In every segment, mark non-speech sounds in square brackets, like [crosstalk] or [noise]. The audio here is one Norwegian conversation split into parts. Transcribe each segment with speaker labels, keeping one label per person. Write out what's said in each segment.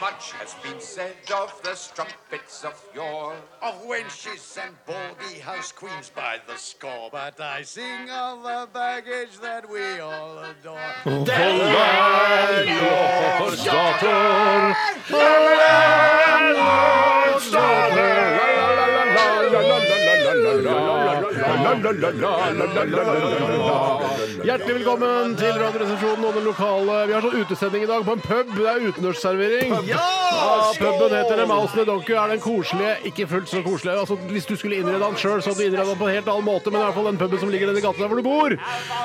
Speaker 1: Much has been said of the strumpets of yore,
Speaker 2: of wenches and baldy house queens by the score. But I sing of the baggage that we all adore.
Speaker 3: Hjertelig velkommen til Radioresepsjonen og den lokale Vi har sånn utesending i dag på en pub. Det er utendørsservering. Ja! puben heter The Mouse and the Donkey. Er den koselige? Ikke fullt så koselig. Altså, hvis du skulle innrede den sjøl, så hadde du innredet den på en helt annen måte, men det er i hvert fall den puben som ligger nedi gata der hvor du bor.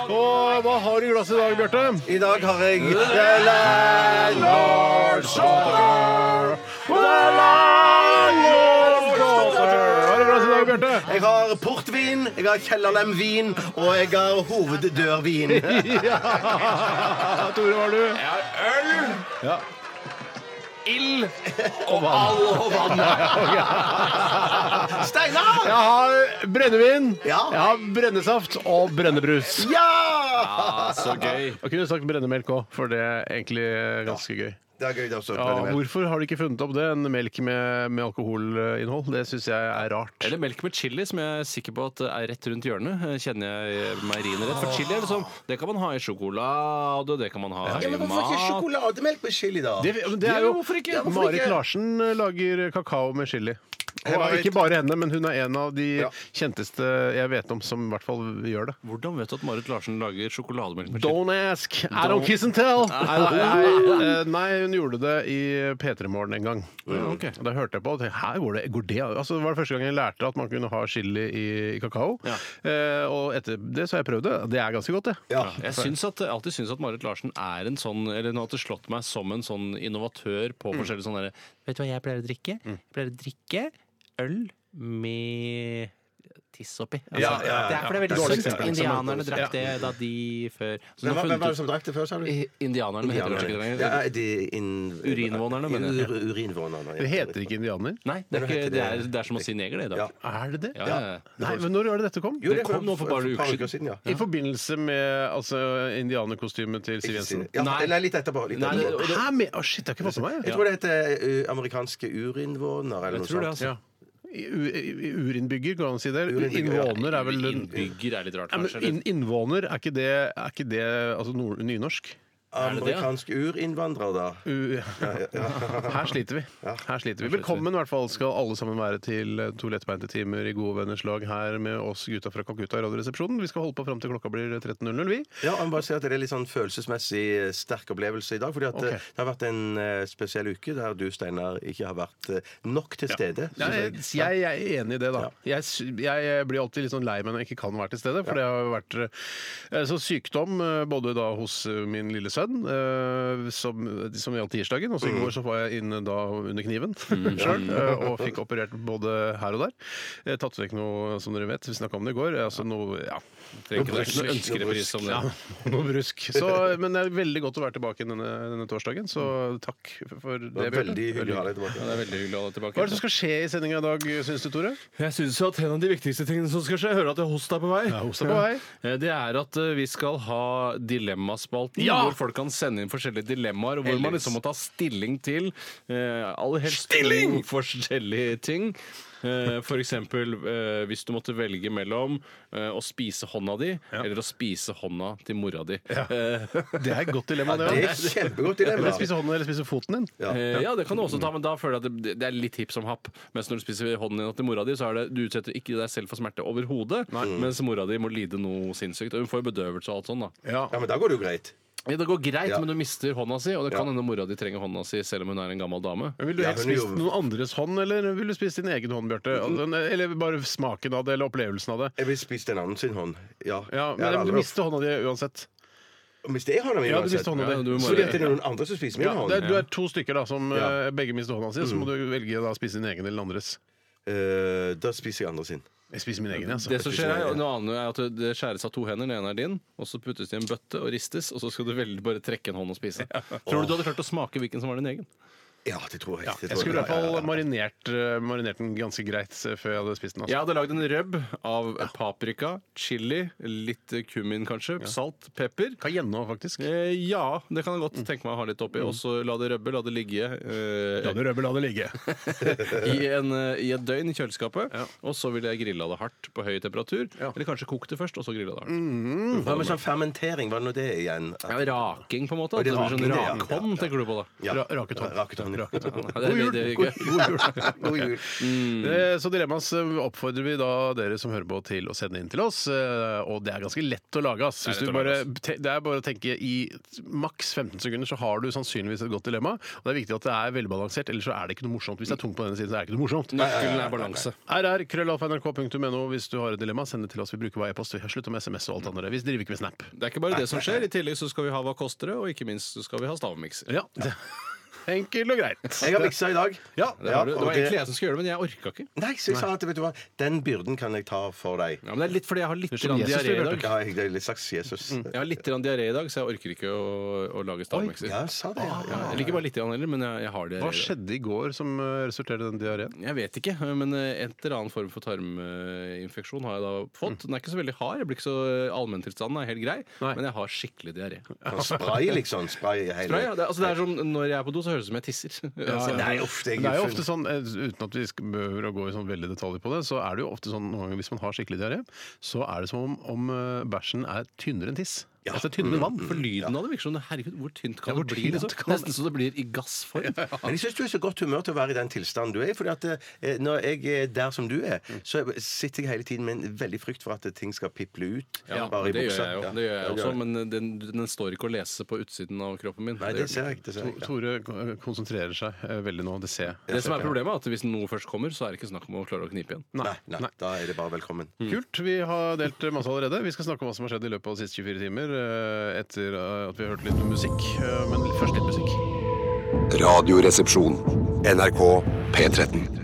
Speaker 3: Og hva har du i glasset i dag, Bjarte?
Speaker 2: I dag har jeg The Landlord's Daughter.
Speaker 3: Hva har du i glasset i dag, Bjarte?
Speaker 2: Jeg har portvin, jeg har kjellerlemvin, og jeg har [laughs] hoveddørvin.
Speaker 3: Ja. Tore, hva har du?
Speaker 1: Jeg har øl, ild
Speaker 3: vann.
Speaker 2: Og vann. Steinar!
Speaker 3: Jeg har brennevin,
Speaker 2: Ja.
Speaker 3: jeg har brennesaft og brennebrus.
Speaker 2: Ja!
Speaker 1: Så gøy.
Speaker 3: Jeg kunne sagt brennemelk òg, for det er egentlig ganske gøy.
Speaker 2: Det er gøy, det er også.
Speaker 3: Ja, hvorfor har de ikke funnet opp det? En melk med, med alkoholinnhold? Det syns jeg er rart.
Speaker 4: Eller melk med chili, som jeg er sikker på at er rett rundt hjørnet. Eh, Kjenner jeg meieriene rett. For chili er liksom, det kan man ha i sjokolade, det kan man ha
Speaker 2: Ja,
Speaker 4: i
Speaker 2: men hvorfor ikke
Speaker 4: mat.
Speaker 2: sjokolademelk med chili, da?
Speaker 3: Det, det er jo,
Speaker 4: Ja, hvorfor ikke?
Speaker 2: hvorfor
Speaker 3: Marit
Speaker 2: ikke?
Speaker 3: Larsen eh, lager kakao med chili. Og
Speaker 2: Marit.
Speaker 3: ikke bare henne, men hun er en av de
Speaker 2: Ja.
Speaker 3: kjenteste jeg vet om som i hvert fall gjør det.
Speaker 4: Hvordan vet du at Marit Larsen lager sjokolademelk med chili?
Speaker 3: Don't ask, I don't kiss and tell! Nei, nei, nei, eh, nei hun gjorde det i P3 Morgen en gang.
Speaker 4: ok.
Speaker 3: Og Da hørte jeg på og tenkte, her går det, går det? an?" Altså, det var det første gang jeg lærte at man kunne ha chili i, i kakao. Eh, og etter det så har jeg prøvd det. Det er ganske godt, det.
Speaker 2: Ja.
Speaker 4: Jeg syns at, jeg har alltid syns at Marit Larsen er en sånn Eller nå har det slått meg som en sånn innovatør på forskjellige sånne der, Vet du hva jeg pleier å drikke? Jeg pleier å drikke øl med tiss oppi. Altså,
Speaker 2: Ja, ja, ja.
Speaker 4: Det er for det er veldig
Speaker 2: Dårlig
Speaker 4: sunt.
Speaker 2: eksempel.
Speaker 4: Indianerne
Speaker 2: Ja.
Speaker 4: drakk det da de før
Speaker 2: Hvem
Speaker 4: Så nå
Speaker 2: var-
Speaker 4: har
Speaker 2: hvem var
Speaker 4: funnet
Speaker 2: det som drakk det før, sa du?
Speaker 4: ut- Indianerne heter det ikke lenger.
Speaker 2: Ja, de inn-
Speaker 4: Urinvånerne, mener jeg.
Speaker 2: Ur, urinvånerne, ja.
Speaker 3: Det heter ikke indianer.
Speaker 4: Nei, det er,
Speaker 2: Nei,
Speaker 4: ikke,
Speaker 2: det
Speaker 4: det
Speaker 2: er-
Speaker 4: er, det er som å si neger det i dag.
Speaker 2: Ja.
Speaker 3: Er det det?
Speaker 4: Ja, ja, ja.
Speaker 3: Nei, men Når var det dette kom?
Speaker 2: Jo,
Speaker 4: det
Speaker 2: var
Speaker 4: kom nå for bare
Speaker 2: et par
Speaker 4: uker
Speaker 2: uker siden. ja.
Speaker 3: I forbindelse med altså, indianerkostymet til Siv
Speaker 2: Ikke
Speaker 3: Jensen.
Speaker 2: siden. Ja,
Speaker 4: Nei.
Speaker 2: nei, litt etterpå. Litt
Speaker 4: Nei,
Speaker 2: etterpå.
Speaker 4: det-
Speaker 3: Hæ? Med, å, shit, det har ikke fått med meg.
Speaker 2: Jeg tror det heter uh, amerikanske urinnvåner eller
Speaker 4: Jeg
Speaker 2: noe
Speaker 4: tror det,
Speaker 2: sånt.
Speaker 4: altså.
Speaker 3: Ja. I- u- i- Urinnbygger, går det an å si det?
Speaker 2: Urinnbygger, ja.
Speaker 3: Innvåner er vel en-
Speaker 4: Innbygger er litt rart,
Speaker 3: Ja, men
Speaker 4: kanskje. eller?
Speaker 3: inn- Innvåner, er ikke det, er ikke det altså, nord, nynorsk?
Speaker 4: det det, ja?
Speaker 2: Amerikansk urinnvandrer, da.
Speaker 3: U [laughs] Her sliter vi. Her sliter vi. Velkommen i hvert fall skal alle sammen være til eh, to lettbeinte timer i gode venners lag her med oss gutta fra Kalkutta i Radioresepsjonen. Vi skal holde på fram til klokka blir 13.00, vi.
Speaker 2: Ja, jeg må bare si at Det er litt sånn følelsesmessig eh, sterk opplevelse i dag. fordi at eh,
Speaker 3: Ok.
Speaker 2: Det har vært en eh, spesiell uke der du, Steinar, ikke har vært eh, nok til stede.
Speaker 3: Ja, jeg,
Speaker 2: synes jeg.
Speaker 3: jeg jeg er enig i det, da. Jeg, sy- jeg blir alltid litt sånn lei meg når jeg ikke kan være til stede. For det har jo vært eh, så sykdom eh, både da hos eh, min lille sønn, eh, som, som gjaldt tirsdagen, og så i går så var jeg inne da under kniven [laughs] sjøl, og fikk operert både her og der. Eh, Tatt vekk noe, som dere vet, vi snakka om det i går. eh, Altså noe ja,
Speaker 4: Trenger ikke
Speaker 2: Noe
Speaker 4: det er
Speaker 2: brusk, noe
Speaker 4: ikke noe ønskerepris om det.
Speaker 3: [laughs] noe brusk. Så, men det er veldig godt å være tilbake denne, denne torsdagen, så takk for Mm. det.
Speaker 2: Det var
Speaker 3: Bjarte.
Speaker 2: veldig hyggelig å ha deg tilbake.
Speaker 4: Ja, det er veldig hyggelig å ha deg
Speaker 3: Hva er det
Speaker 4: tilbake.
Speaker 3: som skal skje i sendinga i dag, syns du, Tore?
Speaker 4: Jeg syns at en av de viktigste tingene som skal skje Jeg hører at host er på vei.
Speaker 3: host er på vei.
Speaker 4: Eh, Det er at eh, vi skal ha Dilemmaspalten,
Speaker 3: Ja!
Speaker 4: hvor folk kan sende inn forskjellige dilemmaer, og hvor man liksom må ta stilling til eh, aller helst to forskjellige ting. Eh, For eksempel eh, hvis du måtte velge mellom eh, å spise hånda di eller å spise hånda til mora di. Eh,
Speaker 3: Det er et godt dilemma, det altså.
Speaker 2: Det
Speaker 3: òg.
Speaker 2: er et kjempegodt dilemma.
Speaker 3: Eller spise hånden eller spise foten din.
Speaker 2: Ja.
Speaker 4: Eh, ja, det kan du også ta, men da føler jeg at det, det er litt hipp som happ. Mens når du spiser hånden din til mora di, så er det, du utsetter ikke deg selv for smerte overhodet, Mm. mens mora di må lide noe sinnssykt. Og hun får jo bedøvelse og alt sånn, da.
Speaker 2: Ja, men da går det jo greit.
Speaker 4: Ja, det går greit,
Speaker 2: Ja.
Speaker 4: men du mister hånda si, og det kan
Speaker 2: Ja.
Speaker 4: hende mora di trenger hånda si selv om hun er en gammel dame.
Speaker 3: Men Vil du
Speaker 2: Ja,
Speaker 3: helst
Speaker 2: hun er jo-
Speaker 3: spise noen andres hånd, eller vil du spise din egen hånd, Bjarte? Altså, Eller bare smaken av det, eller opplevelsen av det?
Speaker 2: Jeg vil spise en annen sin hånd. Ja.
Speaker 3: Ja,
Speaker 2: Jeg har
Speaker 3: men Du
Speaker 2: aldri-
Speaker 3: mister hånda di uansett.
Speaker 2: Mister jeg hånda mi
Speaker 3: Ja, du
Speaker 2: uansett?
Speaker 3: mister hånda
Speaker 4: Ja,
Speaker 3: di.
Speaker 4: du må-
Speaker 2: Så det er noen andre som spiser min
Speaker 3: Ja,
Speaker 2: hånd?
Speaker 3: det er, du er to stykker da som
Speaker 2: Ja.
Speaker 3: eh, begge mister hånda si, så må du velge da å spise din egen eller andres.
Speaker 2: Eh, da spiser jeg andre sin.
Speaker 3: Jeg spiser min egen, jeg.
Speaker 4: Det som skjer er, og noe annet er at det skjæres av to hender, den ene er din, og så puttes det i en bøtte og ristes, og så skal du velge bare trekke en hånd og spise. Tror du du hadde klart å smake hvilken som var din egen?
Speaker 2: Ja, det tror jeg. det tror
Speaker 3: Jeg skulle i
Speaker 2: jeg.
Speaker 3: hvert fall marinert, eh, marinert den ganske greit eh, før jeg hadde spist den. Altså.
Speaker 4: Jeg hadde lagd en røbb av paprika, chili, litt kummin kanskje, salt, pepper.
Speaker 3: Cayenne òg, faktisk.
Speaker 4: Eh, ja, det kan jeg godt tenke meg å ha litt oppi. Og så la det røbbe, la det ligge
Speaker 3: du
Speaker 4: eh,
Speaker 3: røver, la det ligge.
Speaker 4: [laughs] i, en, eh, i et døgn i kjøleskapet. Og så ville jeg grilla det hardt på høy temperatur. Eller kanskje kokt det først, og så grilla det hardt.
Speaker 2: Hva med sånn fermentering? Var det nå det igjen?
Speaker 4: Ja, raking, på en måte.
Speaker 2: Og
Speaker 4: At
Speaker 2: det
Speaker 4: det blir sånn
Speaker 2: raking, det, ja.
Speaker 4: rakhånd, tenker du på da?
Speaker 2: Ja.
Speaker 3: Ra raket hånd.
Speaker 2: Raket hånd.
Speaker 4: Ja, det, det, det, er gøy. [laughs] Mm.
Speaker 2: God jul.
Speaker 3: Eh, Så Dilemmas eh, oppfordrer vi da dere som hører på til å sende inn til oss. eh, Og det er ganske lett å lage. Ass. Hvis
Speaker 4: Det er
Speaker 3: du
Speaker 4: lett å
Speaker 3: bare,
Speaker 4: lage,
Speaker 3: te- det er bare å tenke i maks 15 sekunder, så har du sannsynligvis et godt dilemma. Og det er viktig at det er velbalansert, ellers så er det ikke noe morsomt. Hvis det er tungt på denne siden, så er det ikke noe morsomt.
Speaker 4: Nøkkelen er balanse.
Speaker 3: RR, krøllalfa.nrk.no hvis du har et dilemma. Send det til oss. Vi bruker bare e-post. Vi har sluttet med SMS og alt andre. Vi driver ikke med Snap.
Speaker 4: Det er ikke bare det som skjer. I tillegg så skal vi ha Hva koster det?, og ikke minst så skal vi ha stavmikser.
Speaker 3: Ja, det- [laughs] Enkelt og greit.
Speaker 2: Jeg har miksa i dag.
Speaker 3: Ja,
Speaker 4: Det, har du. det
Speaker 2: og
Speaker 4: var
Speaker 2: det-
Speaker 4: egentlig jeg som skulle gjøre det, men jeg orka ikke.
Speaker 2: Nei, så jeg sa at vet du hva, den byrden kan jeg ta for deg.
Speaker 4: Ja, men det er litt fordi jeg har litt
Speaker 3: er som
Speaker 4: grann
Speaker 3: Jesus
Speaker 4: diaré i
Speaker 3: du
Speaker 4: dag.
Speaker 2: Ja, jeg det er litt slags Jesus.
Speaker 4: Jeg har litt grann diaré i dag, så jeg orker ikke å, å lage stavmikser.
Speaker 2: Ja, jeg sa det. Ja, ja.
Speaker 4: Jeg liker bare litt grann heller, men jeg, jeg har diaré.
Speaker 3: Hva
Speaker 4: i dag.
Speaker 3: skjedde i går som eh, resulterte i den diareen?
Speaker 4: Jeg vet ikke, men eh, en eller annen form for tarminfeksjon har jeg da fått. Den er ikke så veldig hard. jeg blir ikke så eh, Allmenntilstanden er helt grei,
Speaker 3: Nei.
Speaker 4: men jeg har skikkelig diaré.
Speaker 2: Sånn Spray, liksom. Spray i
Speaker 4: Tror jeg,
Speaker 2: hele
Speaker 4: ja. det, altså, det er som, når jeg er på do, så høres det ut som jeg tisser. [laughs] Altså,
Speaker 2: Nei, uff, det
Speaker 3: Men Det er jo ofte
Speaker 2: er
Speaker 3: sånn, eh, Uten at vi sk- behøver å gå i sånn veldig detalj på det, så er det jo ofte sånn noen ganger hvis man har skikkelig diaré, så er det som om, om eh, bæsjen er tynnere enn tiss.
Speaker 2: Ja. Mm.
Speaker 3: Altså tynnere enn vann.
Speaker 4: For lyden av det virker som det- Herregud, hvor tynt kan
Speaker 3: Ja, hvor
Speaker 4: det bli?
Speaker 3: tynt
Speaker 4: liksom?
Speaker 3: kan det-
Speaker 4: Nesten så det blir i gassform.
Speaker 2: men jeg syns du er i så godt humør til å være i den tilstanden du er i. fordi at eh, når jeg er der som du er,
Speaker 4: Mm.
Speaker 2: så sitter jeg hele tiden med en veldig frykt for at ting skal piple ut.
Speaker 4: Ja,
Speaker 2: bare i
Speaker 4: det gjør
Speaker 2: buksa.
Speaker 4: jeg jo.
Speaker 2: Ja,
Speaker 4: Det gjør jeg
Speaker 2: ja,
Speaker 4: også, men den, den står ikke å lese på utsiden av kroppen min.
Speaker 2: Nei, det
Speaker 4: Det gjør den.
Speaker 2: ser jeg ikke. Det ser jeg
Speaker 3: To-
Speaker 2: ikke.
Speaker 3: Tore eh, ko- konsentrerer seg eh, veldig nå, det ser jeg.
Speaker 4: det som er problemet, er at hvis noe først kommer, så er det ikke snakk om å klare å knipe igjen.
Speaker 2: Nei, nei, da er det bare velkommen.
Speaker 4: Mm.
Speaker 3: Kult. Vi har delt eh, masse allerede. Vi skal snakke om hva som har skjedd i løpet av de siste 24 timer eh, etter eh, at vi har hørt litt musikk. Eh, Men først litt musikk.
Speaker 5: Radioresepsjon. NRK P13.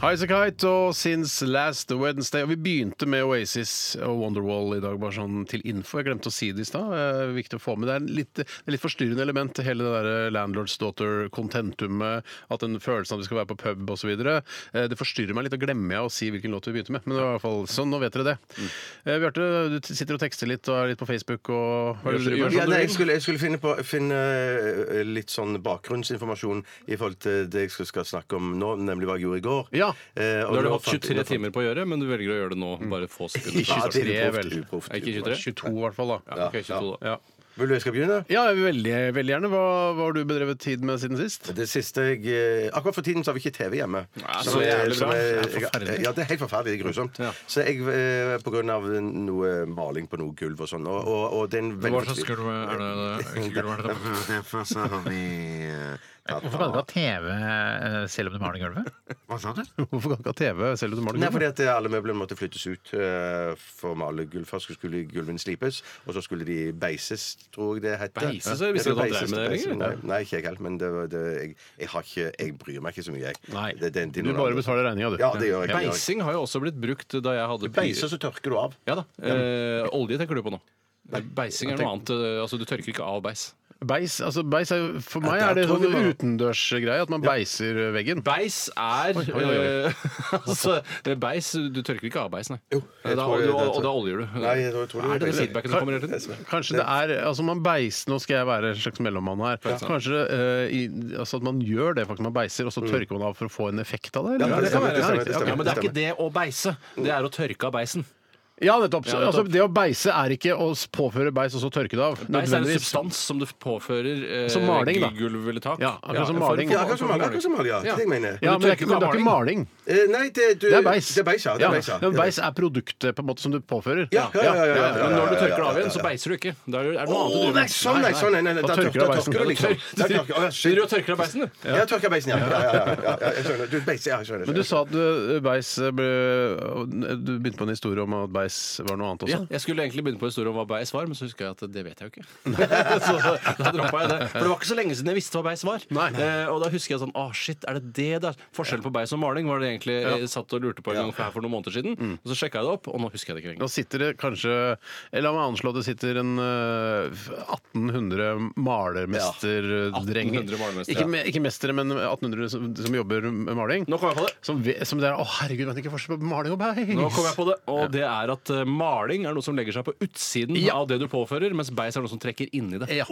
Speaker 3: Highasakite og Since Last Wednesday. Og vi begynte med Oasis og Wonderwall i dag, bare sånn til info. Jeg glemte å si det i stad. Eh, Viktig å få med. Det er en litt, det er litt forstyrrende element til hele det der landlords daughter-kontentumet. At den følelsen av at vi skal være på pub osv. Eh, Det forstyrrer meg litt. Og glemmer jeg å si hvilken låt vi begynte med. Men det var i hvert fall sånn. Nå vet dere det.
Speaker 4: Mm.
Speaker 3: Eh, Bjarte, du t- sitter og tekster litt og er litt på Facebook og hva er det du
Speaker 4: Gjør
Speaker 3: driver
Speaker 4: som
Speaker 2: Ja,
Speaker 3: med?
Speaker 4: du
Speaker 2: nei,
Speaker 4: vil.
Speaker 2: jeg skulle, jeg skulle finne, på, finne eh, litt sånn bakgrunnsinformasjon i forhold til det jeg skal, skal snakke om nå, nemlig hva jeg gjorde i går.
Speaker 3: Ja.
Speaker 2: Eh, og
Speaker 4: Nå har du
Speaker 2: nå
Speaker 4: hatt
Speaker 2: fant-
Speaker 4: 23
Speaker 2: nå fant-
Speaker 4: timer på å gjøre, men du velger å gjøre det nå. Bare få sekunder.
Speaker 2: Ja, det
Speaker 3: 23
Speaker 2: er
Speaker 3: vel.
Speaker 2: uproft, uproft,
Speaker 4: Er ikke
Speaker 2: uproft.
Speaker 4: 23?
Speaker 3: 22 i hvert fall, da.
Speaker 4: Ja, ok, 22 da.
Speaker 3: Ja.
Speaker 2: Vil du jeg skal begynne?
Speaker 3: Ja, jeg vil veldig, veldig gjerne. Hva, hva har du bedrevet tid med siden sist?
Speaker 2: Det siste jeg eh, Akkurat for tiden så har vi ikke TV hjemme.
Speaker 4: Ja,
Speaker 2: Som
Speaker 4: så
Speaker 2: er-
Speaker 4: jævlig
Speaker 2: som
Speaker 4: bra.
Speaker 2: er-
Speaker 4: Det er forferdelig.
Speaker 2: Ja, det er helt forferdelig. Det er grusomt.
Speaker 4: Ja.
Speaker 2: Så jeg, eh, på grunn av noe maling på noe gulv og sånn, og, og, og det er en veldig Derfor så har vi eh, tatt
Speaker 6: Hvorfor kan du ikke ha TV eh, selv om du maler gulvet?
Speaker 2: Hva sa du?
Speaker 3: Hvorfor kan ikke ha TV selv om du maler
Speaker 2: Nei,
Speaker 3: gulvet?
Speaker 2: fordi at alle møblene måtte flyttes ut eh, for å male gulv. Først skulle gulvene slipes, og så skulle de beises, tror jeg det het.
Speaker 4: Beises? Jeg visste
Speaker 2: Ja,
Speaker 4: ikke at han drev med det
Speaker 2: beises,
Speaker 4: lenger.
Speaker 2: beises. Nei, nei, ikke jeg heller. Men det, var- det, jeg, jeg, har ikke, jeg bryr meg ikke så mye, jeg.
Speaker 3: Nei,
Speaker 2: Det- det- det er
Speaker 3: Du
Speaker 2: noen
Speaker 3: bare
Speaker 2: andre.
Speaker 3: betaler regninga, du.
Speaker 2: Ja, det gjør jeg. det gjør jeg.
Speaker 4: Beising har jo også blitt brukt da jeg hadde
Speaker 2: Beiser, så tørker du av.
Speaker 4: Ja da. Eh, olje tenker du på nå. Beising er noe annet. eh, Altså, du tørker ikke av beis.
Speaker 3: Beis, altså beis er, jo- For meg
Speaker 2: Ja,
Speaker 3: er
Speaker 2: der
Speaker 3: det
Speaker 2: tror
Speaker 3: sånn
Speaker 2: vi bare-
Speaker 3: utendørsgreie at man beiser veggen.
Speaker 4: Beis er
Speaker 3: Oi, oi, oi.
Speaker 4: eh, [laughs] Altså, beis Du tørker ikke av beis, nei.
Speaker 2: Jo, jeg
Speaker 4: da,
Speaker 2: tror
Speaker 4: og,
Speaker 2: det-
Speaker 4: og,
Speaker 2: det-
Speaker 4: da oljer du.
Speaker 2: Nei, jeg tror- jeg tror det-
Speaker 4: er det den feedbacken som kommer hele tiden?
Speaker 3: Kanskje det er altså man beis, Nå skal jeg være en slags mellommann her. Kanskje eh, i, altså at man gjør det faktisk man beiser, og så tørker man av for å få en effekt av det? eller?
Speaker 2: Ja,
Speaker 4: Ja, det kan
Speaker 2: stemmer,
Speaker 4: være.
Speaker 2: det stemmer, det
Speaker 4: Ja,
Speaker 2: stemmer,
Speaker 4: men det er
Speaker 2: det
Speaker 4: ikke det å beise. Det er å tørke av beisen.
Speaker 3: Ja, nettopp.
Speaker 4: Ja, nettopp.
Speaker 3: Altså, det å beise er ikke å s- påføre beis og så tørke det av.
Speaker 4: Beis er en
Speaker 3: nødvendigvis.
Speaker 4: substans som du påfører eh,
Speaker 3: Som maling, da.
Speaker 4: gulv eller tak.
Speaker 3: Ja, akkurat som
Speaker 4: en form
Speaker 3: maling.
Speaker 4: for-
Speaker 2: Ja, akkurat som alle, akkurat som alle, ja. Det er det jeg mener.
Speaker 3: Ja, men det er
Speaker 4: tørker
Speaker 3: ikke, men det er
Speaker 4: ikke
Speaker 3: ikke maling.
Speaker 2: Eh, Nei, det, du,
Speaker 3: Det er beis.
Speaker 2: Det er beis, ja. Det er
Speaker 3: Ja,
Speaker 2: beis, ja.
Speaker 3: men beis er produktet på en måte som du påfører.
Speaker 2: Ja, ja, ja, ja, ja, ja, ja,
Speaker 4: Men når du
Speaker 2: ja, ja,
Speaker 4: tørker det av
Speaker 2: ja,
Speaker 4: igjen, så
Speaker 2: ja.
Speaker 4: beiser du ikke. Da er det, er det noe annet du
Speaker 2: Å,
Speaker 4: driver
Speaker 2: nei,
Speaker 4: med.
Speaker 2: sånn, nei, sånn, nei, nei,
Speaker 3: Da
Speaker 2: nei, da
Speaker 3: tørker
Speaker 2: tørker
Speaker 3: du av beisen.
Speaker 2: tørker du liksom. Da tørker- å, ja, shit.
Speaker 4: Driver og tørker av beisen, du.
Speaker 2: Ja, tørker beisen, ja. Ja, ja, ja, ja, ja,
Speaker 3: eh,
Speaker 2: jeg skjønner. Du, beis, ja, jeg skjønner.
Speaker 3: Men du sa at du, beis ble, Du begynte på en historie om at beis beis var noe annet også?
Speaker 4: Ja, jeg skulle egentlig begynne på historien om hva beis var, men så husker jeg at det vet jeg jo ikke. så, så da droppa jeg det. For det var ikke så lenge siden jeg visste hva beis var.
Speaker 3: Nei.
Speaker 4: Eh, og da husker jeg sånn Å, shit, er det det der? Forskjellen på beis og maling var det egentlig jeg satt og lurte på en gang for her for noen måneder siden. Og så sjekka jeg det opp, og nå husker jeg det ikke
Speaker 3: Nå
Speaker 4: lenger.
Speaker 3: sitter det kanskje eller La meg anslå det sitter en eh, 1800 malermesterdrenger.
Speaker 4: 1800 malermestere.
Speaker 3: ikke, me- ikke mestere, men 1800 som, som jobber med maling.
Speaker 4: Nå kom jeg på det.
Speaker 3: Som, ve- som det er Å, herregud, vet ikke forskjell på maling og beis!
Speaker 4: Nå kom jeg på det, og det er at eh, maling er noe som legger seg på utsiden
Speaker 3: Ja.
Speaker 4: av det du påfører, mens beis er noe som trekker inni det.
Speaker 3: Ja.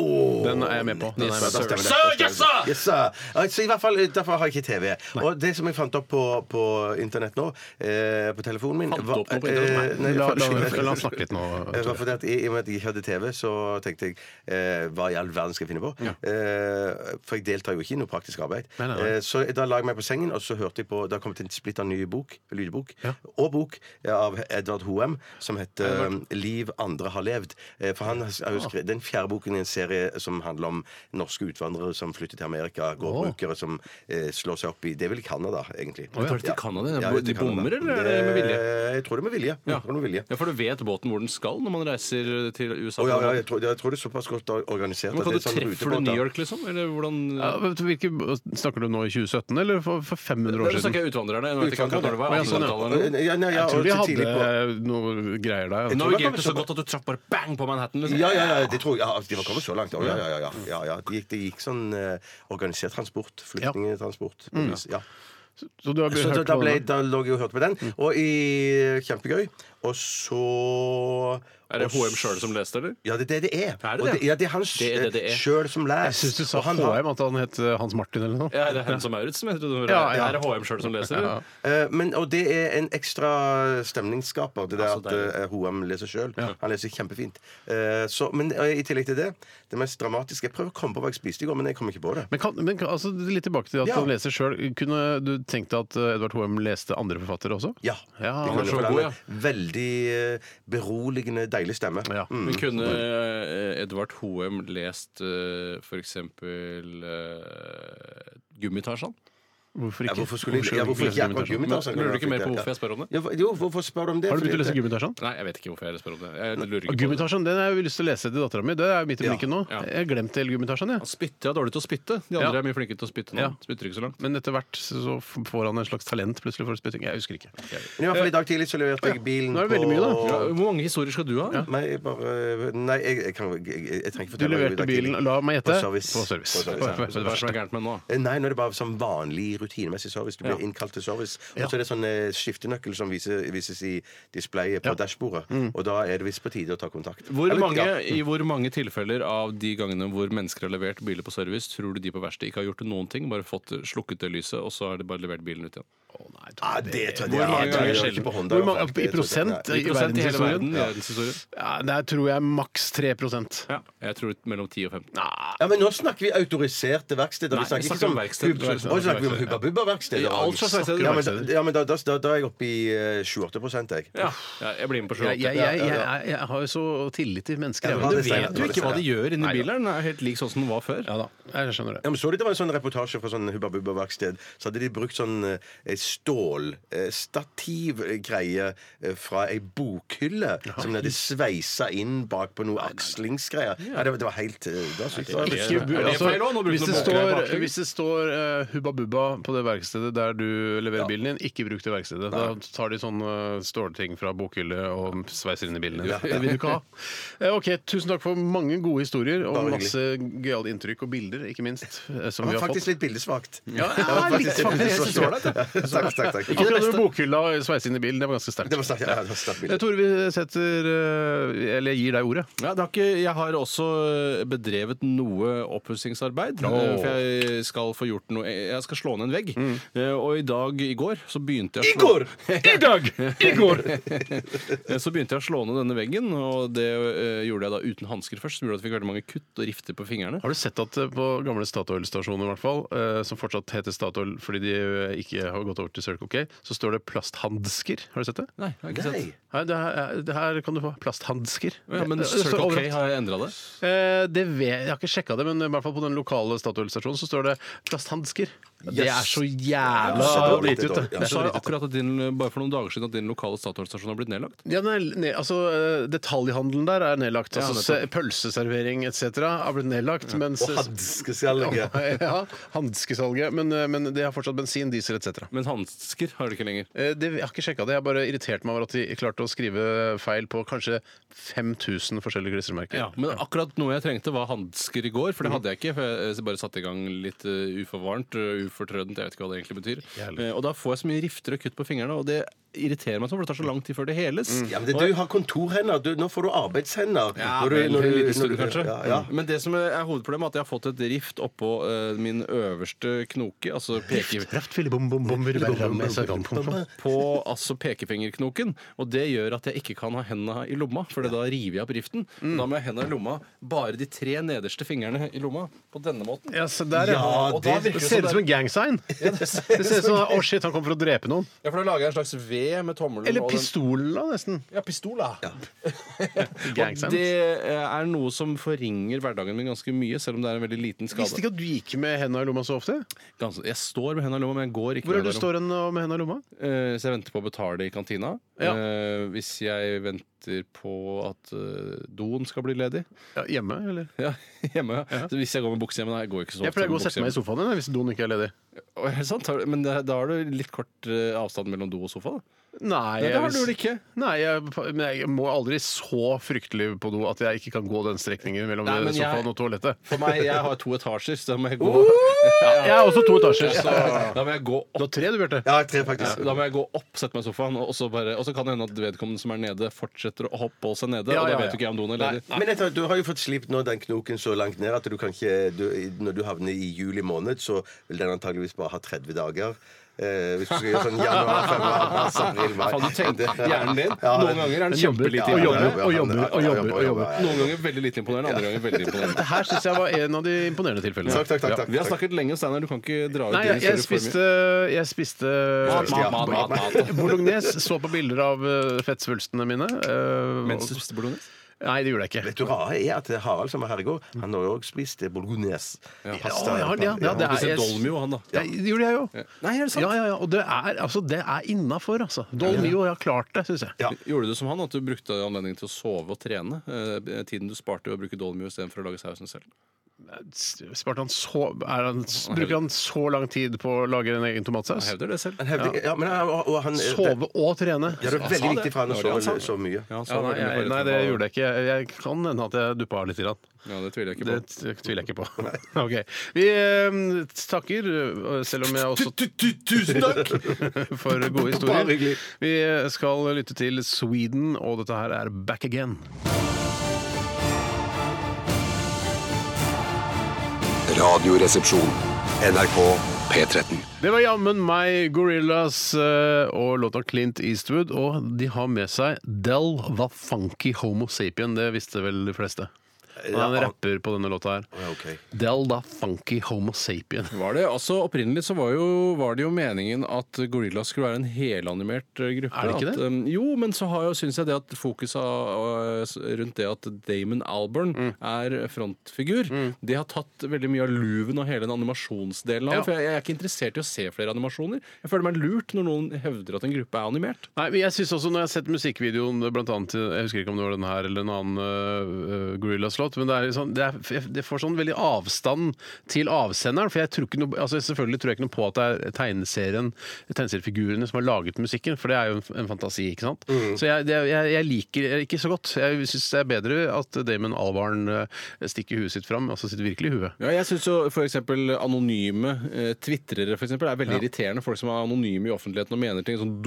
Speaker 3: Den er jeg med på. Den er jeg med på.
Speaker 2: Da stemmer det. Yes, sir. Ja, Så i hvert fall, Derfor har jeg ikke TV. Og det som jeg fant opp på, på internett nå, eh, på telefonen min
Speaker 4: Fant
Speaker 2: var-
Speaker 4: opp noe på internett?
Speaker 2: eh, nei,
Speaker 3: La-
Speaker 2: faktisk
Speaker 3: la-
Speaker 2: ikke.
Speaker 3: la oss snakke litt nå,
Speaker 2: Det var
Speaker 3: Tore.
Speaker 2: fordi at I i og med at jeg ikke hadde TV, så tenkte jeg eh, hva i all verden skal jeg finne på? Eh, for jeg deltar jo ikke i noe praktisk arbeid.
Speaker 3: Nei, nei, nei.
Speaker 2: Eh, så da la jeg meg på sengen, og så hørte jeg på Det har kommet en splitter ny bok, lydbok, og bok, eh, av Edvard Hoem, som heter eh, 'Liv andre har levd'. Eh, for han har
Speaker 4: Ah.
Speaker 2: jo skrevet den fjerde boken i en serie som handler om norske utvandrere som flytter til Amerika, gårdbrukere som eh, slår seg opp i Det er vel Canada, egentlig.
Speaker 4: Tar de til Canada?
Speaker 2: Ja,
Speaker 4: De
Speaker 2: til Canada.
Speaker 4: bommer, eller er det med vilje?
Speaker 2: Eh, Jeg tror det er med vilje. Jeg tror det er med vilje.
Speaker 4: Ja, for du vet båten hvor den skal når man reiser til USA?
Speaker 2: Å, ja, ja, jeg, tror, jeg tror det er såpass godt organisert.
Speaker 4: Men
Speaker 2: at
Speaker 4: kan
Speaker 2: det er
Speaker 4: du
Speaker 2: sånn
Speaker 4: treffer du
Speaker 2: rutebåter.
Speaker 4: New York, liksom? Eller hvordan
Speaker 3: Ja, vet du hvilke, snakker du nå i 2017, eller for, for 500
Speaker 4: Nå
Speaker 3: år siden?
Speaker 4: snakker jeg utvandrerne. Nå vet jeg ikke akkurat når det var.
Speaker 3: Å, ja, sånn, ja.
Speaker 4: 1800-tallet.
Speaker 2: Ja, nei, ja,
Speaker 3: Jeg tror
Speaker 2: og
Speaker 3: de
Speaker 2: så tidlig på-
Speaker 3: hadde eh, noe greier der.
Speaker 2: Jeg tror-
Speaker 4: Navigerte så godt at du traff bare bang på Manhattan. Liksom.
Speaker 2: Ja, ja, ja, det tror jeg. Ja, altså, de var kommet så langt. Å, ja, ja, ja, ja, ja, ja. Det, gikk, det gikk sånn eh, organisert transport. Flyktningtransport. på vis, Ja.
Speaker 3: Så Mm. du har
Speaker 2: Så da,
Speaker 3: hørt
Speaker 2: da,
Speaker 3: på
Speaker 2: ble,
Speaker 3: den? Mm.
Speaker 2: da lå jeg og hørte på den. Og i Kjempegøy. Og så
Speaker 4: Er det
Speaker 2: og
Speaker 4: HM
Speaker 2: s-
Speaker 4: sjøl som leste, eller?
Speaker 2: Ja, det er det det er.
Speaker 4: Er det
Speaker 2: Og
Speaker 4: det?
Speaker 2: ja, det er han
Speaker 4: Det er det det er.
Speaker 2: sjøl som leser.
Speaker 3: Jeg syns du sa
Speaker 2: Og han har-
Speaker 3: HM, at han het Hans Martin eller noe.
Speaker 4: Ja, er det Hennes og Maurits som heter det?
Speaker 3: Ja, ja.
Speaker 4: Er det HM sjøl som leser? eller?
Speaker 2: Eh, men, og det er en ekstra stemningsskaper, det der
Speaker 4: Altså, deilig.
Speaker 2: at eh, Hoem leser sjøl. Han leser kjempefint. Eh, så, men eh, i tillegg til det, det mest dramatiske Jeg prøver å komme på hva jeg spiste i går, men jeg kom ikke på det.
Speaker 3: Men, kan, men kan, altså, litt tilbake til at
Speaker 2: Ja.
Speaker 3: han leser sjøl. Kunne du tenkt deg at eh, Edvard Hoem leste andre forfattere også?
Speaker 2: Ja.
Speaker 3: Ja, han
Speaker 2: Det kunne
Speaker 3: er så
Speaker 2: jeg, for
Speaker 4: god,
Speaker 2: han
Speaker 4: ja.
Speaker 2: er Veldig eh, beroligende, deilig stemme. Mm.
Speaker 3: Ja.
Speaker 4: Men kunne eh, Edvard Hoem lest eh, for eksempel eh, Gummitarsan?
Speaker 3: Hvorfor
Speaker 2: Ja,
Speaker 3: ikke?
Speaker 2: hvorfor skulle jeg, ja, hvorfor
Speaker 3: lese
Speaker 2: ikke akkurat
Speaker 3: Gummitarsan?
Speaker 2: Gummitarsen?
Speaker 4: Men lurer du ikke mer på hvorfor jeg spør om det?
Speaker 2: Ja, jo, hvorfor spør du om det?
Speaker 3: Har du begynt å
Speaker 2: Fordi
Speaker 3: lese
Speaker 2: at-
Speaker 3: Gummitarsan?
Speaker 4: Nei, jeg vet ikke hvorfor jeg spør om det. Jeg lurer ikke
Speaker 3: Og
Speaker 4: på det.
Speaker 3: Gummitarsan den har jeg jo lyst til å lese til dattera mi. Det er midt i
Speaker 2: Ja.
Speaker 3: blinken nå.
Speaker 4: Ja.
Speaker 3: Jeg har glemt hele Gummitarsan, jeg.
Speaker 4: Han spytter, jeg er dårlig til å spytte. De
Speaker 3: Ja.
Speaker 4: andre er mye flinkere til å spytte nå.
Speaker 3: Ja.
Speaker 4: Spytter ikke så langt.
Speaker 3: Men etter hvert så f- får han en slags talent plutselig for spytting. Jeg husker ikke.
Speaker 2: Men I hvert fall i dag tidlig så leverte jeg bilen
Speaker 3: Nå er det veldig
Speaker 2: på
Speaker 3: mye, da.
Speaker 4: Ja, hvor mange historier skal du ha?
Speaker 2: Nei, jeg bare Nei, jeg, jeg, kan, jeg, jeg, jeg trenger ikke
Speaker 3: Du
Speaker 2: fortelle hva jeg gjorde i
Speaker 3: leverte
Speaker 2: dag
Speaker 3: bilen,
Speaker 2: tidlig.
Speaker 3: la meg gjette,
Speaker 2: På service.
Speaker 3: På service.
Speaker 2: På service, ja.
Speaker 3: Hva er det
Speaker 4: Hva er
Speaker 3: verste?
Speaker 4: det gærent med nå?
Speaker 2: Eh, Nei, nå er det bare sånn vanlig rutinemessig service. Du blir innkalt til service. Og så er det sånn eh, skiftenøkkel som viser, vises i displayet på dashbordet.
Speaker 3: Mm.
Speaker 2: Og da er det visst på tide å ta kontakt.
Speaker 4: Hvor
Speaker 2: Eller,
Speaker 4: mange,
Speaker 2: ja.
Speaker 4: I hvor mange tilfeller av de gangene hvor mennesker har levert biler på service, tror du de på verkstedet ikke har gjort noen ting, bare fått eh, slukket det lyset, og så har de bare levert bilen ut igjen?
Speaker 2: Ja, Ah, det tror jeg det er.
Speaker 4: Hvor mange
Speaker 2: Jeg tror
Speaker 4: ganger
Speaker 2: jeg
Speaker 4: sjelden?
Speaker 2: ikke på Honda,
Speaker 3: Hvor
Speaker 2: i hvert
Speaker 3: mange,
Speaker 2: fall.
Speaker 3: I
Speaker 2: Det tror jeg ikke.
Speaker 3: prosent
Speaker 2: Nei.
Speaker 3: i
Speaker 4: Prosent i hele verden,
Speaker 3: verdenshistorien?
Speaker 4: i verdenshistorien.
Speaker 3: Ja, der tror jeg maks 3 Nei,
Speaker 4: Ja, jeg tror mellom 10 og 15.
Speaker 2: Ja, men nå snakker vi autoriserte verksteder.
Speaker 4: Nei,
Speaker 2: Vi snakker
Speaker 4: vi
Speaker 2: ikke
Speaker 4: snakker om
Speaker 2: om
Speaker 4: verksted.
Speaker 2: Hub-
Speaker 4: Verksted.
Speaker 2: Å, snakker vi om Hubba Bubba verksteder.
Speaker 4: Ja, alt slags verksteder.
Speaker 2: Ja, men da, ja, men da, da, da, da er jeg oppe i eh, 7-8 prosent, jeg.
Speaker 4: Ja, ja, jeg blir med på 28.
Speaker 3: Jeg, jeg, jeg, jeg, er- jeg har jo så tillit til mennesker.
Speaker 2: Ja,
Speaker 3: jeg,
Speaker 2: det var
Speaker 3: men du
Speaker 2: det Steinar,
Speaker 3: vet
Speaker 2: det
Speaker 3: jo
Speaker 2: var det
Speaker 3: ikke hva de
Speaker 2: Steinar.
Speaker 4: gjør inni bilen. Den er helt lik sånn som den var før.
Speaker 3: Ja da, jeg skjønner det.
Speaker 2: Ja, men så det, det var en sånn reportasje fra sånn Hubba Bubba verksted. Så hadde de brukt sånn eh, stålstativgreie eh, fra ei bokhylle som de hadde sveisa inn bak på noe akslingsgreier. Ja, det, var- det var helt eh, Det var sykt. Det var-
Speaker 3: Ikke, bu-
Speaker 4: er det
Speaker 3: altså,
Speaker 4: feil også? Nå bruker
Speaker 3: hvis,
Speaker 4: du
Speaker 3: det
Speaker 4: bokgreier på
Speaker 3: står,
Speaker 4: aksling.
Speaker 3: hvis det står eh, Hubba Bubba på det verkstedet der du leverer bilen din, ikke bruk det verkstedet. Da tar de sånne eh, stålting fra bokhylle og sveiser inn i bilen din. Det [laughs] vil du ikke ha. Eh, Ok, Tusen takk for mange gode historier og
Speaker 2: Bare
Speaker 3: masse gøyale inntrykk og bilder, ikke minst, eh, som vi
Speaker 2: Det var
Speaker 3: har fått.
Speaker 2: faktisk litt bildesvakt.
Speaker 3: Ja,
Speaker 2: Det var
Speaker 3: litt
Speaker 2: faktisk
Speaker 3: faktisk, jeg synes det var
Speaker 2: [laughs] bildesvakt. Takk, takk, takk.
Speaker 3: Ikke det med bokhylla og sveise inn i bilen, det var ganske sterkt.
Speaker 2: Det var sterkt. Ja, det var sterkt
Speaker 3: Eh,
Speaker 2: bilde.
Speaker 3: Tore, vi setter eh, Eller jeg gir deg ordet.
Speaker 4: Ja, det har ikke, jeg har også eh, bedrevet noe oppussingsarbeid.
Speaker 3: Åh.
Speaker 4: eh, For jeg skal få gjort noe Jeg skal slå ned en vegg. Eh, Og i dag, i går, så begynte
Speaker 2: I
Speaker 4: jeg å slå- Eh,
Speaker 2: går!
Speaker 3: Mm. I dag! I
Speaker 4: [laughs]
Speaker 3: går!
Speaker 4: Så begynte jeg å slå ned denne veggen, og det eh, gjorde jeg da uten hansker først. Som gjorde at jeg fikk veldig mange kutt og rifter på fingrene.
Speaker 3: Har du sett at eh, på gamle Statoil-stasjoner, i hvert fall, eh, som fortsatt heter Statoil fordi de eh, ikke har gått over til Circle K, så står det plasthansker. Har du sett det?
Speaker 4: Nei, jeg har ikke
Speaker 2: Nei.
Speaker 4: sett.
Speaker 3: Nei, det her, eh, det her kan du få. Eh, Plasthansker.
Speaker 4: Ja, men
Speaker 3: Det- det står
Speaker 4: Circle K
Speaker 3: overalt.
Speaker 4: har jeg endra det.
Speaker 3: Eh, det vet, jeg har ikke sjekka det, men i hvert fall på den lokale Statoil-stasjonen så står det plasthansker. Det
Speaker 2: Yes.
Speaker 3: er så
Speaker 2: Ja,
Speaker 3: jævla
Speaker 2: så
Speaker 3: lite
Speaker 2: lite
Speaker 3: ute.
Speaker 2: dårlig, ja.
Speaker 3: Det er
Speaker 2: Jeg
Speaker 4: Du
Speaker 3: så
Speaker 4: sa jo
Speaker 3: lite.
Speaker 4: akkurat at din, bare for noen dager siden at din lokale Statoil-stasjon har blitt nedlagt.
Speaker 3: Ja, den er, ne- altså, eh, detaljhandelen der er nedlagt.
Speaker 4: Ja,
Speaker 3: Altså, se- pølseservering etc. har blitt nedlagt. Mens,
Speaker 2: Og hanskeskjellige.
Speaker 3: ja, Hanskesalget. Men, eh, men det har fortsatt bensin, diesel etc.
Speaker 4: Men hansker har du ikke lenger.
Speaker 3: Eh, Det, jeg har ikke sjekka det. Jeg har bare irritert meg over at de klarte å skrive feil på kanskje 5000 forskjellige klistremerker.
Speaker 4: Ja, men akkurat noe jeg trengte, var hansker i går. For det hadde jeg ikke. For jeg bare satte i gang litt eh, uforvarmt, eh, ufortrødent, jeg vet ikke hva det egentlig betyr. Eh, og da får jeg så mye rifter og kutt på fingrene, og det irriterer meg sånn, for det tar så lang tid før det heles.
Speaker 2: Mm. Ja, men det, du har kontorhender. Du, nå får du arbeidshender.
Speaker 4: Ja,
Speaker 2: Når du-
Speaker 4: vel,
Speaker 2: når
Speaker 4: en
Speaker 2: du-
Speaker 4: liten stund,
Speaker 2: når du-
Speaker 4: kanskje. Mm.
Speaker 2: Ja, ja.
Speaker 4: Men det som er hovedproblemet, er at jeg har fått et rift oppå eh, min øverste knoke, altså peke... På altså pekefingerknoken. Og det gjør at jeg ikke kan ha hendene i lomma, for da river jeg opp riften.
Speaker 2: Mm.
Speaker 4: Da må jeg ha hendene i lomma, bare de tre nederste fingrene i lomma, på denne måten.
Speaker 3: Ja, se der, ja.
Speaker 2: Ja,
Speaker 3: Og da
Speaker 2: det-
Speaker 3: virker det ser ut som en gang [laughs] sign. Det ser ut som Å, shit, han kommer for å drepe noen.
Speaker 4: Ja, for da lager jeg en slags V med tommelen
Speaker 3: Eller
Speaker 4: og den-
Speaker 3: pistolen, da, nesten.
Speaker 4: Ja, pistol, da.
Speaker 3: Gang
Speaker 4: Og
Speaker 3: sign.
Speaker 4: det eh, er noe som forringer hverdagen min ganske mye, selv om det er en veldig liten
Speaker 3: Jeg visste
Speaker 4: skade.
Speaker 3: ikke at du gikk med henda i lomma så ofte.
Speaker 4: Ganske- Jeg står med hendene i lomma, men jeg går ikke
Speaker 3: Hvor er du
Speaker 4: med hendene i lomma.
Speaker 3: står hen og med henda i lomma?
Speaker 4: Eh, Så jeg venter på å betale i kantina.
Speaker 3: Ja.
Speaker 4: Eh, Hvis jeg venter på at eh, doen skal bli ledig. [laughs]
Speaker 3: Ja, hjemme, eller?
Speaker 4: Ja, hjemme. Ja. Så hvis jeg går med bukse hjemme, nei, jeg går ikke så ofte
Speaker 3: Jeg pleier å
Speaker 4: med
Speaker 3: gå og sette meg i
Speaker 4: bukse
Speaker 3: sofaen din jeg, hvis doen ikke er ledig.
Speaker 4: hjemme. Å, er det sant? Har du- Men det, da har du litt kort eh, avstand mellom do og sofa, da.
Speaker 3: Nei,
Speaker 4: Nei, det har
Speaker 3: jeg-
Speaker 4: du vel ikke?
Speaker 3: Nei, jeg, men jeg må aldri så fryktelig på do at jeg ikke kan gå den strekningen mellom
Speaker 4: Nei, men jeg-
Speaker 3: sofaen og toalettet.
Speaker 4: For meg, jeg har to etasjer, så da må jeg gå
Speaker 3: Jeg har også to etasjer, så
Speaker 4: Da må jeg
Speaker 3: Du
Speaker 4: gå opp.
Speaker 3: har tre, du, Bjarte.
Speaker 2: Ja, tre faktisk.
Speaker 4: Da må jeg gå opp, sette meg i sofaen, og så, bare, og så kan det hende at vedkommende som er nede, fortsetter å hoppe på seg nede.
Speaker 3: Ja,
Speaker 4: og da
Speaker 3: ja, ja.
Speaker 4: vet du ikke om doen er ledig.
Speaker 2: Men jeg tar, du har jo fått slipt nå den knoken så langt ned at du kan ikke du, Når du havner i juli måned, så vil den antageligvis bare ha 30 dager. Eh, hvis du skal gjøre sånn januar, februar, mars,
Speaker 3: Sånn
Speaker 2: april, mai
Speaker 4: Faen, du tenker hjernen din. Noen ganger er den
Speaker 3: Ja,
Speaker 4: kjempelite
Speaker 3: og
Speaker 4: imponerende.
Speaker 3: jobber, og jobber, og jobber, og jobber.
Speaker 4: Noen ganger veldig lite imponerende, andre ganger veldig imponerende.
Speaker 3: Det her syns jeg var en av de imponerende tilfellene.
Speaker 2: Takk, takk, takk. takk,
Speaker 4: Vi har
Speaker 2: takk.
Speaker 4: snakket lenge, Steinar. Du kan ikke dra ut
Speaker 3: Nei, jeg,
Speaker 4: din
Speaker 3: jeg
Speaker 4: historie for
Speaker 3: spiste,
Speaker 4: mye.
Speaker 3: jeg spiste
Speaker 4: Mat, mat, mat, mat, mat.
Speaker 3: Bolognese. Så på bilder av eh, fettsvulstene mine. eh,
Speaker 4: Mens du spiste bolognese?
Speaker 3: Nei, det gjorde jeg ikke.
Speaker 2: Vet du hva er at Harald som var her i går, han har jo også spist bolognese. Pasta.
Speaker 3: Å, ja, ja, ja, det er-
Speaker 4: Spiste
Speaker 3: jeg-
Speaker 4: dolmio, han, da.
Speaker 3: Nei, det gjorde jeg jo.
Speaker 4: Nei, er det sant?
Speaker 3: Ja, ja, ja. Og det er, altså, det er innafor, altså. Dolmio, jeg har klart det, syns jeg.
Speaker 2: Ja.
Speaker 4: Gjorde du som han, at du brukte anledningen til å sove og trene? Eh, Tiden du sparte ved å bruke dolmio istedenfor å lage sausen selv?
Speaker 3: Sparte han så, er han, bruker han så lang tid på å lage en egen tomatsaus?
Speaker 4: Jeg hevder det selv.
Speaker 2: Han hevder- ja, men han, og han det,
Speaker 3: Sove og trene?
Speaker 2: ja, det er veldig
Speaker 4: Han sa det.
Speaker 2: viktig for han å
Speaker 4: Det var det han
Speaker 2: sove
Speaker 4: sa.
Speaker 2: så mye.
Speaker 4: Ja, han sa
Speaker 3: Ja, nei,
Speaker 4: veldig mye
Speaker 3: jeg,
Speaker 4: forrett
Speaker 3: nei,
Speaker 4: om
Speaker 3: det
Speaker 4: hva-
Speaker 3: gjorde jeg ikke. Jeg- Jeg kan hende at jeg duppa av litt. Grann.
Speaker 4: Ja, det tviler jeg ikke
Speaker 3: Det
Speaker 4: på.
Speaker 3: t- tviler jeg ikke på. [laughs] Ok. Vi eh, takker, eh, selv om jeg også
Speaker 4: Tusen takk!
Speaker 3: for gode historier. Vi øh, skal lytte til Sweden, og dette her er Back Again.
Speaker 5: Radioresepsjon. NRK P13.
Speaker 3: Det var jammen meg Gorillas eh, og låta Clint Eastwood, og de har med seg Del Va Funky Homo Sapien. Det visste vel de fleste. Han er en rapper på denne låta her.
Speaker 2: Ja, ok.
Speaker 3: Del Da Funky Homo Sapien.
Speaker 4: Var det, altså Opprinnelig så var, jo, var det jo meningen at Gorilla skulle være en helanimert eh, gruppe.
Speaker 3: Er det ikke
Speaker 4: at,
Speaker 3: det?
Speaker 4: em, jo, men så har jo, syns jeg det at fokuset av- av- s- rundt det at Damon Albarn er frontfigur, det har tatt veldig mye av luven av hele den animasjonsdelen av det.
Speaker 3: Ja.
Speaker 4: For jeg, jeg er ikke interessert i å se flere animasjoner. Jeg føler meg lurt når noen hevder at en gruppe er animert.
Speaker 3: [laughs] Nei, men jeg synes også Når jeg har sett musikkvideoen, blant annet, jeg husker ikke om det var den her eller en annen øh, Gorillaz-låt, men det, er litt sånn, det, er, det får sånn veldig avstand til avsenderen. For jeg tror ikke noe, altså selvfølgelig tror jeg ikke noe på at det er tegneserien, tegneseriefigurene som har laget musikken, for det er jo en, en fantasi, ikke sant? Så jeg, det, jeg, jeg liker det ikke så godt. Jeg syns det er bedre at Damon Albarn øh, stikker huet sitt fram, altså sitt virkelige hue.
Speaker 4: Ja, jeg syns jo f.eks. anonyme eh, twitrere for eksempel, er veldig irriterende. Folk som er anonyme i offentligheten og mener ting. Sånn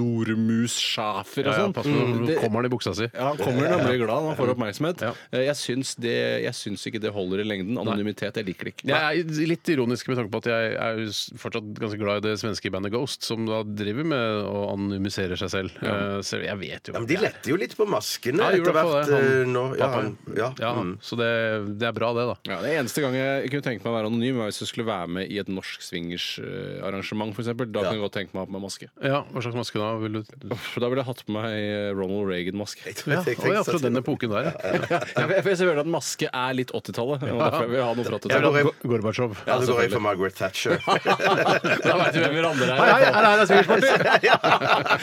Speaker 4: Doremus-sjafer
Speaker 3: Ja,
Speaker 4: og
Speaker 3: ja,
Speaker 4: sånn.
Speaker 3: pass på,
Speaker 4: Mm,
Speaker 3: nå
Speaker 4: det-
Speaker 3: kommer han i buksa si.
Speaker 4: Ja, han kommer når han blir glad, når han får oppmerksomhet.
Speaker 3: Ja.
Speaker 4: Eh, Jeg syns, det, jeg syns ikke det holder i lengden. Anonymitet, jeg liker det ikke.
Speaker 3: Jeg er litt ironisk med tanke på at jeg er jo s- fortsatt ganske glad i det svenske bandet Ghost, som da driver med å anonymisere seg selv. Eh, Så jeg vet jo
Speaker 2: Ja,
Speaker 3: hvem
Speaker 2: men de
Speaker 3: det er.
Speaker 2: letter jo litt på maskene
Speaker 3: Ja, de
Speaker 2: etter
Speaker 3: gjorde
Speaker 2: hvert.
Speaker 3: det,
Speaker 2: eh,
Speaker 3: han-
Speaker 2: nå. Ja,
Speaker 3: pappaen.
Speaker 2: han- ja,
Speaker 3: Ja,
Speaker 2: mm.
Speaker 3: Så det, det er bra, det, da.
Speaker 4: Ja, det eneste gang jeg kunne tenke meg å være anonym, var hvis jeg skulle være med i et norsk eh, swingersarrangement, f.eks. Da kunne jeg godt tenke meg å ha på meg maske.
Speaker 3: Ja, Hva slags maske da? Vil du
Speaker 4: For da ville jeg hatt på meg eh, Ronald Reagan-maske.
Speaker 2: Jeg tror
Speaker 3: ja,
Speaker 2: jeg
Speaker 3: å
Speaker 2: tenkte
Speaker 3: ja, fra
Speaker 2: sånn.
Speaker 4: [laughs]
Speaker 3: den epoken der. ja.
Speaker 4: Ja, for jeg- for jeg ser veldig at maske ønske er litt 80-tallet. og Derfor vil jeg ha noe fra
Speaker 3: Jeg vil
Speaker 4: 80-tallet.
Speaker 3: ha Gor- Gorbatsjov.
Speaker 2: Ja, da går jeg for Margaret Thatcher.
Speaker 4: [laughs] Da veit du hvem vi rander
Speaker 3: Hei, hei, her
Speaker 4: her.
Speaker 3: er det swingersparty!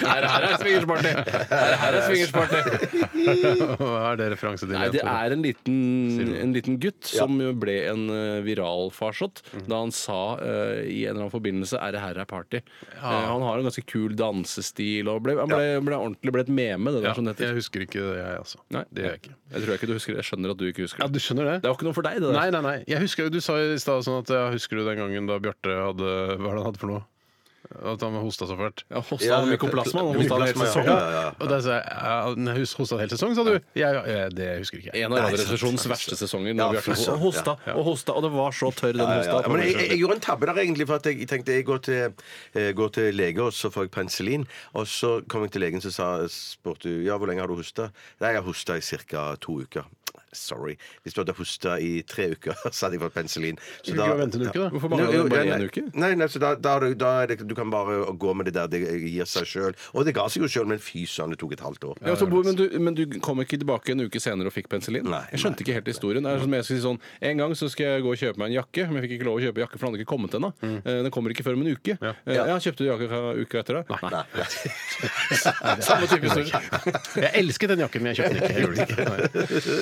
Speaker 4: Her her er swingersparty! Her her er swingersparty!
Speaker 3: Hva er det referanse til?
Speaker 4: Nei, det
Speaker 3: Tore?
Speaker 4: er en liten, en liten gutt som jo ble en eh, viral farsott
Speaker 2: Mhm.
Speaker 4: da han sa eh, i en eller annen forbindelse 'er det her er party'. Eh, han har en ganske kul dansestil og ble, han ble, ble ordentlig ble et meme, det der
Speaker 3: ja,
Speaker 4: som det heter.
Speaker 3: Jeg husker ikke det, jeg, altså.
Speaker 4: sånn Nei,
Speaker 3: det gjør jeg ikke.
Speaker 4: Jeg tror jeg ikke du husker det. Jeg skjønner at du ikke husker
Speaker 3: Ja,
Speaker 4: det.
Speaker 3: du skjønner det?
Speaker 4: Det var ikke noe for deg, det der.
Speaker 3: Nei, nei, nei. Jeg husker jo, Du sa i stad sånn at ja, Husker du den gangen da Bjarte hadde Hva er det han hadde for noe? At han hosta så fælt.
Speaker 4: Ja, hosta
Speaker 2: Ja,
Speaker 4: han mykoplasma. Han hosta han helt
Speaker 2: mykoplasma, ja.
Speaker 4: sesongen.
Speaker 3: Og da sa jeg ja, nei, hus- hosta en hel sesong, sa du? Ja, ja, ja, det husker ikke jeg.
Speaker 4: En av Radioresepsjonens verste sesonger.
Speaker 2: Ja,
Speaker 4: Når vi har
Speaker 2: fy
Speaker 4: vært-
Speaker 2: søren.
Speaker 4: og hosta og hosta, og det var så tørr
Speaker 2: [laughs]
Speaker 4: den
Speaker 2: Ja,
Speaker 4: hosta.
Speaker 2: ja, men jeg, jeg, jeg gjorde en tabbe der, egentlig. For at jeg tenkte jeg går til, eh, går til lege, og så får jeg penicillin. Og så kom jeg til legen, så sa, spurte hun ja, hvor lenge har du hosta. Nei, jeg har hosta i ca. to uker. Sorry. Hvis du hadde hosta i tre uker, [laughs] så hadde jeg fått penicillin. Så
Speaker 3: Skulle ikke vente en uke, da?
Speaker 4: Hvorfor mangler
Speaker 2: Jo,
Speaker 4: det
Speaker 2: jo,
Speaker 4: bare
Speaker 2: ja,
Speaker 4: en
Speaker 2: nei.
Speaker 4: uke?
Speaker 2: Nei, nei, så da, da, er du- da er det, du kan bare gå med det der det gir seg sjøl. Og det ga seg jo sjøl, men fy søren, det tok et halvt år.
Speaker 4: Ja, så, Bo, men, du, men du kom ikke tilbake en uke senere og fikk penicillin?
Speaker 2: Nei,
Speaker 4: jeg skjønte ikke helt historien. Det er som jeg skulle si sånn, En gang så skal jeg gå og kjøpe meg en jakke, men jeg fikk ikke lov å kjøpe jakke, for den hadde ikke kommet ennå. Eh, Den kommer ikke før om en uke. Ja, ja Kjøpte du jakke uka etter det? [laughs] Nei. Samme type historie.
Speaker 3: Jeg elsket den jakken, men jeg kjøpte den ikke. Jeg gjorde det ikke. Nei.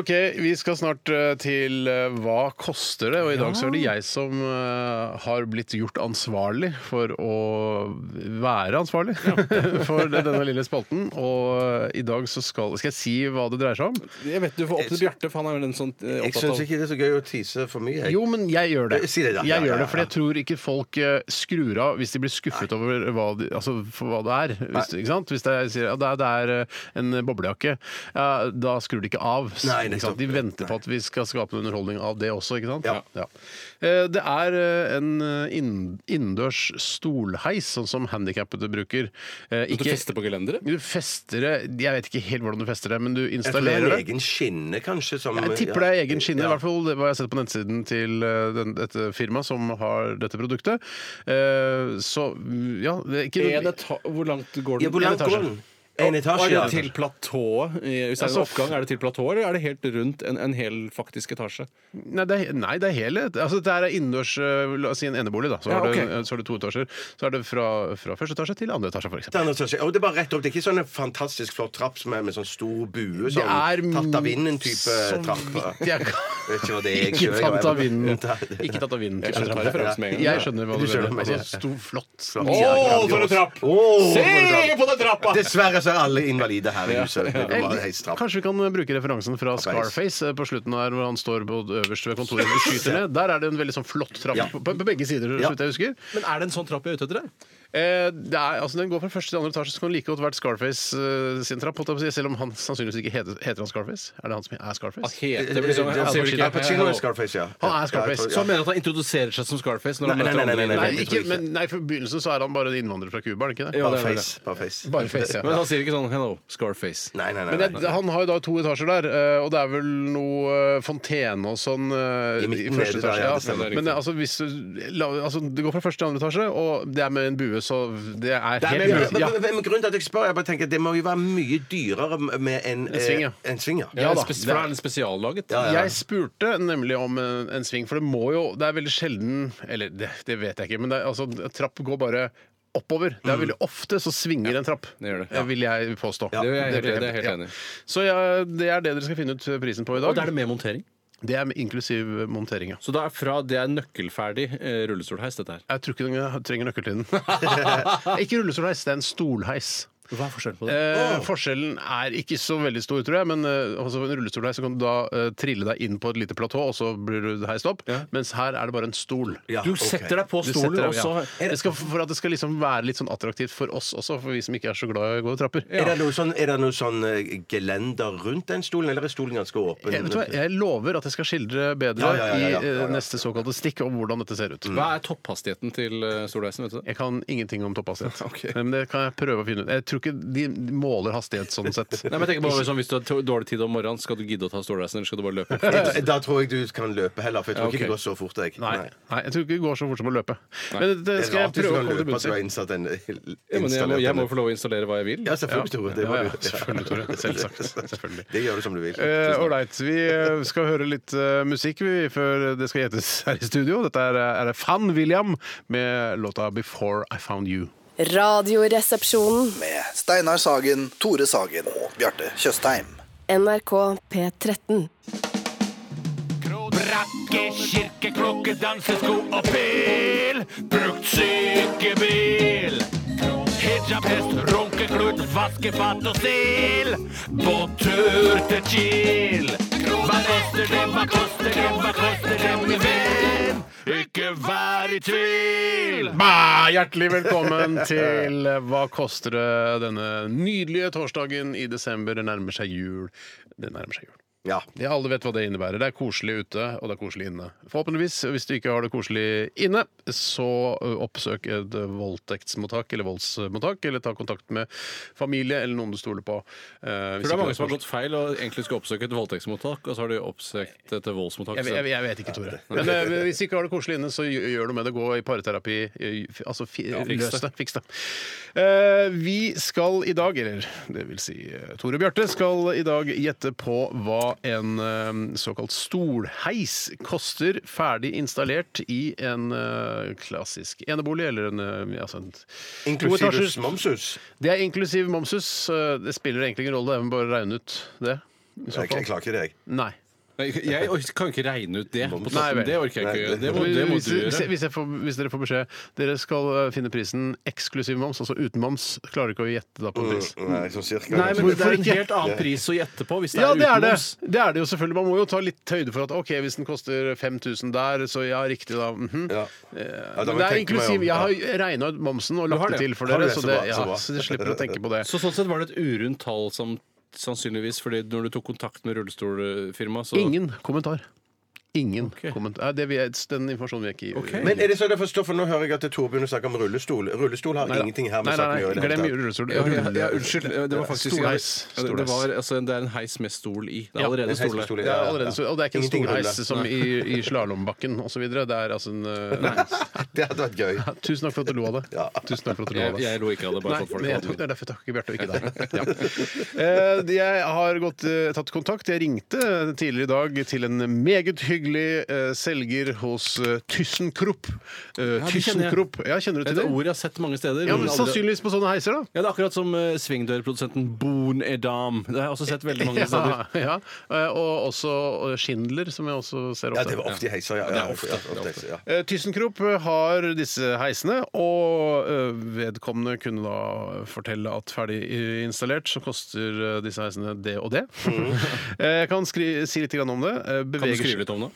Speaker 3: OK, vi skal snart eh, til eh, Hva koster det? Og i dag så er det jeg som eh, har blitt gjort ansvarlig for å være ansvarlig [laughs] for denne lille spalten. Og eh, i dag så skal Skal jeg si hva det dreier seg om?
Speaker 4: Jeg vet du får opp til Bjarte, for han er vel en sånn eh,
Speaker 2: Jeg
Speaker 4: opptatt
Speaker 2: syns
Speaker 4: av
Speaker 2: ikke det er så gøy å tise for mye. Jeg. Eh,
Speaker 3: Jo, men jeg gjør det.
Speaker 2: Si det, da. Ja,
Speaker 3: Jeg
Speaker 2: ja,
Speaker 3: gjør det,
Speaker 2: ja.
Speaker 3: For jeg tror ikke folk eh, skrur av hvis de blir skuffet over hva, de, altså, for hva det er. Hvis, ikke sant? hvis jeg sier at det er, det er eh, en boblejakke, ja, da skrur de ikke av. S-
Speaker 2: Nei,
Speaker 3: ikke sant?
Speaker 2: nettopp.
Speaker 3: De venter på at vi skal skape en underholdning av det også, ikke sant?
Speaker 2: Ja.
Speaker 3: Eh, Det er eh, en eh, inn- innendørs stolheis, sånn som handikappede bruker. Eh,
Speaker 4: at du fester på gelenderet?
Speaker 3: Du fester det Jeg vet ikke helt hvordan du fester det, men du
Speaker 2: Jeg tror det er
Speaker 3: installerer
Speaker 2: en
Speaker 3: det.
Speaker 2: egen skinne, kanskje. Som,
Speaker 3: Jeg tipper det er egen skinne, i
Speaker 2: Ja.
Speaker 3: hvert fall det var jeg sett på nettsiden til eh, den, dette firmaet som har dette produktet. Eh, så ja det er ikke
Speaker 4: En eta- Hvor langt går den?
Speaker 2: Ja, hvor langt går den? En etasje,
Speaker 4: Er
Speaker 2: ja.
Speaker 4: det til platået? Eh, Hvis det er
Speaker 3: Altså,
Speaker 4: en oppgang, er det til platået, eller er det helt rundt en, en hel faktisk etasje?
Speaker 3: Nei, det er, nei, det er hele altså, Dette er innendørs eh, La oss si en enebolig, da. Så,
Speaker 4: Ja,
Speaker 3: har
Speaker 4: ok.
Speaker 3: du, så har du to etasjer. Så er det fra, fra første etasje til andre etasje, f.eks.
Speaker 2: Det er, noe som skjer. og det er bare rett opp. Det er ikke sånn en fantastisk flott trapp som er med sånn stor bue. Sånn, tatt av vinden-type trapp.
Speaker 3: Jeg kan
Speaker 2: Vet ikke hva det er jeg
Speaker 3: sånn ikke
Speaker 2: kjører,
Speaker 3: tatt av
Speaker 2: jeg-
Speaker 3: vinden.
Speaker 2: Nei.
Speaker 3: Ikke tatt av vinden.
Speaker 4: Jeg skjønner
Speaker 3: type trapp.
Speaker 4: referansen med en gang.
Speaker 3: Jeg skjønner hva
Speaker 2: Du
Speaker 3: du
Speaker 2: skjønner
Speaker 3: mener.
Speaker 2: hva jeg
Speaker 3: Altså, stor, flott.
Speaker 2: Flott.
Speaker 3: Ja,
Speaker 2: Ja,
Speaker 4: for en trapp!
Speaker 2: Åh,
Speaker 4: Se
Speaker 2: for en
Speaker 4: på den trappa!
Speaker 2: Dessverre så er alle invalide her i huset. Det går bare helt strapp.
Speaker 3: Kanskje vi kan bruke referansen fra Scarface eh, på slutten her, hvor han står på øverst ved kontoret og
Speaker 2: [laughs]
Speaker 3: skyter ned. Der er det en veldig sånn flott trapp
Speaker 2: Ja.
Speaker 3: på, på begge sider, så
Speaker 2: Ja.
Speaker 3: vidt jeg husker.
Speaker 4: Men er det en sånn trapp jeg er ute etter? det?
Speaker 3: Eh, det er, altså, den går fra første til andre etasje, så kan det like godt vært Scarface eh, sin trapp, holdt jeg på å si, selv om han sannsynligvis ikke heter, heter han Scarface. Er det han som er
Speaker 4: Han
Speaker 3: Scarface?
Speaker 2: Det
Speaker 4: heter vel liksom
Speaker 2: er
Speaker 4: han ser jo
Speaker 2: Eh, Al Pacino er
Speaker 4: ikke-
Speaker 2: Scarface, ja.
Speaker 3: Han er Scarface. Sånn
Speaker 2: Ja, jeg tror-
Speaker 4: Så han mener at han introduserer seg som Scarface når han
Speaker 2: Nei, nei,
Speaker 4: møter
Speaker 2: nei,
Speaker 4: andre
Speaker 2: nei, nei,
Speaker 3: Nei,
Speaker 2: det tror
Speaker 3: ikke,
Speaker 2: jeg ikke.
Speaker 3: men, nei, for begynnelsen så er han bare en innvandrer fra Cuba, er det ikke det?
Speaker 4: Ja,
Speaker 2: Bare
Speaker 4: det er vel det.
Speaker 2: face. Bare face.
Speaker 3: Bare face,
Speaker 4: [laughs]
Speaker 3: ja.
Speaker 4: Men han sier ikke sånn 'hello, Scarface'.
Speaker 2: Nei, nei, nei.
Speaker 3: Men det,
Speaker 2: nei.
Speaker 3: han har jo da to etasjer der, eh, og det er vel noe eh, fontene og sånn eh,
Speaker 2: I
Speaker 3: i
Speaker 2: midten
Speaker 3: første
Speaker 2: nede der,
Speaker 3: etasje.
Speaker 2: ja,
Speaker 3: Ja,
Speaker 2: det stemmer.
Speaker 3: Men eh, altså, hvis du, la, altså, det går fra første til andre etasje, og det er med en bue, så det er
Speaker 2: Ja,
Speaker 3: helt
Speaker 2: men,
Speaker 3: mulig.
Speaker 2: men,
Speaker 3: Ja.
Speaker 2: men, men grunnen til at jeg spør, jeg bare tenker at det må jo være mye dyrere med en,
Speaker 3: En sving, ja.
Speaker 2: eh, en sving, ja.
Speaker 3: Ja da.
Speaker 4: Spe- For da er den spesiallaget.
Speaker 2: Ja, ja.
Speaker 3: Jeg spurte nemlig om en, en sving, for det må jo Det er veldig sjelden Eller det, det vet jeg ikke, men det, er- altså, trapp går bare oppover. Det er veldig ofte så svinger en trapp,
Speaker 4: Mm. det gjør det.
Speaker 3: vil jeg påstå.
Speaker 4: Det er jeg helt-
Speaker 3: vil
Speaker 4: det er jeg helt enig i.
Speaker 3: Så ja, det er det dere skal finne ut prisen på i
Speaker 4: Og da er
Speaker 3: dag.
Speaker 4: det med montering.
Speaker 3: Det er inklusiv montering, ja.
Speaker 4: Så det er fra det er nøkkelferdig eh, rullestolheis, dette her.
Speaker 3: Jeg tror ikke den trenger nøkkel til den. [laughs] ikke rullestolheis, det er en stolheis.
Speaker 4: Hva er forskjellen på det?
Speaker 3: Eh, Forskjellen er ikke så veldig stor, tror jeg, men eh, altså, en rullestolheis så kan du da eh, trille deg inn på et lite platå, og så blir du heist opp. Mens her er det bare en stol.
Speaker 2: Eh, Ja,
Speaker 4: Du
Speaker 2: ok.
Speaker 4: setter deg på
Speaker 3: Du
Speaker 4: stolen,
Speaker 3: setter deg-
Speaker 4: og så
Speaker 3: ja. det skal, For at det skal liksom være litt sånn attraktivt for oss også, for vi som ikke er så glad i å gå i trapper.
Speaker 2: Er det noe sånn, er det noe sånn eh, gelender rundt den stolen, eller er stolen ganske åpen?
Speaker 3: Jeg, vet du hva, jeg lover at jeg skal skildre bedre
Speaker 2: Ja, ja, ja, ja, ja, Mm.
Speaker 3: i
Speaker 2: ja, ja.
Speaker 3: eh, neste såkalte stikk om hvordan dette ser ut.
Speaker 4: Hva er topphastigheten til eh, stolheisen? vet du det?
Speaker 2: [laughs]
Speaker 3: Jeg kan ingenting om topphastighet. Men det kan jeg prøve å finne ut. Jeg tror tror ikke de måler hastighet sånn sett.
Speaker 4: Nei, men jeg tenker bare sånn, Hvis du har to- dårlig tid om morgenen, skal du gidde å ta stålreisen, eller skal du bare løpe?
Speaker 2: [laughs] Da, da tror jeg du kan løpe heller, for jeg tror
Speaker 4: Ja,
Speaker 2: ikke det
Speaker 4: ok.
Speaker 2: går så fort. Jeg.
Speaker 3: Nei, nei, jeg tror ikke det går så fort som å løpe. Men det
Speaker 2: Det
Speaker 3: skal
Speaker 2: er
Speaker 3: jeg
Speaker 2: sånn rart hvis du
Speaker 3: prøve å komme
Speaker 2: kan
Speaker 3: til
Speaker 2: løpe at
Speaker 3: bunns
Speaker 2: du
Speaker 3: i.
Speaker 2: har innsatt en eh,
Speaker 4: Ja, men jeg, må, jeg må
Speaker 2: installert
Speaker 4: få lov å installere hva jeg vil.
Speaker 2: Ja, selvfølgelig, Tore. Det, må
Speaker 3: Ja,
Speaker 2: du-
Speaker 3: ja, selvfølgelig, Tore.
Speaker 2: [laughs]
Speaker 3: Selvsagt. Selvfølgelig.
Speaker 2: det gjør du som du vil.
Speaker 3: Eh, Ålreit. vi eh, skal høre litt eh, musikk vi, før det skal gjetes her i studio. Dette er, eh, er det Fan William med låta 'Before I Found You'.
Speaker 7: Radioresepsjonen.
Speaker 8: med Steinar Sagen, Tore Sagen og Bjarte Tjøstheim.
Speaker 7: NRK P13.
Speaker 9: Brakke, kirke, klokke, dansesko og pil. Brukt sykebil. Hijab, hest, runkeklut, vaskefat og stil. På tur til Kiel. Hva koster det, hva koster det, hva koster det, min venn? Ikke vær i tvil.
Speaker 3: Bah, hjertelig velkommen til eh, Hva koster det denne nydelige torsdagen i desember. Det nærmer seg jul. Det nærmer seg jul.
Speaker 2: Ja.
Speaker 3: Ja, Alle vet hva det innebærer. Det er koselig ute, og det er koselig inne. Forhåpentligvis, hvis du ikke har det koselig inne, så ø, oppsøk et voldtektsmottak eller voldsmottak, eller ta kontakt med familie eller noen du stoler på. eh,
Speaker 4: Jeg tror det er mange som har gått feil og egentlig skulle oppsøke et voldtektsmottak, og så har de oppsøkt et voldsmottak.
Speaker 3: jeg, jeg, jeg vet ikke, Tore. Men eh, hvis du ikke har det koselig inne, så gjø- gjør noe med det. Gå i parterapi. eh, f- Altså, fi,
Speaker 4: fiks
Speaker 3: løs
Speaker 4: det.
Speaker 3: det. Fiks det. Eh, vi skal i dag, eller det vil si eh, Tore Bjarte, skal i dag gjette på hva en eh, såkalt stolheis koster ferdig installert i en eh, klassisk enebolig eller en, eh, altså en
Speaker 2: Inklusive
Speaker 3: toetasjes.
Speaker 2: momsus.
Speaker 3: Det er inklusiv momsus. Eh, Det spiller egentlig ingen rolle, det er vel bare å regne ut det. I så
Speaker 2: Jeg, jeg
Speaker 3: fall.
Speaker 2: klarer ikke det, jeg.
Speaker 3: Nei.
Speaker 4: Nei, Jeg ork- kan jo ikke regne ut det. På toppen.
Speaker 3: Nei vel.
Speaker 4: det orker jeg ikke.
Speaker 2: Nei,
Speaker 4: Det må, det må
Speaker 3: hvis,
Speaker 4: du
Speaker 3: hvis,
Speaker 4: gjøre.
Speaker 3: hvis, jeg får, hvis dere får beskjed Dere skal eh, finne prisen eksklusiv moms, altså uten moms. Klarer ikke å gjette da på en pris.
Speaker 2: Nei, sånn cirka.
Speaker 4: Nei, men det
Speaker 3: Hvorfor
Speaker 4: er en
Speaker 3: ikke?
Speaker 4: helt annen pris å gjette på hvis det
Speaker 3: Ja,
Speaker 4: er
Speaker 3: det er
Speaker 4: uten
Speaker 3: det.
Speaker 4: moms.
Speaker 3: det er det jo selvfølgelig. Man må jo ta litt høyde for at ok, hvis den koster 5000 der, så ja, riktig da. mhm.
Speaker 2: Ja. Ja, da
Speaker 3: Men det er
Speaker 2: må jeg tenke meg om.
Speaker 3: inklusiv. Jeg har
Speaker 2: Ja.
Speaker 3: regna ut momsen og
Speaker 4: har
Speaker 3: lagt det
Speaker 4: det.
Speaker 3: til for
Speaker 2: Har du
Speaker 3: dere,
Speaker 2: det?
Speaker 3: så,
Speaker 2: Så
Speaker 3: det,
Speaker 2: bra,
Speaker 3: ja,
Speaker 2: så bra.
Speaker 3: så dere slipper å tenke på det.
Speaker 4: Så sånn sett var det et urundt tall som sannsynligvis, fordi når du tok kontakt med rullestolfirmaet, [laughs] så
Speaker 3: Ingen kommentar. Ingen kommentar. Nei, Det vi, den informasjonen vil jeg ikke gi.
Speaker 4: Ok.
Speaker 2: Men er det sånn jeg forstår, for nå hører jeg at Tore begynner å snakke om rullestol. Rullestol har
Speaker 3: Nei da.
Speaker 2: ingenting her
Speaker 3: Nei,
Speaker 2: med
Speaker 3: nei,
Speaker 2: saken å
Speaker 3: nei,
Speaker 2: gjøre. i det
Speaker 3: Glem
Speaker 2: hele tatt.
Speaker 3: rullestol.
Speaker 4: ja, ja, ja, Unnskyld. Det var faktisk
Speaker 3: Stolheis.
Speaker 4: Ja, Det, det, var, altså, det er en heis med stol i. Det er allerede
Speaker 2: En heis med
Speaker 4: stolheis.
Speaker 2: stol i,
Speaker 3: Det er allerede, så- og det er ikke en
Speaker 2: Ingenting ruller.
Speaker 3: stolheis som i, i slalåmbakken osv. Det er altså en eh, [laughs]
Speaker 2: [laughs] Det hadde vært gøy.
Speaker 3: ja, Tusen takk for at du lo av det.
Speaker 2: Ja.
Speaker 3: Tusen takk for at du lo
Speaker 4: Jeg,
Speaker 3: av det.
Speaker 4: jeg lo ikke av
Speaker 3: Nei,
Speaker 4: det. bare sånn folk
Speaker 3: men jeg,
Speaker 4: hadde-
Speaker 3: det er derfor jeg takker Bjarte, og ikke deg. Ja. Eh, Jeg har gått, eh, tatt kontakt. Jeg ringte tidligere i dag til en meget hyggelig eh, selger hos eh, Tyssenkrupp. Eh,
Speaker 4: Ja, det kjenner jeg.
Speaker 3: Tyssenkrupp. Ja, kjenner du til
Speaker 4: Et
Speaker 3: det?
Speaker 4: ord jeg har sett mange steder.
Speaker 3: Ja,
Speaker 4: men
Speaker 3: men
Speaker 4: aldri-
Speaker 3: Sannsynligvis på sånne heiser, da.
Speaker 4: ja, Det er akkurat som eh, svingdørprodusenten Boon Edam. Det har jeg også sett veldig mange steder.
Speaker 3: [laughs] Ja, ja. Eh, Og også eh, Schindler, som jeg også ser ofte.
Speaker 2: Ja, det var ofte i heiser, ja. ja, ofte, ja, ofte, ja.
Speaker 3: Eh, Tyssenkrop har disse heisene, og eh, vedkommende kunne da fortelle at ferdig eh, installert så koster eh, disse heisene det og det. [laughs] Eh, Jeg kan skri si litt grann om det. Eh,
Speaker 4: Kan du
Speaker 3: Beveger
Speaker 4: skrive litt om det?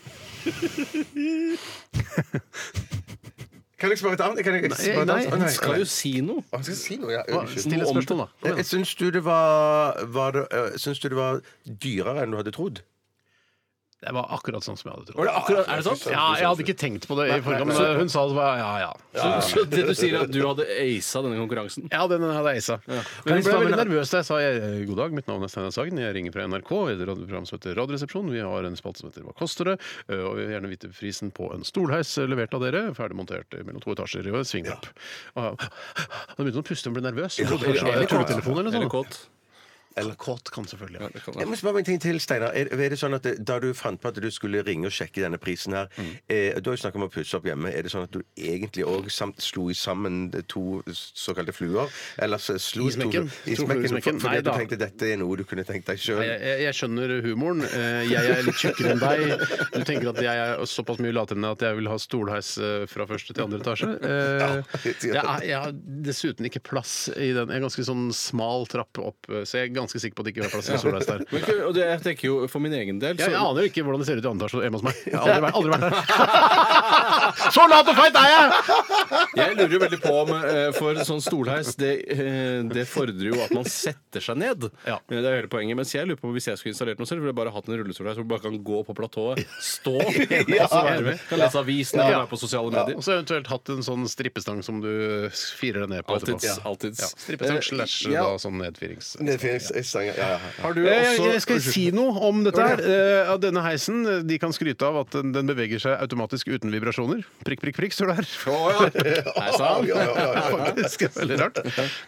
Speaker 2: Kan jeg spørre et annet? Kan jeg spørre et
Speaker 3: nei,
Speaker 2: annet? Å,
Speaker 4: Han skal jo si noe.
Speaker 2: Å, han skal si noe, ja. Unnskyld.
Speaker 3: Still et
Speaker 4: Noe om
Speaker 3: spørsmål, da.
Speaker 2: Jeg syns du det var, var det, øh, Syns du det var dyrere enn du hadde trodd?
Speaker 3: Det var akkurat sånn som jeg hadde
Speaker 4: Var
Speaker 3: trodd.
Speaker 4: det akkurat, er det sant?
Speaker 3: Ja, jeg hadde ikke tenkt på det i forkant, men hun sa det var ja, ja.
Speaker 4: Så, så det du sier er at du hadde acet denne konkurransen?
Speaker 3: Ja, den hadde jeg isa. Men jeg ble veldig nervøs da jeg sa eh, god dag, mitt navn er Steinar Sagen, jeg ringer fra NRK, i et radioprogram som heter Radioresepsjon. Vi har en spalte som heter Hva koster det? Eh, Og vi vil gjerne vite prisen på en stolheis eh, levert av dere, ferdig montert eh, mellom to etasjer i svingdropp. ah, Da begynte hun å puste og ble nervøs. Hun trodde kanskje det var en tulletelefon eller
Speaker 4: Eller
Speaker 3: noe sånt.
Speaker 4: kåt?
Speaker 3: Eller kåt kan selvfølgelig.
Speaker 4: Ja,
Speaker 3: ja.
Speaker 4: det kan
Speaker 2: Jeg
Speaker 4: være.
Speaker 2: må spørre om en ting til, Steinar. Er, er det sånn at det- Da du fant på at du skulle ringe og sjekke denne prisen her
Speaker 3: Mm.
Speaker 2: eh, Du har jo snakket om å pusse opp hjemme. Er det sånn at du egentlig òg slo i sammen to såkalte fluer? Eller så slo
Speaker 3: I smekken.
Speaker 2: To, i
Speaker 3: To fluer i
Speaker 2: smekken,
Speaker 3: smekken.
Speaker 2: for- Fordi
Speaker 3: Nei
Speaker 2: du
Speaker 3: da.
Speaker 2: tenkte dette er noe du kunne tenkt deg sjøl?
Speaker 3: Nei, Jeg, jeg, jeg skjønner humoren. Eh, Jeg er litt tjukkere enn deg. Du tenker at jeg er såpass mye latere enn deg at jeg vil ha stolheis eh, fra første til andre etasje. Eh, Jeg, er- jeg har dessuten ikke plass i den. Jeg er ganske sånn smal trapp opp, eh, så jeg er ganske sikker på at det ikke var plass til stolheis der.
Speaker 4: Men, ikke- og det, jeg tenker jo for min egen del
Speaker 3: Jeg, jeg
Speaker 4: så,
Speaker 3: aner jo ikke hvordan det ser ut i andre etasje hjemme hos meg. Jeg har aldri vært, aldri vært der. [laughs] Så lat og feit er jeg!
Speaker 4: Jeg lurer jo veldig på om eh, For sånn stolheis, det, eh, det fordrer jo at man setter seg ned. Eh, Det er hele poenget. Mens jeg lurer på hvis jeg skulle installert noe selv, ville jeg bare hatt en rullestolheis hvor du bare kan gå på platået, stå, og så være med. Kan lese avisen eller være på sosiale medier.
Speaker 3: Og så eventuelt hatt en sånn strippestang som du firer deg ned på.
Speaker 4: Alltids,
Speaker 3: etterpå.
Speaker 4: alltids.
Speaker 3: Ja, strippestang
Speaker 4: Eh,
Speaker 3: slash
Speaker 4: ja.
Speaker 3: da, sånn nedfirings...
Speaker 2: Nedfyringsstang, ja. ja, ja.
Speaker 4: Har du
Speaker 3: Eh,
Speaker 4: også
Speaker 3: jeg, jeg skal si noe om dette her. Eh, at denne heisen eh, de kan skryte av at den, den beveger seg automatisk uten vibrasjoner. Prikk, prikk, prikk, står det her.
Speaker 4: Nei, sant?
Speaker 2: Ja, ja, [laughs] ja, ja.
Speaker 3: [laughs] Faktisk veldig rart.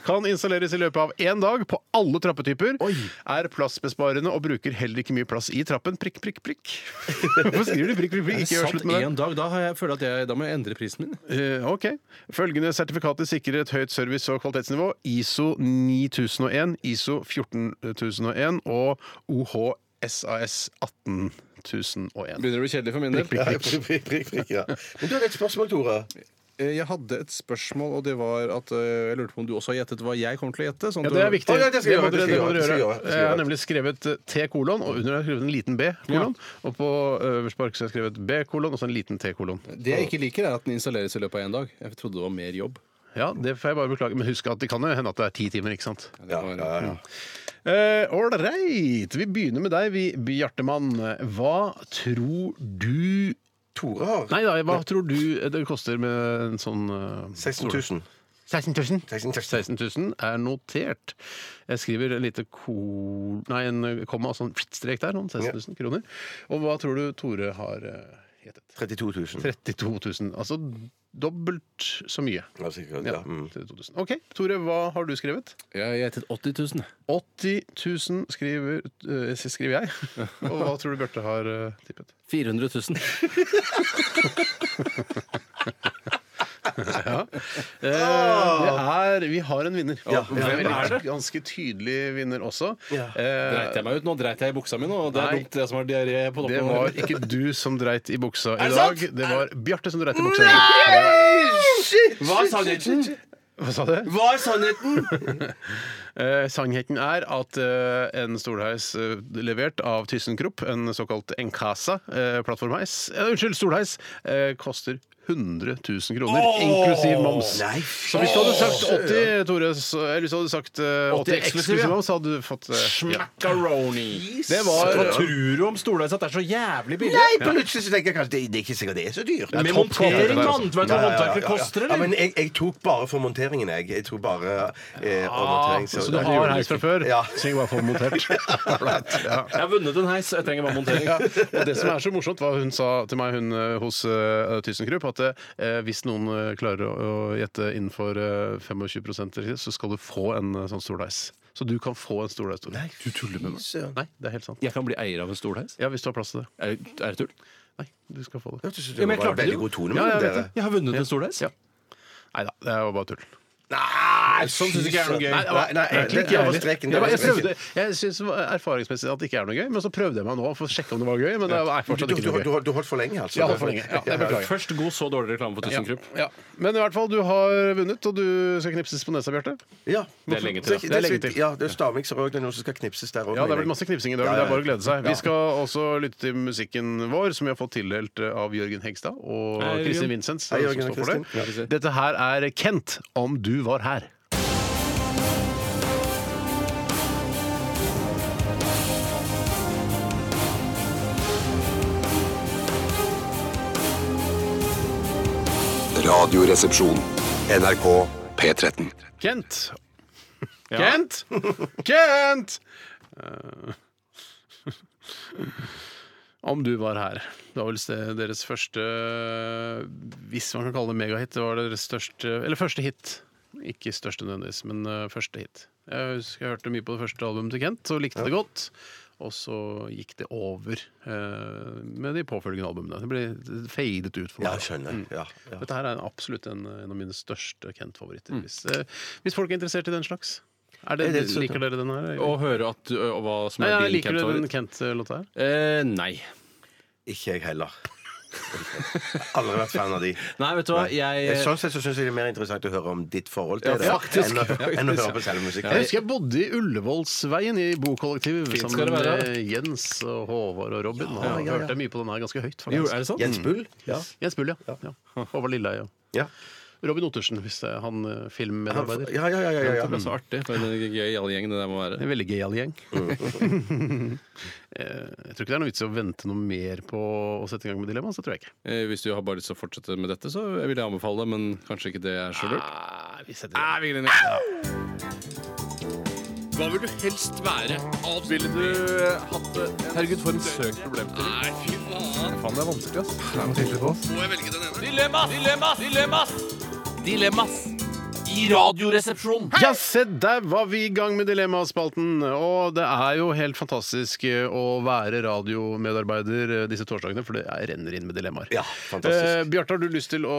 Speaker 3: Kan installeres i løpet av én dag på alle trappetyper. Er plassbesparende og bruker heller ikke mye plass i trappen. Prikk, prikk, [laughs] prikk. Hvorfor skriver de prikk, prikk, prikk? Ikke gjør
Speaker 4: Sant,
Speaker 3: slutt med det.
Speaker 4: en dag, da, har jeg, føler jeg at jeg, da må jeg endre prisen min.
Speaker 3: Eh, OK. Følgende sertifikater sikrer et høyt service- og kvalitetsnivå. ISO 9001, ISO 14001 og OHSAS 18001.
Speaker 4: Begynner det å bli kjedelig for min del.
Speaker 2: Prikk, prikk, prikk, prikk, ja. Men du har et spørsmål, Tore.
Speaker 4: Eh, Jeg hadde et spørsmål, og det var at eh, jeg lurte på om du også har gjettet hva jeg kommer til å gjette. Sånn
Speaker 3: Ja,
Speaker 4: at
Speaker 3: det er
Speaker 4: du-
Speaker 3: viktig.
Speaker 2: Å, ja, det skal jeg
Speaker 3: må
Speaker 2: gjøre, det
Speaker 3: dere-
Speaker 2: skal jeg
Speaker 3: må dere
Speaker 2: gjøre, det skal
Speaker 3: gjøre.
Speaker 2: jeg gjøre, det skal jeg
Speaker 3: Jeg har
Speaker 2: gjøre.
Speaker 3: nemlig skrevet eh, T kolon, og under har jeg skrevet en liten B kolon. Og på øverspark så har jeg skrevet B kolon, og så en liten T kolon.
Speaker 4: Det jeg ikke liker, er at den installeres i løpet av én dag. Jeg trodde det var mer jobb.
Speaker 3: Ja, det får jeg bare beklage. Men husk at det kan jo hende at det er ti timer, ikke sant?
Speaker 4: Ja, ja, ja.
Speaker 3: Ålreit. vi begynner med deg, vi, Bjartemann. Hva tror du
Speaker 2: Tore har
Speaker 3: Nei da, hva tror du det koster med en sånn eh,
Speaker 2: 16 000.
Speaker 3: 16 000.
Speaker 2: 16 000.
Speaker 3: 16 000 er notert. Jeg skriver en lite kol... Nei, en komma og sånn strek der. Sånn 16 000 kroner. Og hva tror du Tore har eh, gjettet?
Speaker 2: 32 000.
Speaker 3: 32 000. Altså dobbelt så mye.
Speaker 2: Ja, sikkert,
Speaker 3: Ja,
Speaker 2: ja. Mm.
Speaker 3: 32 000. OK, Tore, hva har du skrevet?
Speaker 4: Jeg har gjettet 80 000.
Speaker 3: 80 000 skriver, eh, skriver
Speaker 2: [laughs]
Speaker 3: jeg. Og hva tror du Bjarte har eh, tippet?
Speaker 4: 400 000.
Speaker 3: Ja. Eh, det er, vi har en vinner.
Speaker 2: Ja,
Speaker 3: Og en
Speaker 2: ja, hvem
Speaker 3: veldig Ganske tydelig vinner også.
Speaker 2: Ja.
Speaker 3: Eh,
Speaker 4: [laughs] Dreit jeg meg ut? Nå dreit jeg i buksa mi, nå. og Det
Speaker 3: Nei.
Speaker 4: er dumt, det som har diaré på
Speaker 3: det
Speaker 4: toppen.
Speaker 3: var ikke du som dreit i buksa i
Speaker 4: Er det
Speaker 3: dag.
Speaker 4: sant?
Speaker 3: Det var Bjarte som dreit i buksa. i dag.
Speaker 4: Var sannheten?
Speaker 3: Hva sa du?
Speaker 4: Var sannheten?
Speaker 3: Eh, sannheten er at eh, en stolheis eh, levert av ThyssenKrupp, en såkalt Encasa eh, plattformheis eh, Unnskyld, stolheis, eh, koster 100 000 kroner, inklusiv moms.
Speaker 2: Nei,
Speaker 3: Så hvis du hadde sagt 80, Tore, så, eller hvis du hadde sagt eh, 80 eksklusiv
Speaker 4: [laughs] ja.
Speaker 3: moms, så hadde du fått eh, ja.
Speaker 4: Macaroni.
Speaker 3: Det var
Speaker 4: Hva tror du om Storleis at det er så jævlig billig?
Speaker 2: Nei, plutselig så tenker jeg kanskje det, det er ikke sikkert det er så dyrt.
Speaker 4: Med
Speaker 3: topp kvalitet
Speaker 4: montering,
Speaker 3: der,
Speaker 4: mann! Du vet hva håndverket koster,
Speaker 2: Ja, men
Speaker 4: eller?
Speaker 2: jeg, jeg tok bare for monteringen, jeg. Jeg tok bare eh, av montering.
Speaker 3: Ah, Så du har heis fra før,
Speaker 2: Ja.
Speaker 3: så jeg bare får
Speaker 2: [laughs]
Speaker 3: montert. Flaut, ja.
Speaker 4: Jeg har vunnet en heis, jeg trenger bare montering.
Speaker 3: Ja, og det som er så morsomt, var hun sa til meg hun eh, hos uh, ThyssenKrupp, at eh, hvis noen eh, klarer å, å gjette innenfor eh, 25 riktig, så skal du få en eh, sånn stolheis. Så du kan få en stolheis. Tore. Nei,
Speaker 4: Du tuller med meg.
Speaker 3: det er helt sant.
Speaker 4: Jeg kan bli eier av en stolheis?
Speaker 3: Ja, hvis du har plass til det.
Speaker 4: Er, er det tull?
Speaker 3: Nei, du skal få det.
Speaker 2: Jeg synes
Speaker 4: Ja,
Speaker 2: det
Speaker 4: men jeg
Speaker 2: var
Speaker 4: klarte det
Speaker 2: veldig
Speaker 4: jo.
Speaker 2: god
Speaker 3: Ja,
Speaker 2: tone mellom
Speaker 3: jeg vet
Speaker 2: dere.
Speaker 4: Jeg har vunnet en stolheis.
Speaker 3: Ja. Nei da, det var bare tull.
Speaker 2: Nei,
Speaker 4: Sånn synes ikke jeg er noe gøy.
Speaker 2: Nei, nei, nei,
Speaker 3: Egentlig
Speaker 2: det
Speaker 3: ikke,
Speaker 2: er
Speaker 3: jeg
Speaker 2: over
Speaker 3: heller.
Speaker 2: streken, det
Speaker 3: Ja,
Speaker 2: er
Speaker 3: men Jeg,
Speaker 2: over streken.
Speaker 3: prøvde- jeg syns erfaringsmessig at det ikke er noe gøy, men så prøvde jeg meg nå for å sjekke om det var gøy, men det er
Speaker 2: Du,
Speaker 3: fortsatt
Speaker 2: du,
Speaker 3: ikke noe
Speaker 2: du,
Speaker 3: gøy.
Speaker 2: du holdt for lenge, altså.
Speaker 3: Jeg holdt for lenge. Ja, jeg beklager.
Speaker 4: Først god, så dårlig reklame for ThyssenKrupp.
Speaker 3: Ja. Men i hvert fall, du har vunnet, og du skal knipses på nesa, Bjarte.
Speaker 2: Ja.
Speaker 4: Det er lenge til,
Speaker 2: Så-
Speaker 4: ja.
Speaker 3: Det er lenge til.
Speaker 2: Ja, det er stavmikser òg. Det er noen som skal knipses der òg.
Speaker 3: Ja, det er vel masse knipsing i dag.
Speaker 2: Ja,
Speaker 3: Det
Speaker 2: ja,
Speaker 3: er bare å glede seg.
Speaker 2: ja.
Speaker 3: Vi skal også lytte til musikken vår, som vi har fått tildelt eh, av Jørgen Hegstad og
Speaker 4: Hei, Jørgen.
Speaker 3: Kristin Vincents.
Speaker 2: Hei,
Speaker 3: som
Speaker 2: Jørgen og
Speaker 3: står for det.
Speaker 2: Kristin. Ja.
Speaker 3: Dette her er Kent, 'Om du var her'.
Speaker 5: Radioresepsjon. NRK P13.
Speaker 3: Kent! Kent! Kent! Eh, Om du var her. Det var vel det- deres første eh, Hvis man kan kalle det megahit. Det var deres største Eller første hit. Ikke største nødvendigvis, men eh, første hit. Jeg husker jeg hørte mye på det første albumet til Kent og likte det godt. Og så gikk det over eh, med de påfølgende albumene. Det ble det fadet ut for meg.
Speaker 2: Ja, skjønner.
Speaker 3: Mm.
Speaker 2: Ja, ja. Mm.
Speaker 3: Dette her er absolutt en, en av mine største Kent-favoritter. Hvis, eh, hvis folk er interessert i den slags. Er det,
Speaker 2: Er det så-
Speaker 3: liker dere den her?
Speaker 4: Og høre at, ø, og hva som
Speaker 3: Nei,
Speaker 4: er
Speaker 3: ja,
Speaker 4: din Eh,
Speaker 3: liker dere den
Speaker 4: Kent-favoritt.
Speaker 3: Kent-låta her?
Speaker 4: Eh, nei.
Speaker 3: [laughs]
Speaker 2: Ikke jeg heller. Aldri vært fan av de.
Speaker 4: Nei, vet du hva,
Speaker 2: Nei.
Speaker 4: jeg-
Speaker 2: Sånn sett så syns jeg det er mer interessant å høre om ditt forhold til
Speaker 4: Ja,
Speaker 2: det
Speaker 4: faktisk.
Speaker 2: enn, å, enn å høre på selvmusikk.
Speaker 3: Jeg husker jeg bodde i Ullevålsveien i bokollektiv
Speaker 2: Fint skal
Speaker 3: sammen
Speaker 2: det være.
Speaker 3: med Jens og Håvard og Robin. Og
Speaker 2: Ja, ja, ja.
Speaker 3: hørte jeg mye på den her ganske høyt.
Speaker 2: Jo, er det sant? Jens Bull?
Speaker 3: Ja. Jens Bull, ja. ja. Håvard Lilleheie.
Speaker 2: Ja.
Speaker 3: Robin Ottersen, hvis det er han eh, filmmedarbeider.
Speaker 2: Ja, ja, ja, ja, ja, ja.
Speaker 4: Det ble så artig. For en gøyal gjeng det der må være.
Speaker 3: En veldig gøyal gjeng. [laughs] Eh, jeg tror ikke det er noe vits i å vente noe mer på å sette i gang med dilemmaet. Så tror jeg ikke.
Speaker 4: Eh, Hvis du har bare lyst til å fortsette med dette, så vil jeg anbefale det, men kanskje ikke det er så lurt.
Speaker 3: vi
Speaker 4: Ah, vi glemmer. Hva vil du helst være? Ville du hatt det? Herregud, for en søk problemstilling. Nei, fy faen.
Speaker 10: Faen, det er vanskelig, ass.
Speaker 4: Må jeg velge den ene?
Speaker 1: Dilemmas! Dilemmas! Dilemmas! Dilemmas i Radioresepsjonen.
Speaker 3: Ja, se der var vi i gang med Dilemmaspalten! Og det er jo helt fantastisk eh, å være radiomedarbeider eh, disse torsdagene, for det er- renner inn med dilemmaer. Ja,
Speaker 4: Eh,
Speaker 2: fantastisk.
Speaker 3: Bjarte, har du lyst til å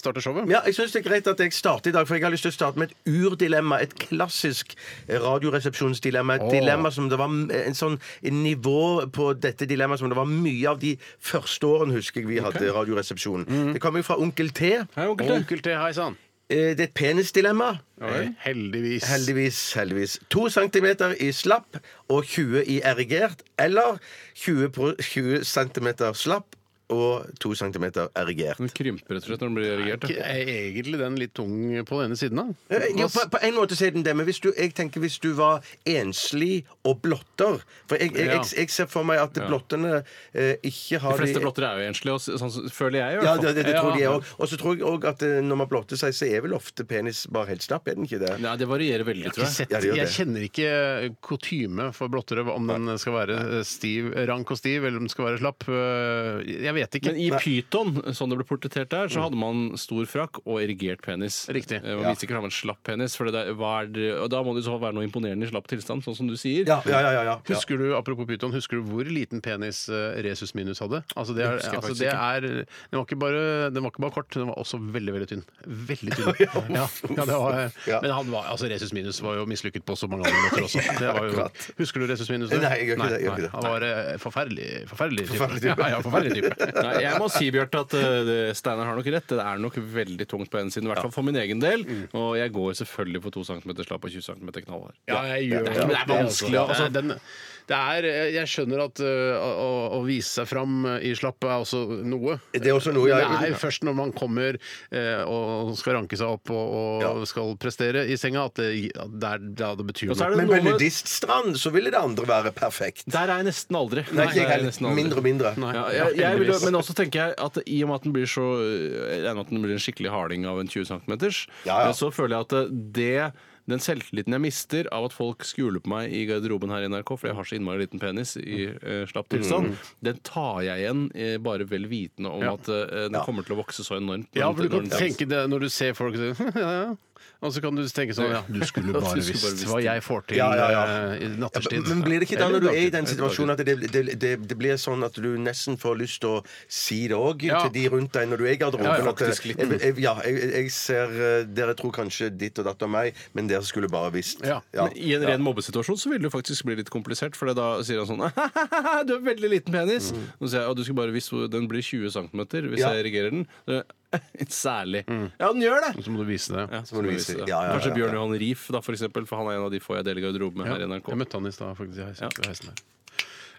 Speaker 3: starte showet?
Speaker 2: Ja, jeg synes det er greit at jeg starter i dag, for jeg har lyst til å starte med et urdilemma. Et klassisk radioresepsjonsdilemma. Et
Speaker 3: Åh.
Speaker 2: dilemma som det var m- en sånn en nivå på dette dilemmaet som det var mye av de første årene, husker jeg, vi hadde Radioresepsjonen.
Speaker 4: Mm.
Speaker 2: Det kommer jo fra Onkel T. Eh,
Speaker 3: Hei, Onkel T. Onkel T, hei sann.
Speaker 2: Det er et penisdilemma.
Speaker 3: Oi, heldigvis.
Speaker 2: Heldigvis. heldigvis. 2 cm i slapp og 20 i erigert. Eller 20, pro 20 cm slapp og 2 cm erigert.
Speaker 4: Den krymper rett og slett når den blir erigert.
Speaker 3: Ikke- Er egentlig den litt tung på den ene siden, da?
Speaker 2: Ja, Eh, Jo, på, på en måte så er den det, men hvis du, jeg tenker hvis du var enslig og blotter For jeg, jeg,
Speaker 4: Ja.
Speaker 2: jeg, jeg ser for meg at
Speaker 4: Ja.
Speaker 2: blotterne eh, ikke
Speaker 4: De
Speaker 2: har
Speaker 4: fleste blotter er jo enslige, og s- sånn s- føler jeg i hvert
Speaker 2: Ja,
Speaker 4: fall.
Speaker 2: det, det, det tror de
Speaker 4: Ja.
Speaker 2: er òg. Og så tror jeg òg at eh, når man blotter seg, så er vel ofte penis bare helt slapp, er den ikke det?
Speaker 4: Nei, det varierer veldig,
Speaker 3: Ikke
Speaker 4: tror jeg.
Speaker 3: sett, jeg kjenner ikke eh, kutyme for blottere, om den skal være eh, stiv, rank og stiv, eller om den skal være slapp. eh, Jeg vet ikke.
Speaker 4: Men i Pyton, sånn det ble portrettert der, så hadde man stor frakk og erigert penis. Riktig. Man visste ikke om man hadde slapp penis, for det der, hva er det, og da må det i så fall være noe imponerende i slapp tilstand, sånn som du sier.
Speaker 3: Husker du, apropos pyton, husker du hvor liten penis eh, Resus minus hadde? Altså det er,
Speaker 4: Det husker jeg
Speaker 3: altså
Speaker 4: faktisk
Speaker 3: det
Speaker 4: ikke.
Speaker 3: er den, var ikke bare, den var ikke bare kort, den var også veldig veldig tynn. Veldig tynn. ja, ja, det var,
Speaker 2: Ja.
Speaker 3: Men han var, altså Resus minus var jo mislykket på så mange andre måter også. Det var jo,
Speaker 2: Akkurat.
Speaker 3: husker du Resus minus?
Speaker 2: Nei, jeg gjør ikke det, jeg gjør ikke det.
Speaker 3: Han var eh, forferdelig, forferdelig type.
Speaker 4: Forferdelig type.
Speaker 3: Ja, ja, forferdelig type.
Speaker 4: [laughs] Nei, jeg må si, Bjarte, at eh, det- Steinar har nok rett. Det er nok veldig tungt på den siden, i hvert fall for min egen del. Og jeg går selvfølgelig for 2 cm slapp og 20 cm knall her.
Speaker 3: Ja, jeg gjør
Speaker 4: det. er- Det er vanskelig,
Speaker 3: altså.
Speaker 4: altså.
Speaker 3: Det er- den, det er, eh, jeg skjønner at ø, å, å vise seg fram eh, i slapp er også noe.
Speaker 2: Det er også noe, ja.
Speaker 3: Men Det er jo først når man kommer ø, og skal ranke seg opp og, og skal prestere i senga, at det, at det, er, da det betyr noe.
Speaker 2: Men på nudiststrand så ville det andre være perfekt.
Speaker 4: Der er jeg nesten aldri.
Speaker 2: Nei, ikke jeg
Speaker 4: Der er
Speaker 2: heller.
Speaker 4: nesten aldri.
Speaker 2: Mindre og mindre.
Speaker 4: Ja,
Speaker 2: Nei.
Speaker 4: jeg, jeg vil, jo-
Speaker 2: Heldigvis.
Speaker 4: men også tenker jeg at i og med at den blir så Jeg regner med at den blir en skikkelig harding av en 20 cm,
Speaker 2: Ja, ja.
Speaker 4: så føler jeg at det den selvtilliten jeg mister av at folk skuler på meg i garderoben her i NRK, for jeg har så innmari liten penis i eh, slapp tilstand,
Speaker 3: Mm.
Speaker 4: den tar jeg igjen eh, bare vel vitende om
Speaker 3: Ja.
Speaker 4: at eh, den kommer til å vokse så enormt.
Speaker 3: Ja,
Speaker 4: når
Speaker 3: for du
Speaker 4: den-
Speaker 3: kan
Speaker 4: når den-
Speaker 3: tenke det når du ser folk og sier [laughs] ja, ja. Og så kan du tenke sånn ja, Du [laughs] skulle
Speaker 4: Ja,
Speaker 3: bare
Speaker 4: du skulle bare
Speaker 3: visst
Speaker 4: visst.
Speaker 3: hva jeg får til
Speaker 2: Ja, ja, ja.
Speaker 3: ø, i natterstid.
Speaker 2: Men blir det ikke da
Speaker 3: Eller
Speaker 2: når du er i
Speaker 3: dagtid.
Speaker 2: den situasjonen at det, det, det, det blir sånn at du nesten får lyst til å si det òg
Speaker 3: Ja.
Speaker 2: til de rundt deg når du er i garderoben?
Speaker 3: Ja, ja,
Speaker 2: at, eh,
Speaker 3: faktisk litt.
Speaker 2: jeg, jeg, ja, jeg, jeg ser eh, Dere tror kanskje ditt og datt om meg, men dere skulle bare visst.
Speaker 4: Ja.
Speaker 2: Ja.
Speaker 4: Men I en ren mobbesituasjon så vil det jo faktisk bli litt komplisert, for da sier han sånn [laughs] Du har veldig liten penis. Og så sier jeg at du skulle bare visst hvor den blir 20 cm hvis
Speaker 2: Ja.
Speaker 4: jeg erigerer den. Så, [laughs] Særlig. Ja, den gjør det!
Speaker 3: Så må du vise det.
Speaker 4: Ja, så
Speaker 2: må du vise det. Ja, ja, ja,
Speaker 4: Kanskje
Speaker 2: ja.
Speaker 4: Bjørn Johan Rief, da, for, eksempel, for han er en av de få jeg deler garderobe med her i NRK.
Speaker 3: Jeg møtte han i stad, faktisk. i heisen- ved heisen her.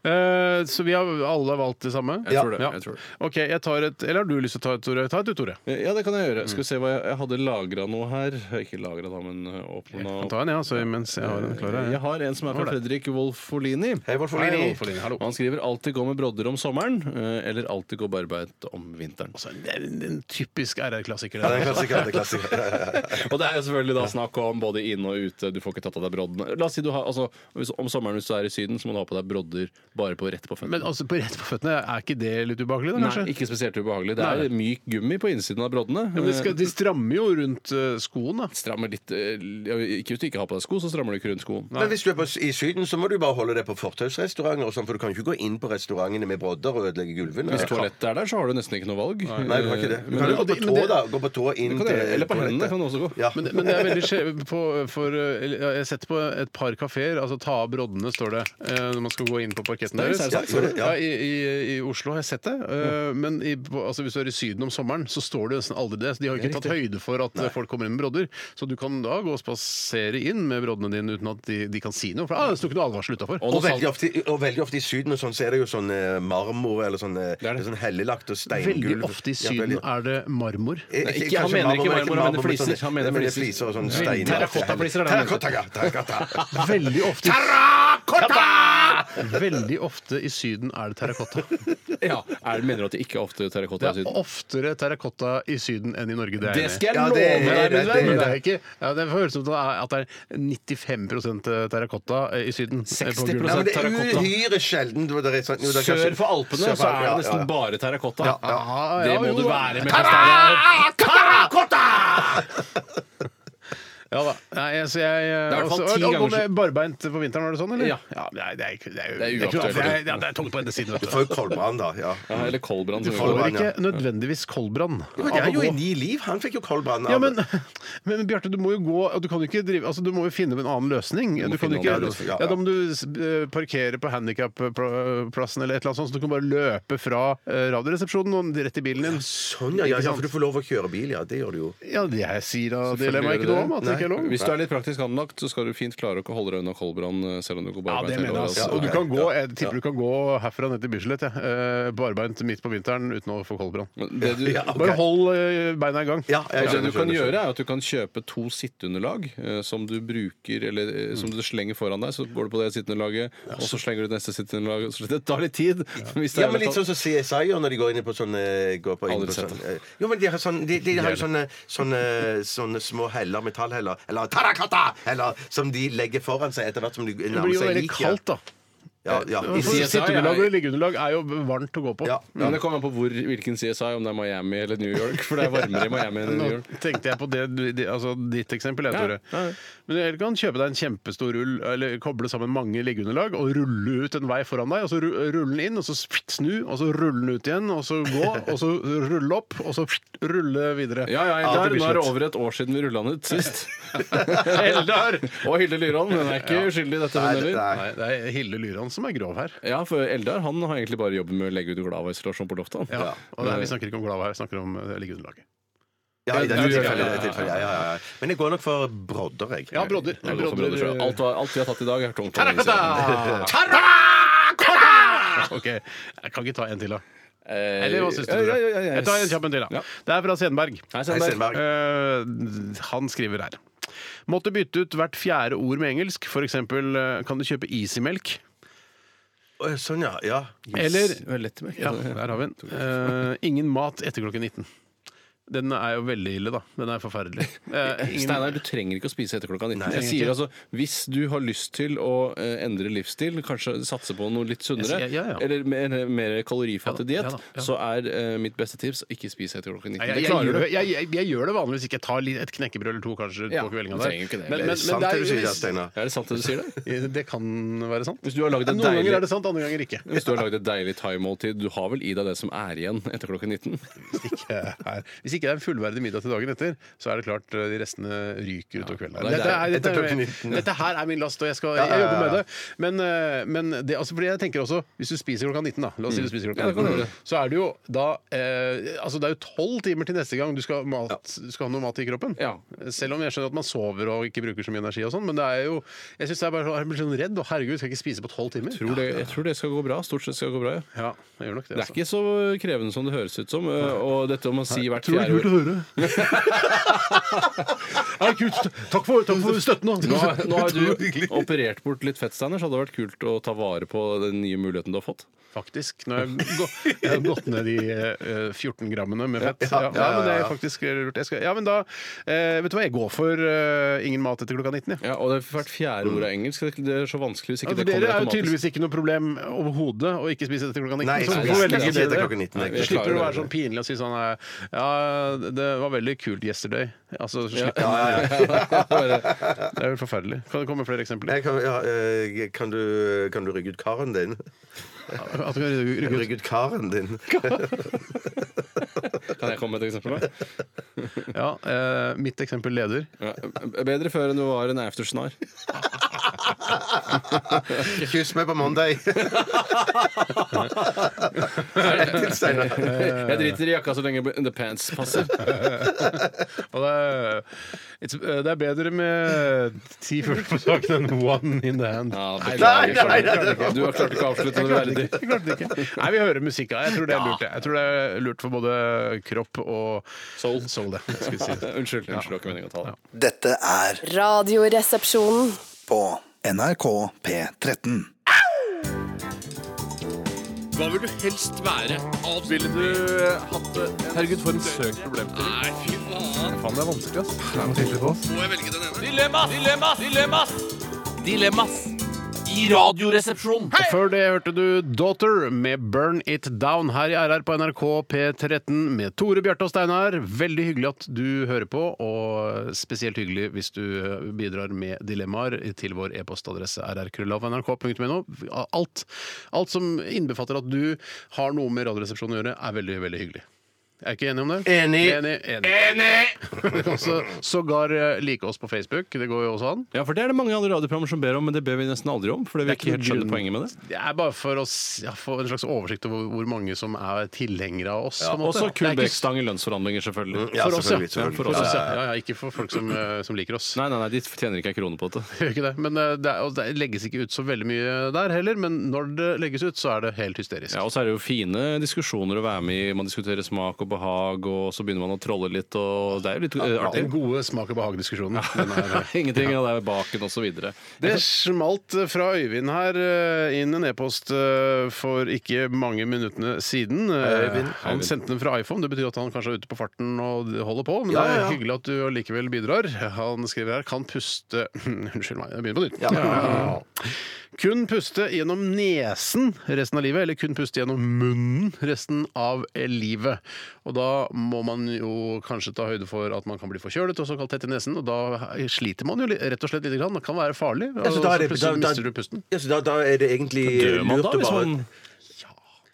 Speaker 3: Eh, så vi har alle valgt det samme?
Speaker 4: Jeg tror det, jeg tror det.
Speaker 3: Ok, jeg tar et Eller har du lyst til å ta et, Tore? Ta et du, Tore.
Speaker 4: Ja, det kan jeg gjøre. Skal vi se hva jeg, jeg hadde lagra noe her. Ikke lagra, da, men eh, åpna
Speaker 3: Ta en, ja, så mens jeg har en klar her.
Speaker 4: Jeg har en som er fra
Speaker 3: Ålreit.
Speaker 4: Fredrik Wolfolini.
Speaker 2: Hei, Wolfolini.
Speaker 3: Hei, Wolfolini, hallo.
Speaker 4: Og Han skriver 'alltid gå med brodder om sommeren', eh, eller 'alltid gå barbeint om vinteren'.
Speaker 3: Altså, Det er en, en typisk RR-klassiker.
Speaker 2: Ja, det er en klassiker, det er en klassiker.
Speaker 4: Og det er jo selvfølgelig da snakk om både inne og ute. Du får ikke tatt av deg broddene. La oss si du har, altså, hvis, Om sommeren hvis du er i Syden, så må du ha på deg brodder bare på rett på føttene.
Speaker 3: Men altså, på rett på føttene, er ikke det litt ubehagelig, da, kanskje?
Speaker 4: Nei, ikke spesielt ubehagelig. Det
Speaker 3: Nei.
Speaker 4: er myk gummi på innsiden av broddene. Eh,
Speaker 3: Ja, men de, skal, de strammer jo rundt eh, skoen, da.
Speaker 4: Strammer litt eh, ja, Ikke hvis du ikke har på deg sko, så strammer du ikke rundt skoen.
Speaker 2: Men hvis du er på, i Syden, så må du bare holde deg på fortausrestauranter, og sånn, for du kan ikke gå inn på restaurantene med brodder og ødelegge gulvene.
Speaker 4: Hvis toalettet er der, så har du nesten ikke noe valg. Eh,
Speaker 2: Nei, du kan ikke det. Du
Speaker 4: Men
Speaker 2: kan jo gå
Speaker 4: det-
Speaker 2: på tå, da. Gå på tå inn
Speaker 4: Det kan du gjøre. Eller på
Speaker 2: toalettet.
Speaker 4: hendene kan du også gå.
Speaker 2: Ja.
Speaker 3: Men, men det er veldig skjev på, for eh, eller, Jeg har sett på et par kafeer, altså ta av broddene, står det, eh, når man skal gå inn på raketten
Speaker 4: Nei,
Speaker 3: deres.
Speaker 4: er det sant? Sorry,
Speaker 3: Ja,
Speaker 4: ja. Mm.
Speaker 3: i, i, I Oslo har jeg sett det, eh, men i, på- altså, hvis du er i Syden om sommeren, så står det nesten aldri det. Så de har jo
Speaker 4: Det
Speaker 3: ikke
Speaker 4: er
Speaker 3: tatt høyde for at eh, folk kommer inn med brodder. Så du kan da gå og spasere inn med broddene dine uten at de, de kan si noe. For ah, det sto ikke noe advarsel utafor.
Speaker 2: Og veldig, ofte, og veldig ofte i Syden og sånn, så er det jo sånn eh, marmor eller sånn, eh, sånn hellelagt og steingulv.
Speaker 3: Veldig ofte i Syden
Speaker 2: Ja, veldig-
Speaker 3: er det marmor.
Speaker 2: Eh,
Speaker 4: Nei, ikke- han
Speaker 2: kanskje
Speaker 4: mener ikke marmor, han
Speaker 2: men
Speaker 4: mener
Speaker 2: sånn-
Speaker 4: fliser. Han mener
Speaker 2: Nei, men det er
Speaker 4: fliser.
Speaker 2: fliser og sånn
Speaker 4: Veldig-
Speaker 2: steiner.
Speaker 4: terrakottafliser er det han mener.
Speaker 2: Terrakotta, ja,
Speaker 4: [laughs]
Speaker 2: terrakotta.
Speaker 3: Veldig ofte,
Speaker 2: Terrakotta!
Speaker 3: veldig ofte i Syden er det terrakotta.
Speaker 4: Ja, er, Mener du at det ikke er ofte terrakotta
Speaker 3: Det
Speaker 4: i
Speaker 3: er
Speaker 4: Syden?
Speaker 3: oftere terrakotta i Syden enn i Norge. Det, er
Speaker 4: Det
Speaker 3: enig.
Speaker 4: skal jeg
Speaker 3: Ja,
Speaker 4: love
Speaker 3: det er
Speaker 4: deg,
Speaker 3: helt
Speaker 4: min
Speaker 3: rett,
Speaker 4: venn.
Speaker 3: Men det er ikke ja, Det høres ut som det er- at det er 95 terrakotta i Syden. eh, på
Speaker 4: 60%
Speaker 3: gulvet.
Speaker 2: Ja, men det er
Speaker 4: Terrakotta.
Speaker 2: uhyre sjelden. det er sånn- jo, det er kanskje-
Speaker 4: Sør for Alpene
Speaker 2: Sør for
Speaker 4: så er det
Speaker 2: Alpene, ja,
Speaker 4: nesten
Speaker 2: ja.
Speaker 4: bare terrakotta.
Speaker 3: Ja, ja,
Speaker 4: det
Speaker 3: ja,
Speaker 4: må
Speaker 3: jo,
Speaker 4: du
Speaker 3: da.
Speaker 4: være med på.
Speaker 2: Terra-
Speaker 3: Ja da. Nei, altså jeg Det
Speaker 4: er i hvert fall ti
Speaker 3: Gå
Speaker 4: ganger så-
Speaker 3: med barbeint på vinteren, var det sånn, eller?
Speaker 4: Ja.
Speaker 3: nei, det er ikke Det er, jo-
Speaker 4: Det er
Speaker 3: det er ikke noe-
Speaker 4: uaktuelt.
Speaker 3: det er- ja, det er tungt på ene siden, vet
Speaker 2: Du
Speaker 3: du.
Speaker 2: får jo koldbrann, da. Ja.
Speaker 4: Ja, eller koldbrann.
Speaker 2: Du
Speaker 4: som vi
Speaker 2: får
Speaker 4: kaller det.
Speaker 2: koldbrann,
Speaker 3: Ikke nødvendigvis koldbrann.
Speaker 2: Men det er jo i Ni Liv. Han fikk jo koldbrann. av-
Speaker 3: Ja, men, [laughs] men Bjarte, du må jo gå og Du kan jo ikke drive Altså, du må jo finne en annen løsning.
Speaker 4: må
Speaker 3: Du kan
Speaker 4: finne
Speaker 3: jo ikke
Speaker 4: en annen
Speaker 2: løsning,
Speaker 3: ja,
Speaker 2: ja,
Speaker 3: Da må du eh, parkere på handikapplassen eller et eller annet sånt, så du kan bare løpe fra eh, Radioresepsjonen og rett i bilen din.
Speaker 2: Sånn, ja, ja, ja. For du får lov å kjøre bil, ja. Det gjør du jo.
Speaker 3: Ja, det jeg sier da, det
Speaker 4: Selvfølgelig
Speaker 3: lemmer jeg
Speaker 4: gjør
Speaker 3: ikke noe om.
Speaker 4: det.
Speaker 3: At det ikke er lov.
Speaker 4: Hvis du er litt praktisk anlagt, så skal du fint klare å ikke holde deg unna koldbrann eh, selv om du går
Speaker 3: Ja,
Speaker 4: barbeint.
Speaker 3: det mener jeg.
Speaker 4: hele året,
Speaker 3: Altså.
Speaker 4: altså.
Speaker 3: Og du kan gå, jeg tipper du kan gå herfra ned til Bislett, jeg. Eh, barbeint midt på vinteren uten å få koldbrann.
Speaker 4: Men det
Speaker 3: [laughs]
Speaker 4: du,
Speaker 3: Bare hold eh, beina i gang.
Speaker 2: Ja, jeg skjønner,
Speaker 4: det du
Speaker 2: skjønner,
Speaker 4: kan
Speaker 2: skjønner.
Speaker 4: gjøre er at du kan kjøpe to sitteunderlag eh, som du bruker eller eh, som du slenger foran deg. Så går du på det sitteunderlaget, og så slenger du neste sitteunderlag. og så- Det tar litt tid. [laughs] Hvis det
Speaker 2: Ja,
Speaker 4: er
Speaker 2: men
Speaker 4: litt
Speaker 2: litt sånn som CSI når de går inn på sånne går på inn
Speaker 4: Aldri
Speaker 2: på
Speaker 4: sett
Speaker 2: sånn, eh, Jo, men de har, sånn, de, de har jo sånne, sånne, sånne små heller, metallheller, eller terrakotta! Heller som de legger foran seg etter hvert som de
Speaker 3: Det
Speaker 2: nærmer
Speaker 3: blir jo
Speaker 2: seg
Speaker 3: veldig
Speaker 2: liket.
Speaker 3: kaldt, sånn da.
Speaker 2: Ja, ja.
Speaker 4: I CSI er-
Speaker 3: Sitteunderlag og liggeunderlag er jo varmt å gå på.
Speaker 2: Ja.
Speaker 4: Ja, men Det kommer an på hvor, hvilken CSI, om det er Miami eller New York. For det er varmere i Miami enn i New
Speaker 3: Nå
Speaker 4: York.
Speaker 3: tenkte jeg på det, du- det- altså ditt eksempel, jeg,
Speaker 4: Ja,
Speaker 3: Tore.
Speaker 4: ja, ja.
Speaker 3: Men du kan kjøpe deg en kjempestor rull, eller koble sammen mange liggeunderlag, og rulle ut en vei foran deg, og så ru- rulle den inn, og så spitt, snu, og så rulle den ut igjen, og så gå, og så rulle opp, og så spitt, rulle videre.
Speaker 4: Ja, ja,
Speaker 3: Ja, til
Speaker 4: Eldar, Nå er det
Speaker 3: Bislett.
Speaker 4: over et år siden vi rulla den ut sist.
Speaker 3: [laughs]
Speaker 4: Eldar! [laughs] Og Hilde Lyrån. Hun er ikke uskyldig i dette, hun
Speaker 2: Nei,
Speaker 4: heller.
Speaker 3: Nei, det er Hilde Lyran som er grov her.
Speaker 4: Ja, for Eldar han har egentlig bare jobben med å legge ut Gladvainstallasjon på loftet. han.
Speaker 3: Ja. Og det er, vi snakker ikke om Glava her, vi snakker om eh, liggeunderlaget.
Speaker 2: Ja, i dette
Speaker 4: Ja, ja,
Speaker 2: tilfellet. i
Speaker 4: ja, ja, ja.
Speaker 2: dette tilfellet, Ja, ja, ja. Men jeg går nok for brodder, jeg.
Speaker 3: Ja, brodder.
Speaker 4: Ja, det går for brodder, tror jeg. Alt, alt vi har tatt i dag, er tungt.
Speaker 3: Ok, jeg kan ikke ta en til, da.
Speaker 4: Eller
Speaker 3: Eller hva syns du? Tore? Jeg tar en kjapp en til,
Speaker 4: Ja.
Speaker 3: da. Det er fra Senberg.
Speaker 4: Hei,
Speaker 2: Hei,
Speaker 4: Sandberg.
Speaker 2: Stenberg.
Speaker 3: Eh, han skriver her. Måtte bytte ut hvert fjerde ord med engelsk. For eksempel, eh, kan du kjøpe Easymelk?
Speaker 2: Å, Sånn, ja. ja.
Speaker 3: Eller
Speaker 4: Det er lett med.
Speaker 3: Ja, der har vi den. Eh, ingen mat etter klokken 19. Den er jo veldig ille, da. Den er
Speaker 4: [laughs]
Speaker 3: forferdelig. Eh, ingen-
Speaker 4: Steinar, du trenger ikke å spise etter klokka 19.
Speaker 3: Nei,
Speaker 4: jeg
Speaker 3: jeg
Speaker 4: sier
Speaker 3: trenger
Speaker 4: altså, Hvis du har lyst til å eh, endre livsstil, kanskje satse på noe litt sunnere,
Speaker 3: Jeg sier- ja, ja.
Speaker 4: eller mer, mer kalorifattig
Speaker 3: Ja
Speaker 4: diett,
Speaker 3: da, ja da, ja.
Speaker 4: så er eh, mitt beste tips ikke spise etter klokka 19.
Speaker 3: Nei, jeg,
Speaker 4: det
Speaker 3: jeg,
Speaker 4: klarer
Speaker 3: gjør
Speaker 4: du.
Speaker 3: det, jeg, jeg, jeg gjør det vanligvis ikke. Jeg tar litt- et knekkebrød eller to kanskje
Speaker 4: Ja,
Speaker 3: på kveldinga
Speaker 4: du
Speaker 3: der.
Speaker 4: trenger jo ikke det.
Speaker 3: Men,
Speaker 4: Det er
Speaker 3: men, men
Speaker 2: Sant
Speaker 3: det
Speaker 2: det du sier,
Speaker 3: er
Speaker 2: ja, Steinar.
Speaker 4: Er det sant det du sier? det?
Speaker 3: jo Det kan være sant.
Speaker 4: Hvis du har lagd et
Speaker 3: Noen
Speaker 4: deilig-
Speaker 3: ganger er det sant, andre ganger ikke.
Speaker 4: Hvis du har lagd et deilig thaimåltid, du har vel i deg det som er igjen etter klokka 19?
Speaker 3: ikke er. Hvis ikke det er en fullverdig middag til dagen etter, så er det klart eh, de restene ryker utover kvelden.
Speaker 4: Nei, det er-
Speaker 3: Dette, er,
Speaker 2: etter klokken
Speaker 3: dette,
Speaker 2: 19.
Speaker 3: dette her er min last, og jeg skal
Speaker 2: Ja, ja,
Speaker 3: jeg
Speaker 2: ja,
Speaker 3: jobber med
Speaker 2: ja.
Speaker 3: det. Men, eh, men det, altså, fordi jeg tenker også, hvis du spiser klokka 19, da, la oss si du spiser
Speaker 4: Mm. Ja,
Speaker 3: klokka
Speaker 4: det kan
Speaker 3: 19,
Speaker 4: du gjøre.
Speaker 3: så er det jo da eh, Altså, det er jo tolv timer til neste gang du skal, ha mat, du skal ha noe mat i kroppen.
Speaker 4: Ja.
Speaker 3: Selv om jeg skjønner at man sover og ikke bruker så mye energi og sånn, men det er jo Jeg syns jeg bare jeg blir sånn redd, og herregud, skal jeg ikke spise på tolv timer?
Speaker 4: Tror det, jeg tror det skal gå bra. Stort sett skal det gå bra.
Speaker 3: Ja,
Speaker 4: ja.
Speaker 3: jeg gjør nok det.
Speaker 4: Det er ikke så krevende som det høres ut som. eh, Og dette om å si hvert
Speaker 3: Tror det er
Speaker 4: fjerde
Speaker 3: kult å
Speaker 4: ord
Speaker 3: høre. [laughs] Nei, kult. Takk for, takk for støtten. da.
Speaker 4: nå, har-
Speaker 3: [laughs]
Speaker 4: nå har du operert bort litt fett, Steiner, så det hadde vært kult å ta vare på den nye muligheten du har fått.
Speaker 3: Faktisk. Nå har jeg, gå, jeg har gått ned de eh, 14 grammene med fett. Ja, ja, men det er faktisk lurt. Jeg skal, ja, men da eh, Vet du hva, jeg går for eh, ingen mat etter klokka 19, jeg.
Speaker 4: Ja, og det er hvert fjerde ord er engelsk. Det det er så vanskelig hvis
Speaker 3: Ja,
Speaker 4: ikke
Speaker 3: for
Speaker 4: det
Speaker 3: dere er
Speaker 4: kommer
Speaker 3: jo
Speaker 4: automatisk.
Speaker 3: tydeligvis ikke noe problem overhodet å ikke spise etter klokka 19.
Speaker 2: Nei,
Speaker 3: så
Speaker 2: nei,
Speaker 3: hvorfor
Speaker 2: nei,
Speaker 3: velger
Speaker 2: nei,
Speaker 3: dere
Speaker 2: etter
Speaker 3: det?
Speaker 2: klokka 19,
Speaker 3: Nei,
Speaker 2: jeg
Speaker 3: Slipper du å
Speaker 4: klarer
Speaker 3: være
Speaker 4: det.
Speaker 3: sånn pinlig og si sånn eh, Ja, det var veldig kult yesterday. Altså, slipper
Speaker 4: [laughs]
Speaker 3: Det er jo forferdelig. Kan det komme flere eksempler?
Speaker 2: Jeg kan, ja, eh, kan, du, kan du rygge ut karen din?
Speaker 3: At du kan rygge- rygge ut
Speaker 2: Rygge ut karen din?
Speaker 4: Kan jeg komme med et eksempel? da?
Speaker 3: Ja, eh, mitt eksempel leder.
Speaker 4: [laughs] Ja, bedre før enn du var en aftersnar.
Speaker 2: Kyss meg på [laughs] mandag. Til Steinar.
Speaker 4: Jeg driter i jakka så lenge the pants
Speaker 3: [laughs]
Speaker 4: passer.
Speaker 3: Og det, er, it's- eh, det er bedre med ti fugler på saken enn one in the hand.
Speaker 4: beklager.
Speaker 3: Nei, nei, nei,
Speaker 4: Jeg klarte
Speaker 3: nei.
Speaker 4: ikke. Du har klart ikke å avslutte
Speaker 3: Jeg
Speaker 4: det
Speaker 3: klarte
Speaker 4: verdig.
Speaker 3: ikke, jeg klarte det ikke. Nei, vi hører musikk. ja. Jeg tror det er lurt. jeg. Jeg tror det er lurt for både kropp og soul. det. Jeg skulle si det.
Speaker 4: Unnskyld. unnskyld, det var ikke meningen å ta det.
Speaker 8: Dette er
Speaker 7: Radioresepsjonen.
Speaker 8: på NRK P13.
Speaker 1: Hva vil du helst være? Ville du hatt det?
Speaker 4: Herregud, for en søk problem.
Speaker 1: Nei, fy faen.
Speaker 3: Faen, det er vanskelig, ass.
Speaker 1: Må jeg velge den ene? Dilemmas! Dilemmas! Dilemmas! Dilemmas i Radioresepsjonen.
Speaker 3: Og Før det hørte du 'Daughter' med 'Burn It Down' her i RR på NRK P13 med Tore, Bjarte og Steinar. Veldig hyggelig at du hører på, og spesielt hyggelig hvis du eh, bidrar med dilemmaer til vår e-postadresse rrkrøllalf.nrk.no. Alt, alt som innbefatter at du har noe med Radioresepsjonen å gjøre, er veldig, veldig hyggelig. Er jeg ikke enig om det?
Speaker 2: Enig.
Speaker 3: Enig! enig. [laughs] Du kan også sågar eh, like oss på Facebook. Det går jo også an.
Speaker 4: Ja, for det er det mange andre radioprogrammer som ber om, men det ber vi nesten aldri om. Fordi vi ikke helt skjønner poenget med det.
Speaker 3: Det er bare for å s- ja, få en slags oversikt over hvor mange som er tilhengere av oss. på en måte. Det
Speaker 4: Også
Speaker 3: er ikke s-
Speaker 4: Kulbekk-stang i lønnsforhandlinger, selvfølgelig.
Speaker 2: Ja,
Speaker 3: for oss, ja.
Speaker 2: selvfølgelig,
Speaker 3: ja,
Speaker 2: selvfølgelig.
Speaker 3: for oss, ja. ja, ja ikke for folk som, eh, som liker oss.
Speaker 4: Nei, nei, nei, de tjener ikke en krone på dette.
Speaker 3: [laughs] Gjør ikke det. Men eh, det, er, og det legges ikke ut så veldig mye der heller. Men når det legges ut, så er det helt hysterisk.
Speaker 4: Ja, og så er det jo fine diskusjoner å være med i. Man diskuterer smak og behag, og så begynner man å trolle litt, og det er jo litt eh, artig.
Speaker 3: Den gode smak og behag-diskusjonen. Den er-
Speaker 4: [laughs] Ingenting av det er baken og så videre.
Speaker 3: Det smalt fra Øyvind her eh, inn en e-post eh, for ikke mange minuttene siden. Eh, Han sendte den fra iPhone. Det betyr at han kanskje er ute på farten og holder på. Men
Speaker 2: Ja,
Speaker 3: det
Speaker 2: ja,
Speaker 3: er
Speaker 2: ja.
Speaker 3: hyggelig at du allikevel bidrar. Han skriver her kan puste [clears throat] Unnskyld meg, jeg begynner på nytt.
Speaker 2: Ja.
Speaker 3: Ja. Kun puste gjennom nesen resten av livet, eller kun puste gjennom munnen resten av livet. Og da må man jo kanskje ta høyde for at man kan bli forkjølet og såkalt tett i nesen, og da sliter man jo li- rett og slett lite grann. Det kan være farlig.
Speaker 2: Ja, så
Speaker 3: Og så
Speaker 2: da er det- da-
Speaker 3: plutselig
Speaker 2: da-
Speaker 3: mister du pusten.
Speaker 2: Ja, så da, da er det egentlig
Speaker 4: Dør man
Speaker 2: lurt
Speaker 4: da
Speaker 2: å
Speaker 4: hvis
Speaker 2: bare
Speaker 4: man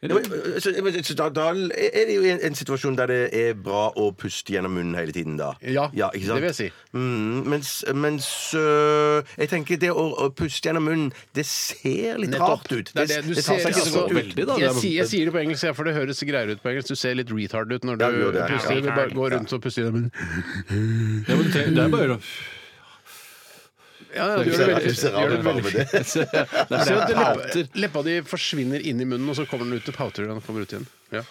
Speaker 2: Ja, men- øh, så, men- så da, da er det jo en, en situasjon der det er bra å puste gjennom munnen hele tiden, da.
Speaker 3: Ja,
Speaker 2: ikke sant?
Speaker 3: det vil jeg si.
Speaker 2: Mm, mens mens øh, jeg tenker det å, å puste gjennom munnen, det ser litt rart ut.
Speaker 3: Det er det du
Speaker 2: tar
Speaker 3: ser.
Speaker 2: seg ikke
Speaker 3: altså,
Speaker 2: så godt ut.
Speaker 4: veldig, da.
Speaker 3: Jeg,
Speaker 4: Det er-
Speaker 3: sier- jeg sier det på engelsk, ja, for det høres greiere ut på engelsk. Du ser litt retard ut når du
Speaker 2: Ja, du gjør det.
Speaker 3: puster.
Speaker 2: Ja.
Speaker 3: Du bare går rundt og puster gjennom munnen.
Speaker 4: Ja, men du trenger- det er bare å [laughs]
Speaker 3: Ja, ja, du
Speaker 2: Du
Speaker 3: gjør
Speaker 2: ser
Speaker 3: det
Speaker 2: rart-
Speaker 3: veldig-
Speaker 2: du ser
Speaker 3: gjør
Speaker 2: rar
Speaker 3: det
Speaker 2: ut
Speaker 3: veldig-
Speaker 2: bare med det.
Speaker 4: Se, det er
Speaker 3: Du ser
Speaker 4: bare
Speaker 3: at
Speaker 4: jeg hater.
Speaker 3: leppa, leppa di forsvinner inn i munnen, og så kommer den ut og pauter den og kommer ut igjen. Ja.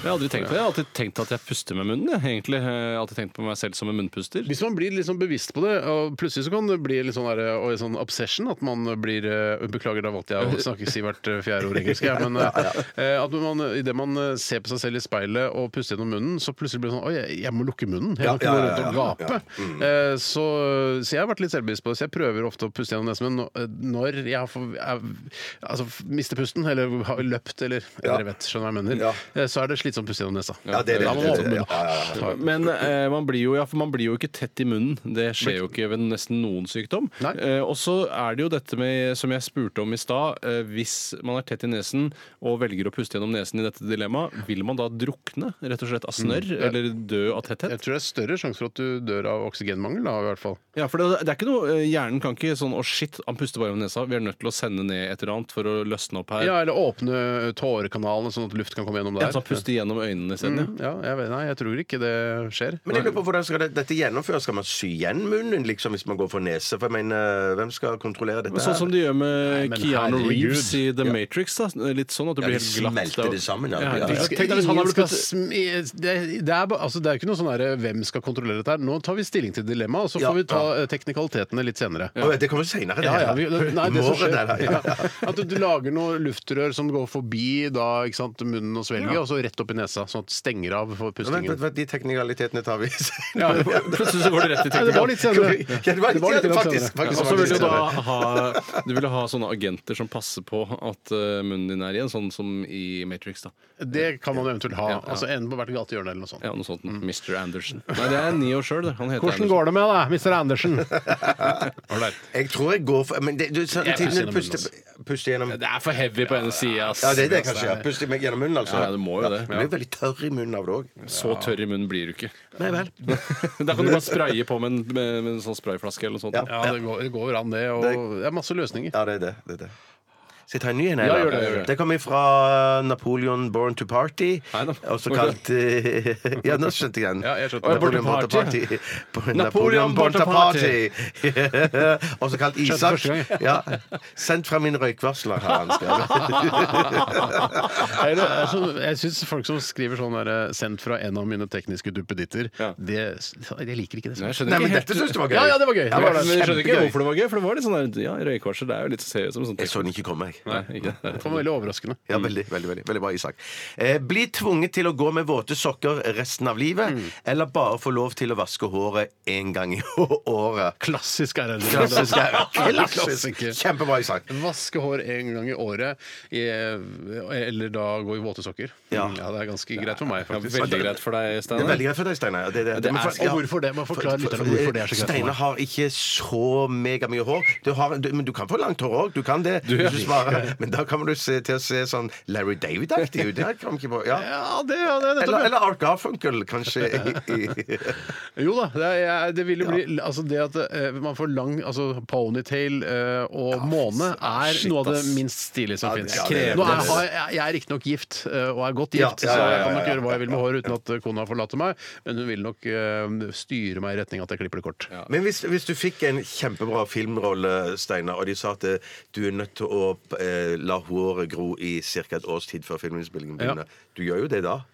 Speaker 4: Jeg har aldri tenkt på det. Jeg har alltid tenkt at jeg puster med munnen. Jeg. Egentlig Jeg har alltid tenkt på meg selv som en munnpuster.
Speaker 3: Hvis man blir liksom bevisst på det, og plutselig så kan det bli litt sånn, der, og en sånn obsession at man blir eh, Beklager, da valgte jeg
Speaker 2: [laughs]
Speaker 3: å snakke si hvert eh, fjerde ord engelsk. jeg, Men eh, at man idet man eh, ser på seg selv i speilet og puster gjennom munnen, så plutselig blir det sånn Oi, jeg, jeg må lukke munnen. Jeg
Speaker 2: Ja,
Speaker 3: må ikke gå
Speaker 2: ja, ja,
Speaker 3: rundt og
Speaker 2: ja, ja. Mm.
Speaker 3: gape. Eh, Så, så jeg har vært litt selvbevisst på det. Så jeg prøver ofte å puste gjennom nesen min nå- eh, når jeg, har for, jeg altså, mister pusten, eller har løpt, eller Dere vet, skjønner hva jeg mener.
Speaker 2: Ja.
Speaker 3: Eh, Så er det slitsomt å puste gjennom nesa.
Speaker 2: Ja, det er det.
Speaker 3: Da må man
Speaker 2: det,
Speaker 3: åpne
Speaker 2: det,
Speaker 3: munnen.
Speaker 2: ja, ja, ja.
Speaker 4: Men eh, man, blir jo, ja, for man blir jo ikke tett i munnen. Det skjer jo ikke ved nesten noen sykdom.
Speaker 3: Nei.
Speaker 4: Eh, og så er det jo dette med, som jeg spurte om i stad, eh, hvis man er tett i nesen og velger å puste gjennom nesen i dette dilemmaet, vil man da drukne rett og slett av snørr, eller dø av tetthet?
Speaker 3: Jeg tror det er større sjanse for at du dør av oksygenmangel, da, i hvert fall.
Speaker 4: Ja, for det, det er ikke noe, eh, Hjernen kan ikke sånn 'Å, shit, han puster bare gjennom nesa'. Vi er nødt til å sende ned et eller annet for å løsne opp her.
Speaker 3: Ja, eller åpne tårekanalene sånn at luft kan komme gjennom
Speaker 4: Ja,
Speaker 3: der.
Speaker 4: så han puster Altså, gjennom øynene isteden. ja.
Speaker 3: Mm, ja, jeg vet, nei, jeg tror ikke det skjer.
Speaker 2: Men jeg lurer på hvordan skal det, dette gjennomføres? Skal man sy igjen munnen liksom, hvis man går for nese? For jeg mener, Hvem skal kontrollere dette?
Speaker 4: Men Sånn som de gjør med
Speaker 3: Nei, men
Speaker 4: Keanu
Speaker 3: herregud.
Speaker 4: Reeves i The Matrix. da Litt sånn at du
Speaker 2: Ja,
Speaker 4: blir
Speaker 2: de
Speaker 4: helt glatt.
Speaker 2: smelter
Speaker 4: og-
Speaker 2: det sammen, ja.
Speaker 4: Ja,
Speaker 2: Ja,
Speaker 4: det-
Speaker 2: ja.
Speaker 4: Tenk deg hvis han
Speaker 3: Ingen
Speaker 4: hadde blitt
Speaker 3: skal sm- det, det, er, ba- altså, det er ikke noe sånn der, hvem skal kontrollere dette her. Nå tar vi stilling til dilemmaet, og så
Speaker 2: Ja,
Speaker 3: får vi ta eh, teknikalitetene litt senere.
Speaker 2: Å, det kommer seinere,
Speaker 3: Ja, ja, vi, nei, det som skjer,
Speaker 2: ja.
Speaker 3: ja, at du, du lager noe luftrør som går forbi da, ikke sant, munnen og svelget, og så rett opp i nesa, sånn at det stenger av for
Speaker 2: Vent, vent,
Speaker 3: pustingen.
Speaker 2: vent, De teknikalitetene tar vi [laughs] senere.
Speaker 3: Ja, det var-
Speaker 4: [laughs] Plutselig så går det rett i
Speaker 3: Nei, det var litt senere.
Speaker 2: [laughs] Ja, det var litt senere,
Speaker 3: senere.
Speaker 2: faktisk. faktisk,
Speaker 4: Og så vil du
Speaker 2: faktisk.
Speaker 4: da ha, du vil ha sånne agenter som passer på at eh, munnen din er igjen, sånn som i Matrix. da
Speaker 3: Det kan man eventuelt ha.
Speaker 4: Ja, ja.
Speaker 3: Altså En på hvert galt hjørne eller noe sånt.
Speaker 4: Ja, Noe sånt.
Speaker 2: Mm.
Speaker 4: Mr. Anderson. Nei, det er Neo sjøl, det. Han heter
Speaker 3: Hvordan
Speaker 4: Anderson.
Speaker 3: går det med deg, Mr. Andersen?
Speaker 2: Jeg tror jeg går for Men det, du, sånn,
Speaker 3: Jeg
Speaker 2: til-
Speaker 3: pusser gjennom
Speaker 2: puste,
Speaker 3: munnen,
Speaker 2: puste gjennom
Speaker 4: Det er for heavy på ene sida.
Speaker 2: Ja, det er det kanskje. Ja. Puste meg gjennom munnen, altså.
Speaker 4: Ja, det må jo det.
Speaker 2: Du blir veldig tørr i munnen av det òg.
Speaker 4: Så tørr i munnen blir du ikke. [laughs]
Speaker 2: Nei vel.
Speaker 4: Da kan du bare spraye på med en, med, med en sånn sprayflaske eller noe sånt.
Speaker 3: Ja, det går, det går an, det. Og det er masse løsninger.
Speaker 2: Ja, det er det. det, er det. Skal jeg ta en ny en?
Speaker 4: Ja,
Speaker 2: eller?
Speaker 4: gjør det, gjør det.
Speaker 2: det kommer fra Napoleon Born to Party.
Speaker 4: Nei da.
Speaker 2: Også kalt eh, [laughs] Ja, nå skjønte jeg den.
Speaker 3: Ja, jeg skjønte
Speaker 2: Å,
Speaker 3: den.
Speaker 2: Napoleon Born to Party. Napoleon Born to Party. [laughs] Også kalt Isak.
Speaker 3: første gang,
Speaker 2: Ja. Sendt fra min røykvarsler, har han skrevet.
Speaker 3: Nei, det er så- Jeg syns folk som skriver sånn der, 'sendt fra en av mine tekniske duppeditter',
Speaker 4: Ja.
Speaker 3: det, jeg liker ikke det.
Speaker 4: Nei,
Speaker 3: sånn.
Speaker 4: jeg skjønner
Speaker 2: Nei,
Speaker 4: ikke
Speaker 2: men
Speaker 4: helt-
Speaker 2: dette syns du var gøy.
Speaker 3: Ja, ja, det var gøy.
Speaker 2: Ja, det var
Speaker 4: Men jeg skjønner ikke
Speaker 2: kjempegøy.
Speaker 4: hvorfor det var gøy, for det var litt sånn der, ja, røykvarsel det er jo litt seriøst som sånn
Speaker 2: Jeg så den ikke komme, jeg.
Speaker 4: Nei, ikke det.
Speaker 3: Det var veldig overraskende.
Speaker 2: Ja, veldig, veldig, veldig, veldig bra, Isak. Eh, bli tvunget til å gå med våte sokker resten av livet,
Speaker 3: Mm.
Speaker 2: eller bare få lov til å vaske håret én gang i [laughs] året.
Speaker 3: Klassisk RR.
Speaker 2: Klassisk
Speaker 3: [laughs]
Speaker 2: er det.
Speaker 3: Klassiker.
Speaker 2: Klassisk. Kjempebra, Isak.
Speaker 3: Vaske hår en gang i året, eh, eller da gå i våte sokker.
Speaker 2: Ja.
Speaker 3: Mm, det er ganske greit for meg,
Speaker 4: Ja,
Speaker 3: faktisk.
Speaker 4: veldig greit for deg,
Speaker 2: Det er
Speaker 4: Steinar.
Speaker 2: veldig greit for deg, Steinar. Ja, det- det-
Speaker 3: Det
Speaker 2: det- men
Speaker 3: er-
Speaker 2: for- ja.
Speaker 3: og hvorfor det? Må forklare
Speaker 2: For- for-
Speaker 3: lytterne hvorfor det er så greit for
Speaker 2: Steinar
Speaker 3: meg.
Speaker 2: har ikke så megamye hår. Du har, du, men du kan få langt hår òg. Du kan det. hvis du sparer. Men da kommer du se, til å se sånn Larry David-aktig ut. Det kom ikke på. Ja.
Speaker 3: Ja, det, ja, det er nettopp
Speaker 2: Eller,
Speaker 3: det.
Speaker 2: eller Art Garfunkel, kanskje.
Speaker 3: Jo da. Det, er, jeg- det vil jo bli Altså det at eh, man får lang altså ponytail eh, og måne, er
Speaker 2: shit,
Speaker 3: noe av det
Speaker 2: ass.
Speaker 3: minst stilige som
Speaker 2: Ja, det-
Speaker 3: fins.
Speaker 2: ja,
Speaker 3: Nå
Speaker 2: det-
Speaker 3: er, har jeg, jeg er riktignok gift, eh, og er godt gift,
Speaker 2: Ja, ja, ja,
Speaker 3: så jeg kan
Speaker 2: ja,
Speaker 3: nok
Speaker 2: ja,
Speaker 3: gjøre hva jeg vil med
Speaker 2: ja,
Speaker 3: håret uten at eh, kona forlater meg, men hun vil nok eh, styre meg i retning at jeg klipper det kort.
Speaker 2: Men hvis, hvis du fikk en kjempebra filmrolle, Steinar, og de sa at eh, du er nødt til å eh, la håret gro i ca. et års tid før filminnspillingen begynner, du gjør jo det da?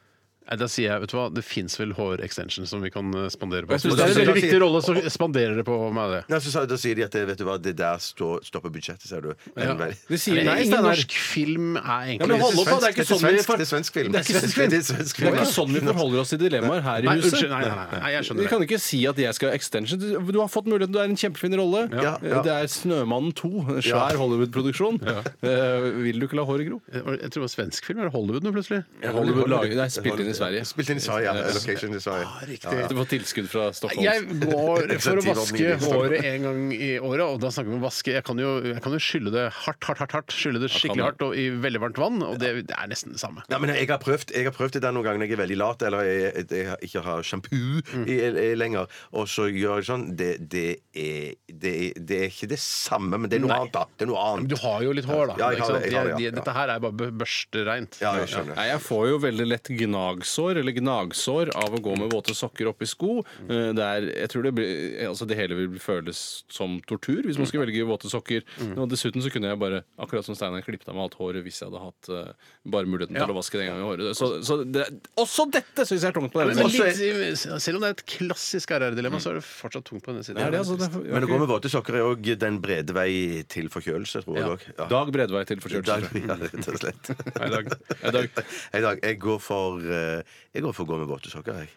Speaker 3: Nei, Da sier jeg, vet du hva, det fins vel hårextension som vi kan eh, spandere på.
Speaker 4: Jeg
Speaker 3: Men
Speaker 4: synes
Speaker 3: det er en
Speaker 4: det er-
Speaker 3: veldig viktig rolle, så spanderer det på meg, det.
Speaker 2: Nei, så, sa- da sier de at eh, vet du hva, det der står, stopper budsjettet, sier du.
Speaker 3: Ja. [laughs]
Speaker 2: Men vel-
Speaker 4: De sier
Speaker 3: Men
Speaker 4: nei,
Speaker 3: Ingen
Speaker 4: Steinar.
Speaker 3: norsk film er
Speaker 4: Ja,
Speaker 3: egentlig
Speaker 4: men hold opp, da. Det er ikke
Speaker 2: Dette er
Speaker 4: sånn vi
Speaker 2: svensk- det er svensk film.
Speaker 4: Det er ikke svensk film.
Speaker 2: Det er svensk
Speaker 4: Det
Speaker 2: film,
Speaker 4: er ikke
Speaker 2: ja.
Speaker 4: sånn vi forholder oss til dilemmaer her i
Speaker 3: Nei,
Speaker 4: huset.
Speaker 3: unnskyld. Nei, nei, nei, nei, jeg skjønner
Speaker 4: Vi
Speaker 3: det.
Speaker 4: kan ikke si at jeg skal ha extension. Du du har fått muligheten, du er en kjempefin rolle. Eh,
Speaker 2: Ja, ja.
Speaker 4: Det er 'Snømannen 2', en svær Hollywood-produksjon. Eh, vil du ikke la håret gro?
Speaker 3: Jeg Eh, jeg tror det var svensk film. Er det Hollywood nå, plutselig?
Speaker 4: Hollywood lager, det er spilt inn i Sverige.
Speaker 2: Spilt inn i Sverige, ja. Location i Sverige.
Speaker 3: Riktig.
Speaker 4: Du får tilskudd fra Stockholm.
Speaker 3: Jeg går for å
Speaker 2: Insentiv av
Speaker 3: vaske
Speaker 2: nylig.
Speaker 3: håret en gang i året, og da snakker vi om vaske. Jeg kan jo, jeg kan jo skylle det hardt, hardt, hardt, hardt. Skylle det
Speaker 4: du.
Speaker 3: skikkelig hardt og i veldig varmt vann, og det, det er nesten det samme.
Speaker 2: Ja, men jeg har, prøvd, jeg har prøvd det der noen ganger når jeg er veldig lat eller jeg, jeg, jeg ikke har sjampo i- i- lenger. Og så gjør jeg sånn. Det, det, er, det, er, det er ikke det samme, men det er noe
Speaker 3: Nei.
Speaker 2: annet, da. Det er noe
Speaker 3: Men
Speaker 2: annet.
Speaker 3: du har jo litt hår, da.
Speaker 2: Ja, jeg har
Speaker 3: ikke
Speaker 2: det,
Speaker 3: sant?
Speaker 2: jeg har
Speaker 3: De-
Speaker 2: det, ja.
Speaker 3: de- Dette her er bare bø- børstereint.
Speaker 2: Ja, jeg skjønner.
Speaker 4: Nei, jeg får jo veldig lett gnagsår eller gnagsår av å gå med våte sokker oppi sko. Eh, Det, er, jeg tror det, blir, altså det hele vil føles som tortur hvis man skal velge våte sokker. Og dessuten så kunne jeg bare, akkurat som Steinar, klippet av meg alt håret hvis jeg hadde hatt eh, bare muligheten
Speaker 3: Ja.
Speaker 4: til å vaske det en gang i året. Så, så det, også dette syns jeg er tungt på
Speaker 3: Men,
Speaker 4: denne
Speaker 3: men
Speaker 4: siden.
Speaker 3: litt, selv om det er et klassisk RR-dilemma, så er det fortsatt tungt på denne siden.
Speaker 4: Ja, det er altså- det er-
Speaker 2: Men å gå med våte sokker er òg den brede vei til forkjølelse, tror jeg
Speaker 3: Ja.
Speaker 2: òg. Ja.
Speaker 4: Dag Bredvei til
Speaker 2: Dag,
Speaker 4: forkjølelse.
Speaker 2: [laughs] ja, rett og slett.
Speaker 4: Hei, Dag. Hei, Dag.
Speaker 2: Hei, Dag. Jeg går for eh, Jeg går for å gå med våte sokker, jeg.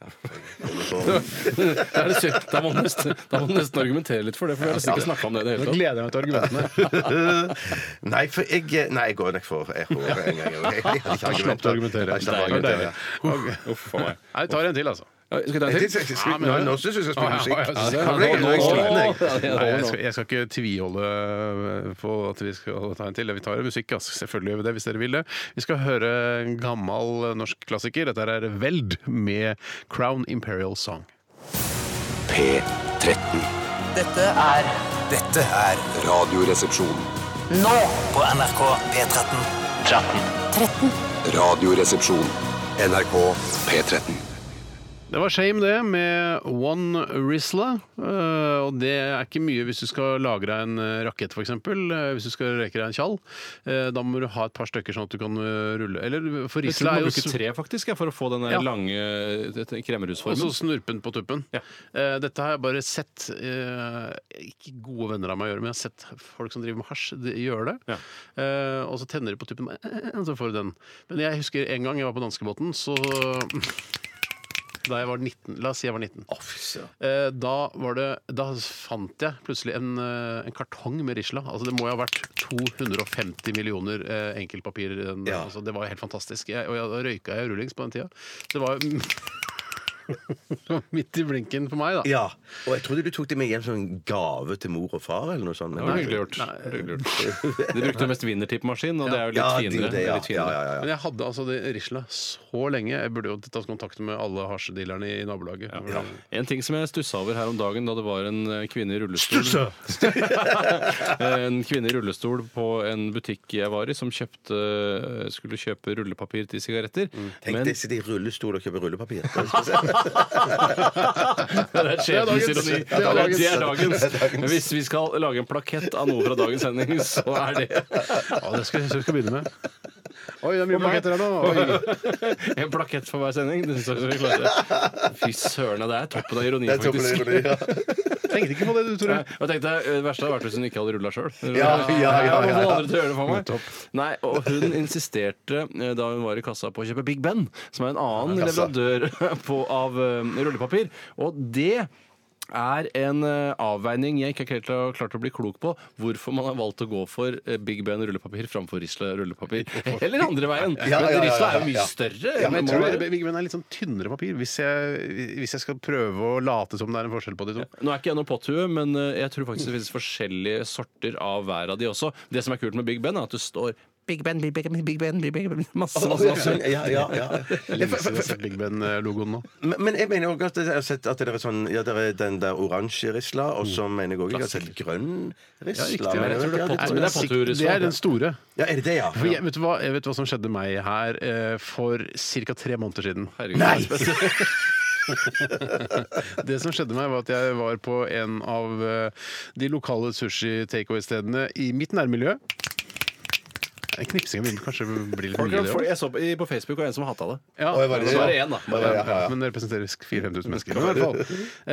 Speaker 2: Ja, jeg går for- [laughs]
Speaker 4: Da er det sykt. Da må man nesten, da må man nesten argumentere litt for det, for vi har nesten ikke snakka om det i det hele
Speaker 3: Nå
Speaker 4: tatt.
Speaker 3: gleder jeg meg til argumentene.
Speaker 2: nei, for jeg Nei, jeg går nok for jeg håper en gang. Jeg, jeg, jeg,
Speaker 3: Da slapp du å argumentere.
Speaker 2: Jeg slapp å argumentere.
Speaker 4: Uff a meg.
Speaker 3: Nei, vi tar en til, altså.
Speaker 4: Ja, Skal vi ta en
Speaker 2: Jeg
Speaker 4: til?
Speaker 2: synes jeg skal- Nå nå synes jeg jeg skal
Speaker 3: Å, ja,
Speaker 2: spille musikk.
Speaker 3: ja, ja,
Speaker 2: Ja,
Speaker 3: ja,
Speaker 2: nå ble jeg- nå er jeg sliten, jeg.
Speaker 3: Nei, jeg, skal,
Speaker 4: Nei,
Speaker 3: jeg skal ikke tviholde eh, på at vi skal ta en til. Vi tar musikk, ass. selvfølgelig gjør vi det, hvis dere vil det. Vi skal høre en gammel eh, norsk klassiker. Dette her er Veld med Crown Imperial Song.
Speaker 5: P13.
Speaker 10: Dette er
Speaker 8: Dette er
Speaker 5: Radioresepsjon.
Speaker 10: nå på NRK P13. 13.
Speaker 5: Radioresepsjon. NRK P13.
Speaker 3: Det var shame, det, med One Risla. Eh, Og det er ikke mye hvis du skal lagre en eh, rakett, f.eks. Hvis du skal reke deg en tjall. Eh, Da må du ha et par stykker sånn at du kan eh, rulle Eller for
Speaker 4: Jeg
Speaker 3: Risla
Speaker 4: tror man
Speaker 3: er jo
Speaker 4: bruker tre faktisk, ja, for å få den der
Speaker 3: Ja.
Speaker 4: lange eh,
Speaker 3: Og så
Speaker 4: kremmerhusformen.
Speaker 3: snurpen på tuppen.
Speaker 4: Ja.
Speaker 3: Eh, dette har jeg bare sett eh, Ikke gode venner av meg gjøre, men jeg har sett folk som driver med hasj, de, gjøre det.
Speaker 4: Ja.
Speaker 3: Eh, og så tenner de på tuppen, eh, eh, eh, så får du den. Men jeg husker en gang jeg var på danskebåten, så [laughs] da jeg var 19, La oss si jeg var 19. Eh, Da, var det, da fant jeg plutselig en, eh, en kartong med Risla. Altså, det må jo ha vært 250 millioner eh, enkeltpapirer. i den.
Speaker 2: Ja.
Speaker 3: Altså, det var jo helt fantastisk. Jeg, og jeg, da røyka jeg rullings på den tida. Det var [laughs] Midt i blinken for meg, da.
Speaker 2: Ja. Og jeg trodde du tok det med hjem som en gave til mor og far, eller noe sånt.
Speaker 4: Det var hyggelig gjort. Det var hyggelig gjort. De brukte mest Winnertip-maskin, og det er jo
Speaker 2: Ja,
Speaker 4: litt
Speaker 2: det er jo
Speaker 4: finere.
Speaker 2: det, ja.
Speaker 4: litt finere.
Speaker 2: Ja, ja, ja.
Speaker 3: Men jeg hadde altså det risla så lenge. Jeg burde jo tatt kontakt med alle hasjedealerne i nabolaget. Ja.
Speaker 4: En ting som jeg stussa over her om dagen da det var en eh, kvinne i rullestol [laughs] En kvinne i rullestol på en butikk jeg var i, som kjøpte, eh, skulle kjøpe rullepapir til sigaretter.
Speaker 2: Mm. Tenk
Speaker 4: Men
Speaker 2: deg å sitte i rullestol og kjøpe rullepapir.
Speaker 4: [laughs] det er skjebnens ironi.
Speaker 2: Det er dagens.
Speaker 4: Det er dagens.
Speaker 2: Det er dagens.
Speaker 4: Men Hvis vi skal lage en plakett av noe fra dagens sending, så er det
Speaker 3: Ja, det skal jeg skal begynne med. [laughs] Oi, det er mye plaketter her nå. Oi.
Speaker 4: [laughs] En plakett for hver sending. Det synes jeg vi klarer. Fy søren, det er toppen av ironi,
Speaker 2: Det er toppen av
Speaker 4: faktisk.
Speaker 2: ironi, ja.
Speaker 3: Tenkte ikke på det, du, Tore.
Speaker 4: Nei, og jeg tenkte, eh, Det verste hadde vært hvis hun ikke hadde rulla sjøl.
Speaker 2: [laughs] Ja, ja, ja, ja, ja.
Speaker 4: Andre til å gjøre det for meg. Nei, og hun insisterte eh, da hun var i kassa på å kjøpe Big Ben, som er en annen
Speaker 2: Kassa.
Speaker 4: leverandør [laughs] på, av eh, rullepapir. Og det er en eh, avveining jeg ikke har klart, å- klart å bli klok på. Hvorfor man har valgt å gå for eh, Big Ben rullepapir framfor Risla rullepapir.
Speaker 2: [laughs]
Speaker 4: Eller andre veien.
Speaker 2: ja, ja, ja,
Speaker 4: Men Risla er jo
Speaker 2: ja.
Speaker 4: mye større.
Speaker 3: Ja, men jeg
Speaker 4: Det må
Speaker 3: tror
Speaker 4: være-
Speaker 3: det- Vigmen er litt sånn tynnere papir, hvis jeg, hvis jeg skal prøve å late som det er en forskjell på de to.
Speaker 4: Nå er ikke jeg noe potthue, men eh, jeg tror faktisk det finnes forskjellige sorter av hver av de også. Det som er kult med Big Ben, er at du står Big Ben, Big Ben, Big Ben, Big Ben, masse, masse, masse.
Speaker 2: Ja, ja, ja.
Speaker 3: Lenge siden jeg har sett Big Ben-logoen nå.
Speaker 2: Men men jeg mener også at jeg har sett at det er sånn Ja, det er den der oransje risla, og så mener jeg også jeg har sett grønn risla.
Speaker 3: men jeg tror
Speaker 2: mener du?
Speaker 3: det er
Speaker 2: Ja,
Speaker 4: potthue.
Speaker 2: tror
Speaker 4: Men
Speaker 2: jeg.
Speaker 4: det er potthue.
Speaker 3: Det er den store.
Speaker 2: Ja, er det det, ja?
Speaker 3: For jeg, vet, du hva, jeg vet hva som skjedde meg her eh, for ca. tre måneder siden.
Speaker 4: Herregud, Nei! det
Speaker 3: [laughs]
Speaker 4: er
Speaker 3: det som skjedde meg, var at jeg var på en av eh, de lokale sushi-takeaway-stedene i mitt nærmiljø. Knipsinga begynner kanskje å bli litt
Speaker 4: Folk
Speaker 3: mye,
Speaker 4: er-
Speaker 3: det
Speaker 4: folk-
Speaker 3: òg.
Speaker 4: Jeg så på, i- på Facebook og en som hata det.
Speaker 3: Ja,
Speaker 2: Oi, var det
Speaker 4: Så
Speaker 2: ja.
Speaker 4: var det én, da.
Speaker 2: Var det, ja, ja, ja.
Speaker 3: Men det representerer 4000-5000 mennesker. Men i hvert fall.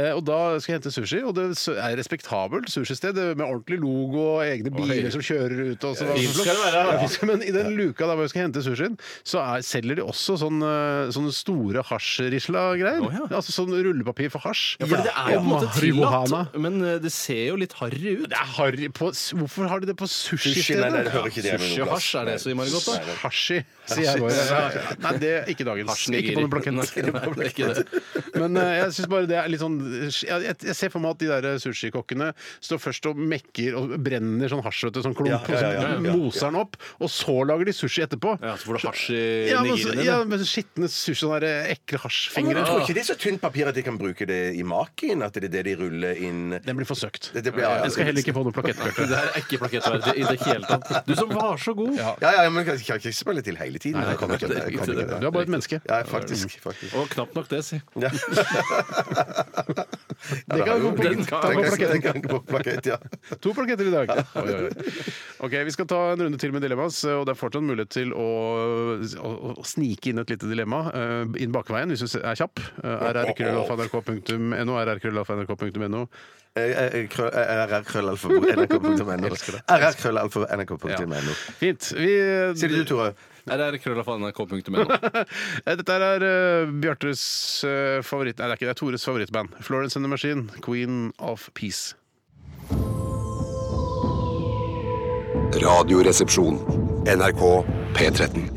Speaker 3: Eh, Og da skal jeg hente sushi, og det er et respektabelt sushisted med ordentlig logo og egne biler som kjører ut. Og så,
Speaker 4: Fint skal det være, da.
Speaker 3: Ja, fint skal- Men i den luka der hvor jeg skal hente sushien, så er, selger de også sånn, eh, sånne store hasjrisla-greier.
Speaker 4: Å, ja.
Speaker 3: Altså sånn rullepapir for hasj.
Speaker 4: Ja, for det er jo på en måte
Speaker 3: Marihuana.
Speaker 4: tillatt, men eh, det ser jo litt harry ut.
Speaker 3: Det er harry på, hvorfor har de det på
Speaker 2: Sushi, nei, nei, det hører
Speaker 3: sushistedet?
Speaker 2: ikke det med noen
Speaker 4: Sushi og
Speaker 2: plass.
Speaker 4: hasj, er det så innmari godt, da?
Speaker 3: Hashi, sier jeg bare. Nei, det er ikke dagens.
Speaker 4: Hasjen i
Speaker 3: Ikke på
Speaker 4: Giri.
Speaker 3: en
Speaker 2: [laughs]
Speaker 3: plakett.
Speaker 4: Nei, nei, det er ikke det.
Speaker 3: Men eh, jeg synes bare det er litt sånn jeg, jeg- jeg ser for meg at de der eh, sushikokkene står først og mekker og brenner sånn hasj, vet du, sånn klump,
Speaker 2: Ja, ja, ja, ja,
Speaker 3: og
Speaker 2: ja, ja.
Speaker 3: så moser den opp, og så lager de sushi etterpå.
Speaker 4: Ja, så får du hasj i
Speaker 3: Ja, men, så-
Speaker 4: nigirien din.
Speaker 3: ja,
Speaker 4: Ja.
Speaker 3: men skitne sushi, sånne der ekle
Speaker 2: Men
Speaker 3: hasjfingre.
Speaker 2: jeg tror ikke det er så tynt papir at de kan bruke det i maken, at det er det de ruller inn
Speaker 3: Den blir forsøkt.
Speaker 2: Det- det blir- liksom- ja, ja.
Speaker 3: Den skal heller ikke få noe plakett.
Speaker 4: Det
Speaker 2: [laughs]
Speaker 3: Bjarte.
Speaker 4: her er ikke plakettverdig i det hele tatt. Du som var så god.
Speaker 2: Ja, ja, men jeg kan ikke spille til hele tiden. Jeg kan ikke det. Jeg kan
Speaker 3: Du
Speaker 2: ikke det.
Speaker 3: er bare et menneske.
Speaker 2: Ja, faktisk. faktisk.
Speaker 4: Og knapt nok det, si.
Speaker 3: [laughs]
Speaker 2: Ja.
Speaker 3: Det kan gå på,
Speaker 4: Den
Speaker 3: ta
Speaker 4: kan-
Speaker 3: på plaketten.
Speaker 2: Den kan gå på plakett, ja.
Speaker 3: To plaketter i dag. Oi, oi, oi. Ok, Vi skal ta en runde til med dilemmas, og det er fortsatt mulighet til å, å, å snike inn et lite dilemma eh, inn bakveien hvis du er kjapp. Eh, rrkrøllalfa.nrk.no, rrkrøllalfa.nrk.no.
Speaker 2: [laughs] rrkrøllalfa.nrk.no. rrkrøllalfa.nrk.no.
Speaker 3: Fint. Vi,
Speaker 2: Sier det du, Tore?
Speaker 4: rrkrøllalfa.nrk.no.
Speaker 3: Eh, Dette er eh, Bjartes eh, favoritt... Nei, det er ikke det, det er Tores favorittband. Florence and the Machine, Queen of Peace.
Speaker 5: Radioresepsjon. NRK P13.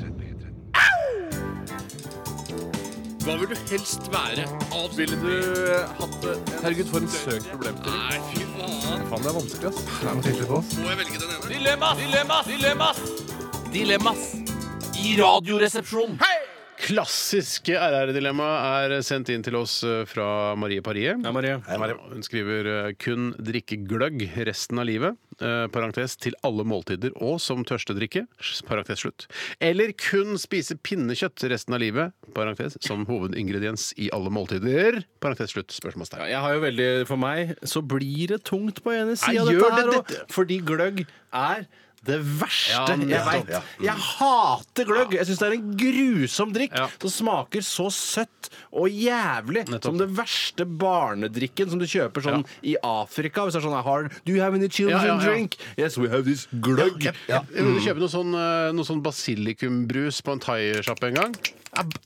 Speaker 1: Hva vil du helst være? Avspille
Speaker 4: Ville du eh, hatt det? Herregud, for en søk problemstilling.
Speaker 1: Nei, fy faen.
Speaker 4: Faen, det er vanskelig, ass.
Speaker 1: Må jeg velge den ene? Dilemmas! Dilemmas! Dilemmas! Dilemmas i Radioresepsjonen.
Speaker 3: Klassiske RR-dilemma er sendt inn til oss eh, fra Marie Parie.
Speaker 4: Ja, Marie.
Speaker 3: Hun skriver eh, 'kun drikke gløgg resten av livet', eh, parentes, til alle måltider og som tørstedrikke, s- parentes slutt. Eller kun spise pinnekjøtt resten av livet, parentes, som hovedingrediens i alle måltider, parentes slutt, spørsmålstegn.
Speaker 4: Jeg har jo veldig, For meg så blir det tungt på ene
Speaker 3: Nei,
Speaker 4: sida
Speaker 3: gjør
Speaker 4: dette her
Speaker 3: det,
Speaker 4: òg. Fordi gløgg er det verste jeg
Speaker 2: nettopp,
Speaker 4: veit.
Speaker 2: ja.
Speaker 4: Jeg hater gløgg. Jeg syns det er en grusom drikk
Speaker 3: Ja.
Speaker 4: som smaker så søtt og jævlig som det verste barnedrikken som du kjøper sånn i Afrika. Hvis det er sånn hard Do you have any children
Speaker 3: Ja, ja, ja.
Speaker 4: drink? Yes, we have this gløgg.
Speaker 3: eh, Jeg ville kjøpe noe sånn, eh, noe sånn basilikumbrus på en thaisjappe en gang.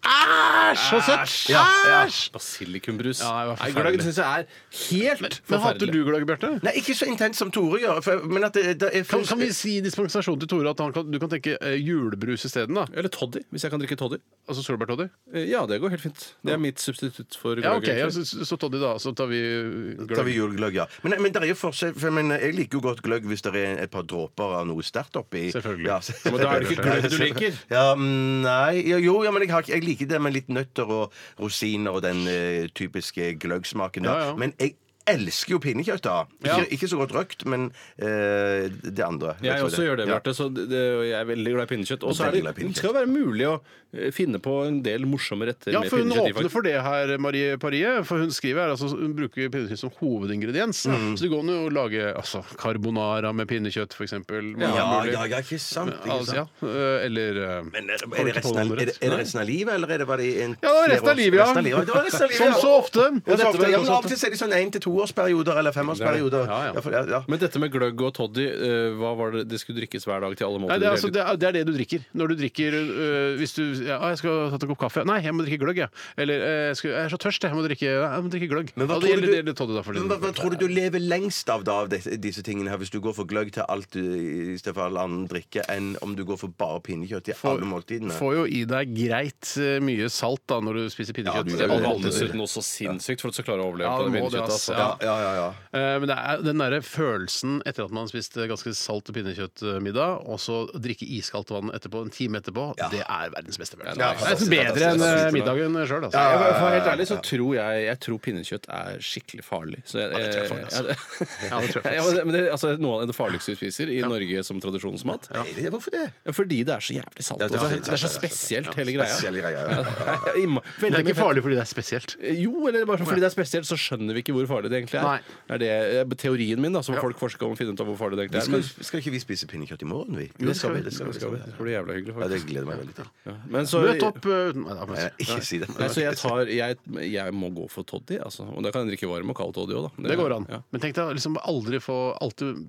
Speaker 3: Æsj, så søtt!
Speaker 4: Ja, ja.
Speaker 3: Æsj!
Speaker 4: Basilikumbrus.
Speaker 3: Ja, det var
Speaker 4: Nei,
Speaker 3: forferdelig.
Speaker 4: gløgg syns jeg er helt
Speaker 3: Men hater du gløgg, Bjarte?
Speaker 2: Nei, ikke så intenst som Tore gjør. For, men at det, det er
Speaker 3: Kan, kan vi si dispensasjon til Tore at han kan, du kan tenke eh, julebrus isteden? da?
Speaker 4: Eller toddy, hvis jeg kan drikke toddy.
Speaker 3: Altså solbærtoddy?
Speaker 4: Eh, Ja, det går helt fint. Det er mitt substitutt for
Speaker 3: Ja, ok,
Speaker 4: egentlig.
Speaker 3: ja, så, så toddy, da. Så tar vi eh,
Speaker 2: Tar vi
Speaker 3: gløgg.
Speaker 2: julegløgg, ja. Men, men det er jo forskjell for, men Jeg liker jo godt gløgg hvis det er et par dråper av noe sterkt oppi.
Speaker 3: Selvfølgelig.
Speaker 2: Ja,
Speaker 4: Men da er det ikke gløgg du liker.
Speaker 2: Ja, mm, nei ja, Jo, ja, men jeg, har, ikke- jeg liker det med litt nøtter og rosiner og den eh, typiske gløggsmaken. da.
Speaker 3: Ja, ja.
Speaker 2: Men jeg elsker jo pinnekjøtt, da. Ikke, ikke så godt røkt, men eh, det andre.
Speaker 4: Jeg
Speaker 2: tror
Speaker 4: også gjør det, Bjarte. så det- det- og Jeg er veldig glad i pinnekjøtt. Og så er
Speaker 2: Veldig
Speaker 4: det,
Speaker 2: glad i
Speaker 4: det
Speaker 2: pinnekjøtt.
Speaker 4: skal være mulig å eh, finne på en del morsomme retter
Speaker 3: Ja,
Speaker 4: med
Speaker 3: for hun
Speaker 4: pinnekjøtt. i,
Speaker 3: åpner for det her, Marie Parie. For hun skriver her, altså hun bruker pinnekjøtt som hovedingrediens. Så det går an å lage altså, carbonara med pinnekjøtt, for eksempel.
Speaker 2: Ja,
Speaker 3: Mange
Speaker 2: ja,
Speaker 3: mulige-
Speaker 2: ja, ikke sant. Ikke sant.
Speaker 3: Altså, ja. eh, Eller eh,
Speaker 2: Men er,
Speaker 3: kommer
Speaker 2: er, det
Speaker 3: ikke på
Speaker 2: resten
Speaker 3: noen
Speaker 2: av, er, det,
Speaker 3: rett.
Speaker 2: er det resten av livet, eller er det bare i
Speaker 3: Ja,
Speaker 2: en
Speaker 3: det var resten av livet, ja.
Speaker 2: Resten av livet. Det var resten av livet,
Speaker 3: Som
Speaker 2: ja.
Speaker 3: så ofte.
Speaker 2: Ja,
Speaker 3: Som så
Speaker 2: dette,
Speaker 3: ofte, som
Speaker 2: ja, men
Speaker 3: så
Speaker 2: av og til så er det sånn én- til toårsperioder eller femårsperioder.
Speaker 3: Ja, ja.
Speaker 2: Ja, for- ja, ja.
Speaker 4: Men dette med gløgg og toddy, eh, hva var det det skulle drikkes hver dag til alle
Speaker 3: Nei,
Speaker 4: måltider?
Speaker 3: det, er, altså, det, er, det er det du drikker. Når du drikker øh, Hvis du ja, «Å, 'Jeg skal ta en kopp kaffe.' 'Nei, jeg må drikke gløgg', jeg. Eller øh, jeg, skal, 'Jeg er så tørst, jeg må drikke, jeg må drikke gløgg'.
Speaker 2: Men hva,
Speaker 3: Ja, det
Speaker 2: tror
Speaker 3: gjelder
Speaker 2: du,
Speaker 3: det, det, tar du da, for
Speaker 2: men hva, hva tror du du lever lengst av da, av disse, disse tingene her, hvis du går for gløgg til alt du, i stedet for all annen drikke, enn om du går for bare pinnekjøtt til alle måltidene?
Speaker 3: Får jo i deg greit øh, mye salt da når du spiser pinnekjøtt.
Speaker 2: du-
Speaker 3: Det er
Speaker 2: du-
Speaker 4: Og
Speaker 3: alle andre.
Speaker 2: du-
Speaker 4: dessuten også sinnssykt for at du skal klare å overleve
Speaker 3: Ja,
Speaker 4: på
Speaker 3: det
Speaker 4: det
Speaker 3: må det,
Speaker 4: pinnekjøttet.
Speaker 3: ass.
Speaker 4: Altså.
Speaker 2: ja, ja, ja, ja.
Speaker 3: Eh, Men det er den derre følelsen etter at man spiste ganske salt pinnekjøttmiddag, og så drikke iskaldt vann etterpå, en time etterpå, det er verdens beste følelse.
Speaker 2: Ja,
Speaker 3: det er nesten bedre enn øh, middagen sjøl, altså.
Speaker 4: Jeg, for å være helt ærlig så tror jeg, jeg tror pinnekjøtt er skikkelig farlig. Så jeg,
Speaker 3: det tror
Speaker 4: [laughs]
Speaker 3: jeg farlig, altså. Ja, det tror jeg faktisk.
Speaker 4: Ja, men det- men det, altså, noe av det farligste vi spiser i Norge som tradisjonsmat.
Speaker 2: Nei, Hvorfor det?
Speaker 4: Ja, Fordi det er så jævlig salt.
Speaker 2: Ja, det er
Speaker 4: altså.
Speaker 2: så-
Speaker 4: det er så spesielt, hele greia.
Speaker 2: Spesielle greier. Ja, ja, ja.
Speaker 4: Ja, imma-
Speaker 3: Det
Speaker 4: veldig
Speaker 3: er
Speaker 4: mye
Speaker 3: ikke
Speaker 4: fett.
Speaker 3: farlig fordi det er spesielt.
Speaker 4: Jo, eller bare fordi det er spesielt, så skjønner vi ikke hvor farlig det egentlig
Speaker 3: Nei.
Speaker 4: er. er det er teorien min, da, som folk forsker om å finne ut av hvor farlig det egentlig er.
Speaker 2: Skal,
Speaker 4: Men
Speaker 2: skal ikke vi spise pinnekjøtt i morgen, vi?
Speaker 4: det skal vi.
Speaker 2: Det skal vi, det skal vi.
Speaker 4: Det blir jævla hyggelig,
Speaker 2: Ja, det
Speaker 4: faktisk.
Speaker 2: gleder jeg meg veldig til.
Speaker 4: Ja. Men så,
Speaker 3: Møt opp øh, nei, da,
Speaker 2: Nei,
Speaker 3: men-
Speaker 2: ikke si det.
Speaker 4: Nei, så jeg, tar, jeg, jeg må gå for toddy, altså. Og da kan jeg drikke varm og kald toddy òg, da.
Speaker 3: Det går an.
Speaker 4: Ja.
Speaker 3: Men tenk deg å liksom aldri få alltid,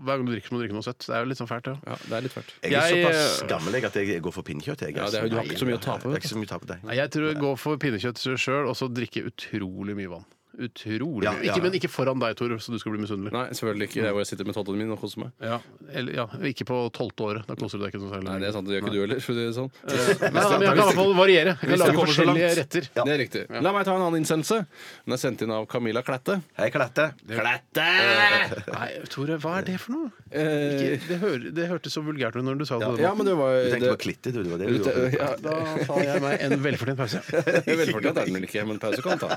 Speaker 3: Hver gang du drikker, må du drikke noe søtt. Det er jo litt sånn fælt, ja.
Speaker 4: Ja, det er litt fælt.
Speaker 2: Jeg er
Speaker 3: Jeg,
Speaker 2: såpass
Speaker 3: eh,
Speaker 2: gammel jeg, at jeg går for pinnekjøtt. Jeg,
Speaker 4: Ja, det er jo- du har ikke så mye å tape,
Speaker 2: Det
Speaker 4: vet
Speaker 2: er ikke så mye å tape, nei.
Speaker 3: Nei, jeg tror jeg går for pinnekjøtt sjøl, og så drikke utrolig mye vann. Utrolig
Speaker 2: Ja,
Speaker 3: mye.
Speaker 2: ja.
Speaker 3: Ikke, men ikke foran deg, Tor, så du skal bli misunnelig.
Speaker 4: Nei, selvfølgelig ikke. Det er hvor jeg sitter med toddyen min og koser meg.
Speaker 3: Ja, eller, ja, ikke på tolvte året. Da koser du deg ikke noe særlig.
Speaker 4: Nei, det er sant. Det gjør ikke du heller, for å si det sånn.
Speaker 3: Nei, nei, Eh,
Speaker 4: [laughs]
Speaker 3: men jeg kan i hvert fall variere. Jeg kan
Speaker 4: Hvis det
Speaker 3: lage
Speaker 4: kommer så
Speaker 3: forskjellige
Speaker 4: langt.
Speaker 3: retter.
Speaker 4: Det er riktig. La meg ta en annen innsendelse. Den er sendt inn av Camilla Klette.
Speaker 2: Hei, Klette.
Speaker 3: Nei, Tore, hva er det for noe?
Speaker 4: Eh,
Speaker 3: Ikke, det, hør, det hørtes så vulgært ut når du sa det.
Speaker 4: ja, men det var
Speaker 2: Du tenkte på
Speaker 4: det,
Speaker 2: klitte, du. Det var det du
Speaker 4: det,
Speaker 2: gjorde.
Speaker 4: ja,
Speaker 3: Da tar jeg meg en velfortjent
Speaker 4: [laughs]
Speaker 3: pause.
Speaker 4: Det er Velfortjent er den vel ikke, men pause kan ta.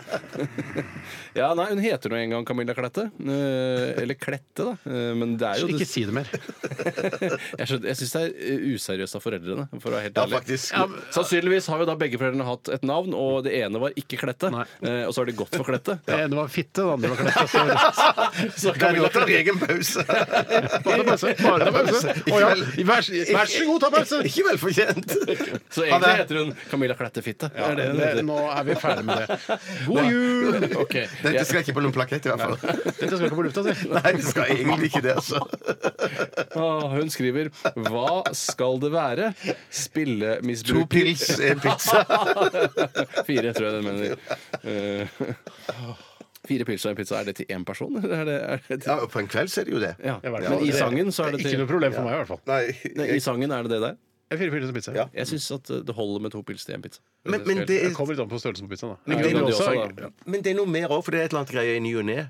Speaker 4: [laughs] Ja, nei, Hun heter nå engang Camilla Klette. Eh, Eller Klette, da. Eh, Men det [laughs] er jo
Speaker 3: Ikke si det mer.
Speaker 4: Jeg, skjønner- jeg syns det er eh, useriøst av foreldrene, for å være helt
Speaker 2: Ja,
Speaker 4: ærlig.
Speaker 2: faktisk.
Speaker 4: Sannsynligvis har jo da begge foreldrene hatt et navn, og det ene var ikke Klette.
Speaker 3: Nei.
Speaker 4: eh, Og så har de gått for Klette.
Speaker 2: [laughs]
Speaker 3: Eh, Det ene var fitte, det andre var
Speaker 4: [laughs]
Speaker 3: klett.
Speaker 4: Så
Speaker 2: Kan vi
Speaker 4: Camilla
Speaker 2: godt ta en egen pause?
Speaker 3: Bare ta pause. Bare ta pause. Å ja, vær, så- vær så god, ta pause!
Speaker 2: Ikke velfortjent.
Speaker 4: Så
Speaker 2: Ha
Speaker 4: egentlig
Speaker 2: det.
Speaker 4: heter hun Camilla Klette Fitte. er det hun
Speaker 3: det,
Speaker 4: heter.
Speaker 3: nå er vi ferdig med det. God jul!
Speaker 4: Ok,
Speaker 2: Dette
Speaker 4: jeg-
Speaker 2: skal ikke på noen plakett, i hvert fall.
Speaker 3: Dette skal ikke på lufta, si.
Speaker 2: Nei, det skal egentlig ikke det, altså.
Speaker 4: Åh, Ah, hun skriver Hva skal det være?
Speaker 2: To
Speaker 4: Spillemisbruk
Speaker 2: pils, en pizza.
Speaker 4: [laughs] Fire, tror jeg den mener. Eh, fire pils og en pizza. Er det til én person? eller Er det, er det til,
Speaker 2: Ja, og på en kveld så er det jo det.
Speaker 4: ja.
Speaker 3: Jeg vet
Speaker 4: Men
Speaker 3: ikke.
Speaker 4: i sangen så er det
Speaker 3: Ikke
Speaker 4: til
Speaker 3: noe problem for meg, i hvert fall.
Speaker 2: Nei.
Speaker 4: Nei, I sangen er det det der?
Speaker 3: Jeg fyrer pils og pizza.
Speaker 2: Ja.
Speaker 4: Jeg syns at eh, det holder med to pils til én pizza.
Speaker 2: Men, men, det
Speaker 3: Det
Speaker 2: er,
Speaker 3: kommer litt an på størrelsen på pizzaen. da.
Speaker 4: Men
Speaker 3: Ja,
Speaker 4: det er
Speaker 3: men
Speaker 4: jo
Speaker 3: også-
Speaker 4: også, da.
Speaker 2: men det er noe mer òg, for det er et eller annet greie i ny og ne.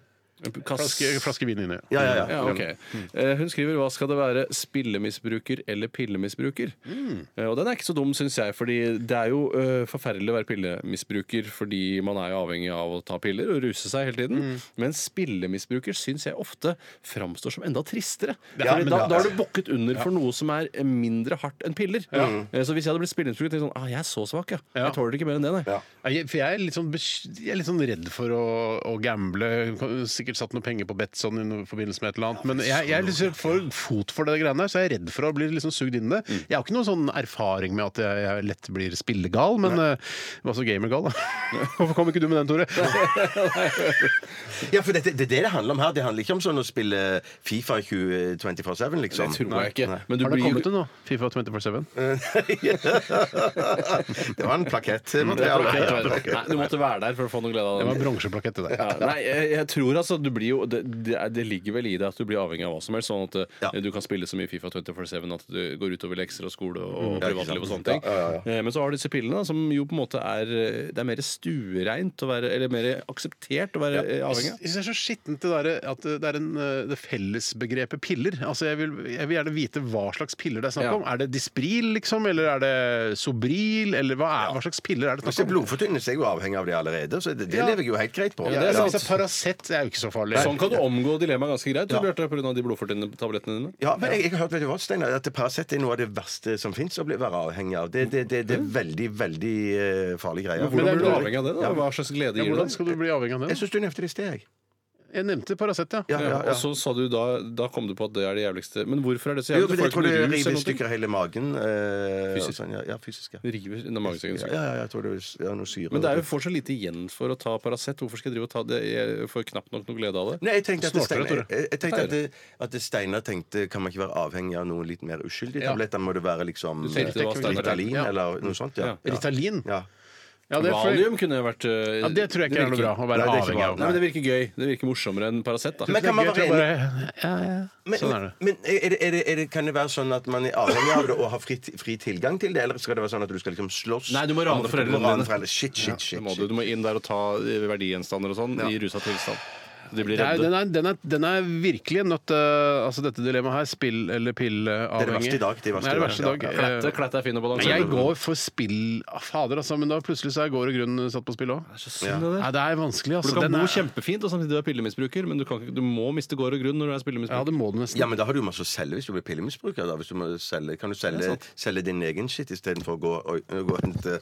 Speaker 4: Kass...
Speaker 3: Flaske, flaske vin inni.
Speaker 2: Ja, ja, ja.
Speaker 4: Ja, ok.
Speaker 3: Mm.
Speaker 4: Eh, Hun skriver hva skal det være spillemisbruker eller pillemisbruker.
Speaker 3: Mm.
Speaker 4: Eh, Og den er ikke så dum, syns jeg, fordi det er jo eh, forferdelig å være pillemisbruker fordi man er jo avhengig av å ta piller og ruse seg hele tiden.
Speaker 3: Mm.
Speaker 4: Men spillemisbruker syns jeg ofte framstår som enda tristere.
Speaker 3: Ja,
Speaker 4: Fordi
Speaker 3: men
Speaker 4: da,
Speaker 3: ja.
Speaker 4: da har du bukket under for noe som er mindre hardt enn piller. Eh, Så hvis jeg hadde blitt spillemisbruker, tenkte jeg sånn ah, Jeg er så svak, ja.
Speaker 3: Ja.
Speaker 4: Jeg tåler ikke mer enn det, nei.
Speaker 3: Jeg, for jeg er litt sånn, bes- jeg er litt sånn redd for å, å gamble. Sikkert sikkert satt noe penger på Betson i noe- forbindelse med et eller annet. Men jeg, jeg er liksom for fot for det greiene der, så jeg er redd for å bli liksom sugd inn i det.
Speaker 4: Mm.
Speaker 3: Jeg har ikke noen sånn erfaring med at jeg, jeg lett blir spillegal, men eh, altså gamergal,
Speaker 4: [laughs]
Speaker 3: da. Hvorfor kom ikke du med den, Tore?
Speaker 2: Ja, for dette- Det er det det handler om her. Det handler ikke om sånn å spille Fifa 20 24-7, liksom.
Speaker 4: Det tror jeg ikke.
Speaker 2: Nei. [laughs]
Speaker 4: Men du
Speaker 3: Har det
Speaker 4: blir jo-
Speaker 3: kommet til nå? Fifa 24-7?
Speaker 2: det var en plakettmateriale.
Speaker 4: Nei, nei, du måtte være der for å få noe glede av
Speaker 3: Det var
Speaker 4: det.
Speaker 3: en bronseplakett til deg.
Speaker 4: Ja, nei, jeg, jeg tror altså du blir jo, det, det, er- det ligger vel i det at du blir avhengig av hva som helst. Sånn at eh, du kan spille så mye Fifa 24-7 at du går utover lekser og skole og
Speaker 2: Mm. Ja, ikke sant.
Speaker 4: privatliv og sånne ting.
Speaker 2: Ja, ja,
Speaker 4: Eh, Men så har du disse pillene, da, som jo på en måte er eh, Det er mer stuereint å være Eller mer akseptert å være eh, avhengig
Speaker 3: Jeg
Speaker 4: av.
Speaker 3: synes det er så skittent det der, at det er en, eh, det fellesbegrepet piller. Altså, jeg, vil, jeg vil gjerne vite hva slags piller det er snakk
Speaker 4: Ja.
Speaker 3: om. Er det Dispril, liksom? Eller er det Sobril? Eller hva, er, hva slags piller er det
Speaker 2: Hvis det
Speaker 3: snakk
Speaker 2: er
Speaker 3: om?
Speaker 2: blodfortynnelse, er jeg jo avhengig av det allerede, så det, det
Speaker 3: Ja.
Speaker 2: lever jeg jo helt greit på.
Speaker 3: Ja, altså, det er sant. Så Paracet er jo ikke så farlig.
Speaker 4: Sånn kan du omgå dilemmaet ganske greit, du,
Speaker 2: Ja.
Speaker 4: Bjarte, pga. de blodfortynnende tablettene dine.
Speaker 2: Ja, men jeg, jeg har hørt vet du hva, Steinar, at Paracet er noe av det verste som fins å bli være avhengig av. Det, det, det, det er veldig, veldig eh, farlige greier.
Speaker 4: Hvordan blir du avhengig av det? da? Hva slags glede
Speaker 3: Ja,
Speaker 4: gir det?
Speaker 3: hvordan skal du bli avhengig av det?
Speaker 2: Jeg syns du nevnte det i sted, jeg.
Speaker 3: Jeg nevnte Paracet, ja.
Speaker 2: Ja, ja,
Speaker 4: Ja,
Speaker 2: ja.
Speaker 4: Og så sa du da, da kom du på at det er det jævligste. Men hvorfor er det så
Speaker 2: Jo,
Speaker 4: jævlig?
Speaker 2: men jeg
Speaker 4: Får
Speaker 2: tror det
Speaker 4: ikke noe rus eller
Speaker 2: river i
Speaker 4: noe ting?
Speaker 2: stykker hele magen. eh, og
Speaker 4: Fysisk.
Speaker 2: Sånn, ja, ja, fysisk, ja.
Speaker 4: Det river under magesekken.
Speaker 2: Ja, ja, ja, jeg tror det er ja, noe syre.
Speaker 4: Men det er jo fortsatt lite igjen for å ta Paracet. Hvorfor skal jeg drive og ta det? Jeg får knapt nok noe glede av det.
Speaker 2: Nei, jeg tenkte at
Speaker 4: Smartere,
Speaker 2: Steinar,
Speaker 4: Tore.
Speaker 2: jeg, jeg tenkte at, det- at det Steinar tenkte kan man ikke være avhengig av noen litt mer uskyldige tabletter? Må det være liksom
Speaker 4: Du tenkte det var Steinar.
Speaker 2: Ritalin
Speaker 3: Ja.
Speaker 2: eller noe sånt? Ja. ja.
Speaker 3: Ritalin?
Speaker 2: ja.
Speaker 3: Ja, det, er for-
Speaker 4: Valium kunne jo vært eh,
Speaker 3: ja, det tror jeg ikke er noe bra. Å være
Speaker 2: Nei, det er ikke
Speaker 3: avhengig
Speaker 2: bra.
Speaker 3: av.
Speaker 4: Nei, men Det virker gøy. Det virker morsommere enn Paracet. da.
Speaker 2: Men kan man
Speaker 3: Det er
Speaker 2: være
Speaker 3: gøy til å
Speaker 2: enig
Speaker 3: bare- ja, ja, ja.
Speaker 2: Men,
Speaker 3: Sånn er det.
Speaker 2: men eh, er det, er det, er det, kan det være sånn at man er avhengig av det og har fri, fri tilgang til det? Eller skal det være sånn at du skal liksom slåss?
Speaker 4: Nei, du må rane foreldrene
Speaker 2: må
Speaker 4: dine.
Speaker 2: rane foreldre. Shit, shit,
Speaker 4: Det
Speaker 2: shit.
Speaker 4: må du.
Speaker 2: shit.
Speaker 4: du må inn der og ta eh, verdigjenstander og sånn i rusa tilstand. Så de blir
Speaker 3: Det er,
Speaker 4: redde.
Speaker 3: den, er, den, er, den er virkelig en nøtt, eh, altså dette dilemmaet her. Spill- eller
Speaker 2: Det er det
Speaker 3: pilleavhengig.
Speaker 2: verste i dag. Det er det
Speaker 3: Nei,
Speaker 2: verste i
Speaker 3: det
Speaker 2: dag.
Speaker 3: verste i dag.
Speaker 2: Ja,
Speaker 3: Eh,
Speaker 2: ja.
Speaker 4: Klette, klette er fin og
Speaker 3: Nei,
Speaker 4: balansert.
Speaker 3: jeg går for spill ah, Fader, altså. Men da plutselig så er gård og grunn satt på spill òg.
Speaker 4: Det er så synd, det der.
Speaker 3: Nei, det er vanskelig,
Speaker 4: For
Speaker 3: altså.
Speaker 4: Du kan
Speaker 3: Den
Speaker 4: bo
Speaker 3: er-
Speaker 4: kjempefint og samtidig være pillemisbruker, men du, kan ikke, du må miste gård og grunn når du
Speaker 3: ja,
Speaker 4: er spillemisbruker.
Speaker 3: det må du nesten.
Speaker 2: Ja, men da har du jo masse å selge hvis du blir pillemisbruker. Da. Hvis du må selge, kan du selge, selge din egen shit istedenfor å gå og, gå og hente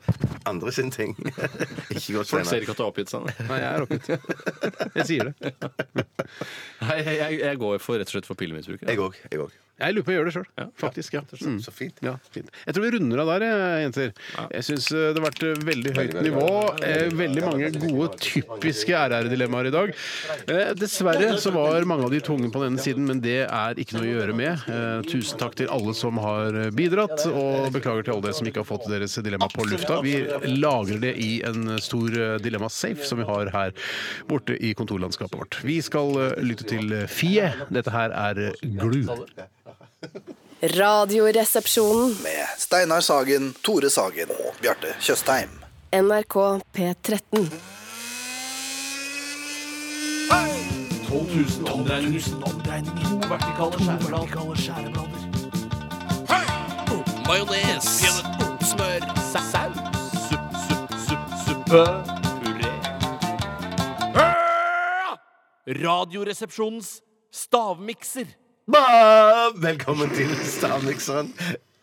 Speaker 2: andre sin ting? [laughs] ikke gå
Speaker 4: Folk ser
Speaker 2: senere.
Speaker 4: ikke at du har oppgitt seg. nei.
Speaker 3: Nei, jeg er oppgitt.
Speaker 4: [laughs]
Speaker 3: Jeg sier det.
Speaker 4: Nei, jeg, jeg, jeg går for, rett og slett for pillemisbruker.
Speaker 2: Jeg òg. Jeg òg.
Speaker 3: Jeg lurer på å gjøre det sjøl, faktisk. Ja. Mm.
Speaker 2: Så fint.
Speaker 3: Ja, fint. Jeg tror vi runder av der, eh, jenter. Jeg syns det har vært eh, veldig høyt nivå. eh, Veldig mange gode, typiske RR-dilemmaer i dag. Eh, Dessverre så var mange av de tunge på denne siden, men det er ikke noe å gjøre med. Eh, Tusen takk til alle som har eh, bidratt, og beklager til alle dere som ikke har fått deres dilemma på lufta. Vi lagrer det i en stor eh, dilemma-safe som vi har her borte i kontorlandskapet vårt. Vi skal eh, lytte til eh, Fie. Dette her er eh, Glu.
Speaker 7: Radioresepsjonen.
Speaker 8: Med Steinar Sagen, Tore Sagen og Bjarte Tjøstheim.
Speaker 7: NRK P13.
Speaker 1: 12 000 omdreininger. 12 000 omdreininger. To vertikale skjæreblader. Hei! Majones. Oh, Smør. Saus. Supp, supp, supp, suppe. Puré. Hø! Radioresepsjonens stavmikser.
Speaker 2: Ba! Velkommen til Stavmikseren.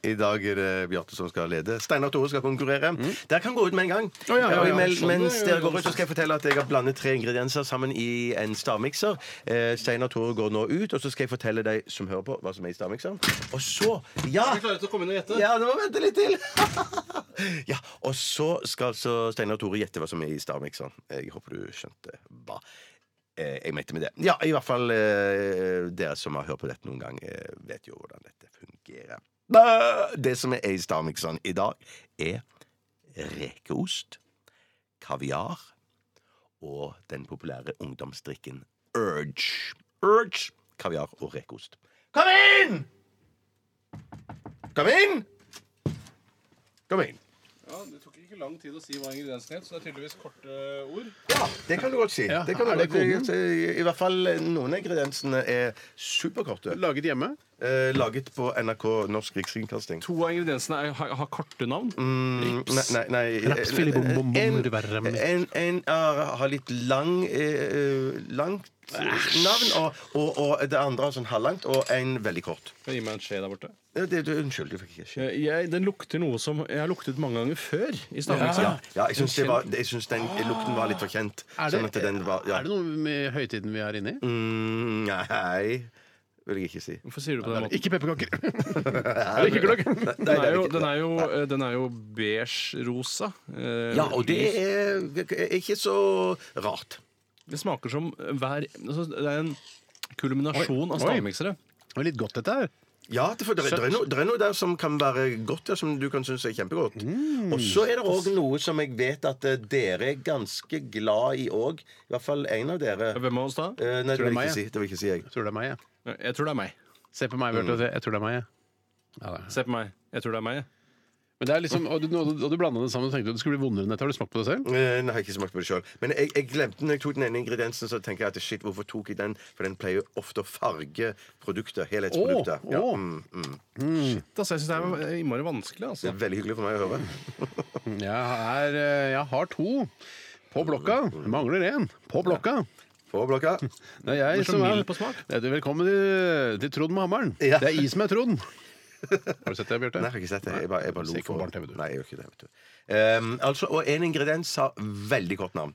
Speaker 2: I dag er det Bjarte som skal lede. Steinar og Tore skal konkurrere. Dere kan gå ut med en gang.
Speaker 3: Mm.
Speaker 2: Eh,
Speaker 3: Å, ja, ja, ja.
Speaker 2: Og imell-
Speaker 3: Sånn,
Speaker 2: Mens
Speaker 3: ja, ja,
Speaker 2: dere går ut, så skal jeg fortelle at jeg har blandet tre ingredienser sammen i en stavmikser. Eh, Steinar og Tore går nå ut, og så skal jeg fortelle deg som hører på, hva som er i stavmikseren. Og så Ja!
Speaker 4: klarer til å komme inn og gjette.
Speaker 2: Ja, du må vente litt til. [laughs] ja, Og så skal altså Steinar og Tore gjette hva som er i stavmikseren. Jeg håper du skjønte hva. Eh, jeg mente med det. Ja, i hvert fall eh, dere som har hørt på dette noen gang, eh, vet jo hvordan dette fungerer. Bæ! Det som er i stavmikseren i dag, er rekeost, kaviar og den populære ungdomsdrikken Urge. Urge, kaviar og rekeost. Kom inn! Kom inn! Kom inn.
Speaker 4: Ja, Det tok ikke lang tid å si hva ingrediensene het, så det er tydeligvis korte ord.
Speaker 2: Ja, det kan du godt si. det kan du
Speaker 3: er det
Speaker 2: eh, godt si. I hvert fall noen av ingrediensene er superkorte.
Speaker 3: Laget hjemme?
Speaker 2: eh, laget på NRK Norsk Rikskringkasting.
Speaker 4: To av ingrediensene er, har, har korte navn.
Speaker 2: Mm,
Speaker 4: Rips.
Speaker 2: Nei, nei, nei.
Speaker 4: Raps, fili, bom, bom, bom,
Speaker 2: En,
Speaker 4: rverrem.
Speaker 2: en, en er, har litt lang eh, eh, langt navn, og, og, og det andre har sånn halvlangt, og en veldig kort.
Speaker 4: Kan jeg gi meg en skje der borte?
Speaker 2: Ja, det, du, unnskyld, du fikk ikke skje.
Speaker 4: Jeg, jeg, den lukter noe som jeg har luktet mange ganger før i
Speaker 2: Ja,
Speaker 4: Stavmiksen.
Speaker 2: ja, jeg syns det var- jeg syns den lukten var litt for kjent.
Speaker 4: Ah,
Speaker 3: Er det-
Speaker 2: sånn at den var, ja.
Speaker 3: Er det noe med høytiden vi er inne i?
Speaker 2: Mm, nei, vil jeg ikke si.
Speaker 4: Hvorfor sier du på den måten?
Speaker 3: Ikke pepperkaker! [laughs]
Speaker 2: Er
Speaker 3: det ikke gløgg?
Speaker 4: Den
Speaker 2: Nei,
Speaker 4: er
Speaker 2: det er
Speaker 4: jo,
Speaker 2: ikke-
Speaker 4: den er jo, eh, den er jo beige-rosa. eh,
Speaker 2: Ja, og det er, er ikke så rart.
Speaker 4: Det smaker som hver altså, Det er en kulminasjon av stavmiksere.
Speaker 3: Det var litt godt, dette her.
Speaker 2: Ja, det, for det, det, er noe, det er noe der som kan være godt, ja, som du kan synes er kjempegodt.
Speaker 3: Mm.
Speaker 2: Og så er det òg noe som jeg vet at eh, dere er ganske glad i òg. I hvert fall en av dere.
Speaker 4: Hvem av oss da?
Speaker 2: Eh,
Speaker 3: Tror det
Speaker 2: nei, det
Speaker 3: er
Speaker 2: vil,
Speaker 3: meg, ja.
Speaker 2: jeg ikke si, det vil jeg ikke si jeg.
Speaker 3: Jeg tror det er meg, jeg.
Speaker 4: Jeg tror det er meg.
Speaker 3: Se på meg,
Speaker 2: Mm.
Speaker 3: Bjarte. Jeg tror det er meg, jeg. Ja, det er.
Speaker 4: Se på meg. Jeg tror det er meg.
Speaker 3: Men det er liksom, og du, og du blanda det sammen og tenkte at det skulle bli vondere enn dette. Har du smakt på det selv?
Speaker 2: Eh, Nei, jeg har ikke smakt på det sjøl. Men jeg, jeg glemte den når jeg tok den ene ingrediensen. Så tenker jeg at shit, hvorfor tok jeg den? For den pleier jo ofte å farge produkter. Helhetsprodukter.
Speaker 4: Å,
Speaker 2: Ja,
Speaker 4: å.
Speaker 2: mm, mm.
Speaker 4: Shit, altså, jeg syns det er eh, innmari vanskelig.
Speaker 2: Det
Speaker 4: Altså.
Speaker 2: er veldig hyggelig for meg å høre. Mm.
Speaker 3: Jeg, er, eh, jeg har to. På blokka. Jeg mangler én. På blokka.
Speaker 2: På
Speaker 3: [laughs]
Speaker 2: blokka.
Speaker 3: Det er jeg
Speaker 4: så
Speaker 3: som er
Speaker 4: mild på smak.
Speaker 3: Det er Velkommen til, til Trond med hammeren.
Speaker 2: Ja.
Speaker 3: Det er jeg som er
Speaker 2: [laughs]
Speaker 3: Trond. Har du sett det, Bjarte?
Speaker 2: Nei, jeg har ikke sett det. Jeg bare, jeg bare
Speaker 3: Se
Speaker 2: lo
Speaker 3: ikke på
Speaker 2: for
Speaker 3: barne-TV, du.
Speaker 2: Nei, jeg gjør ikke det, vet du. Ehm, altså, og en ingrediens sa veldig kort navn.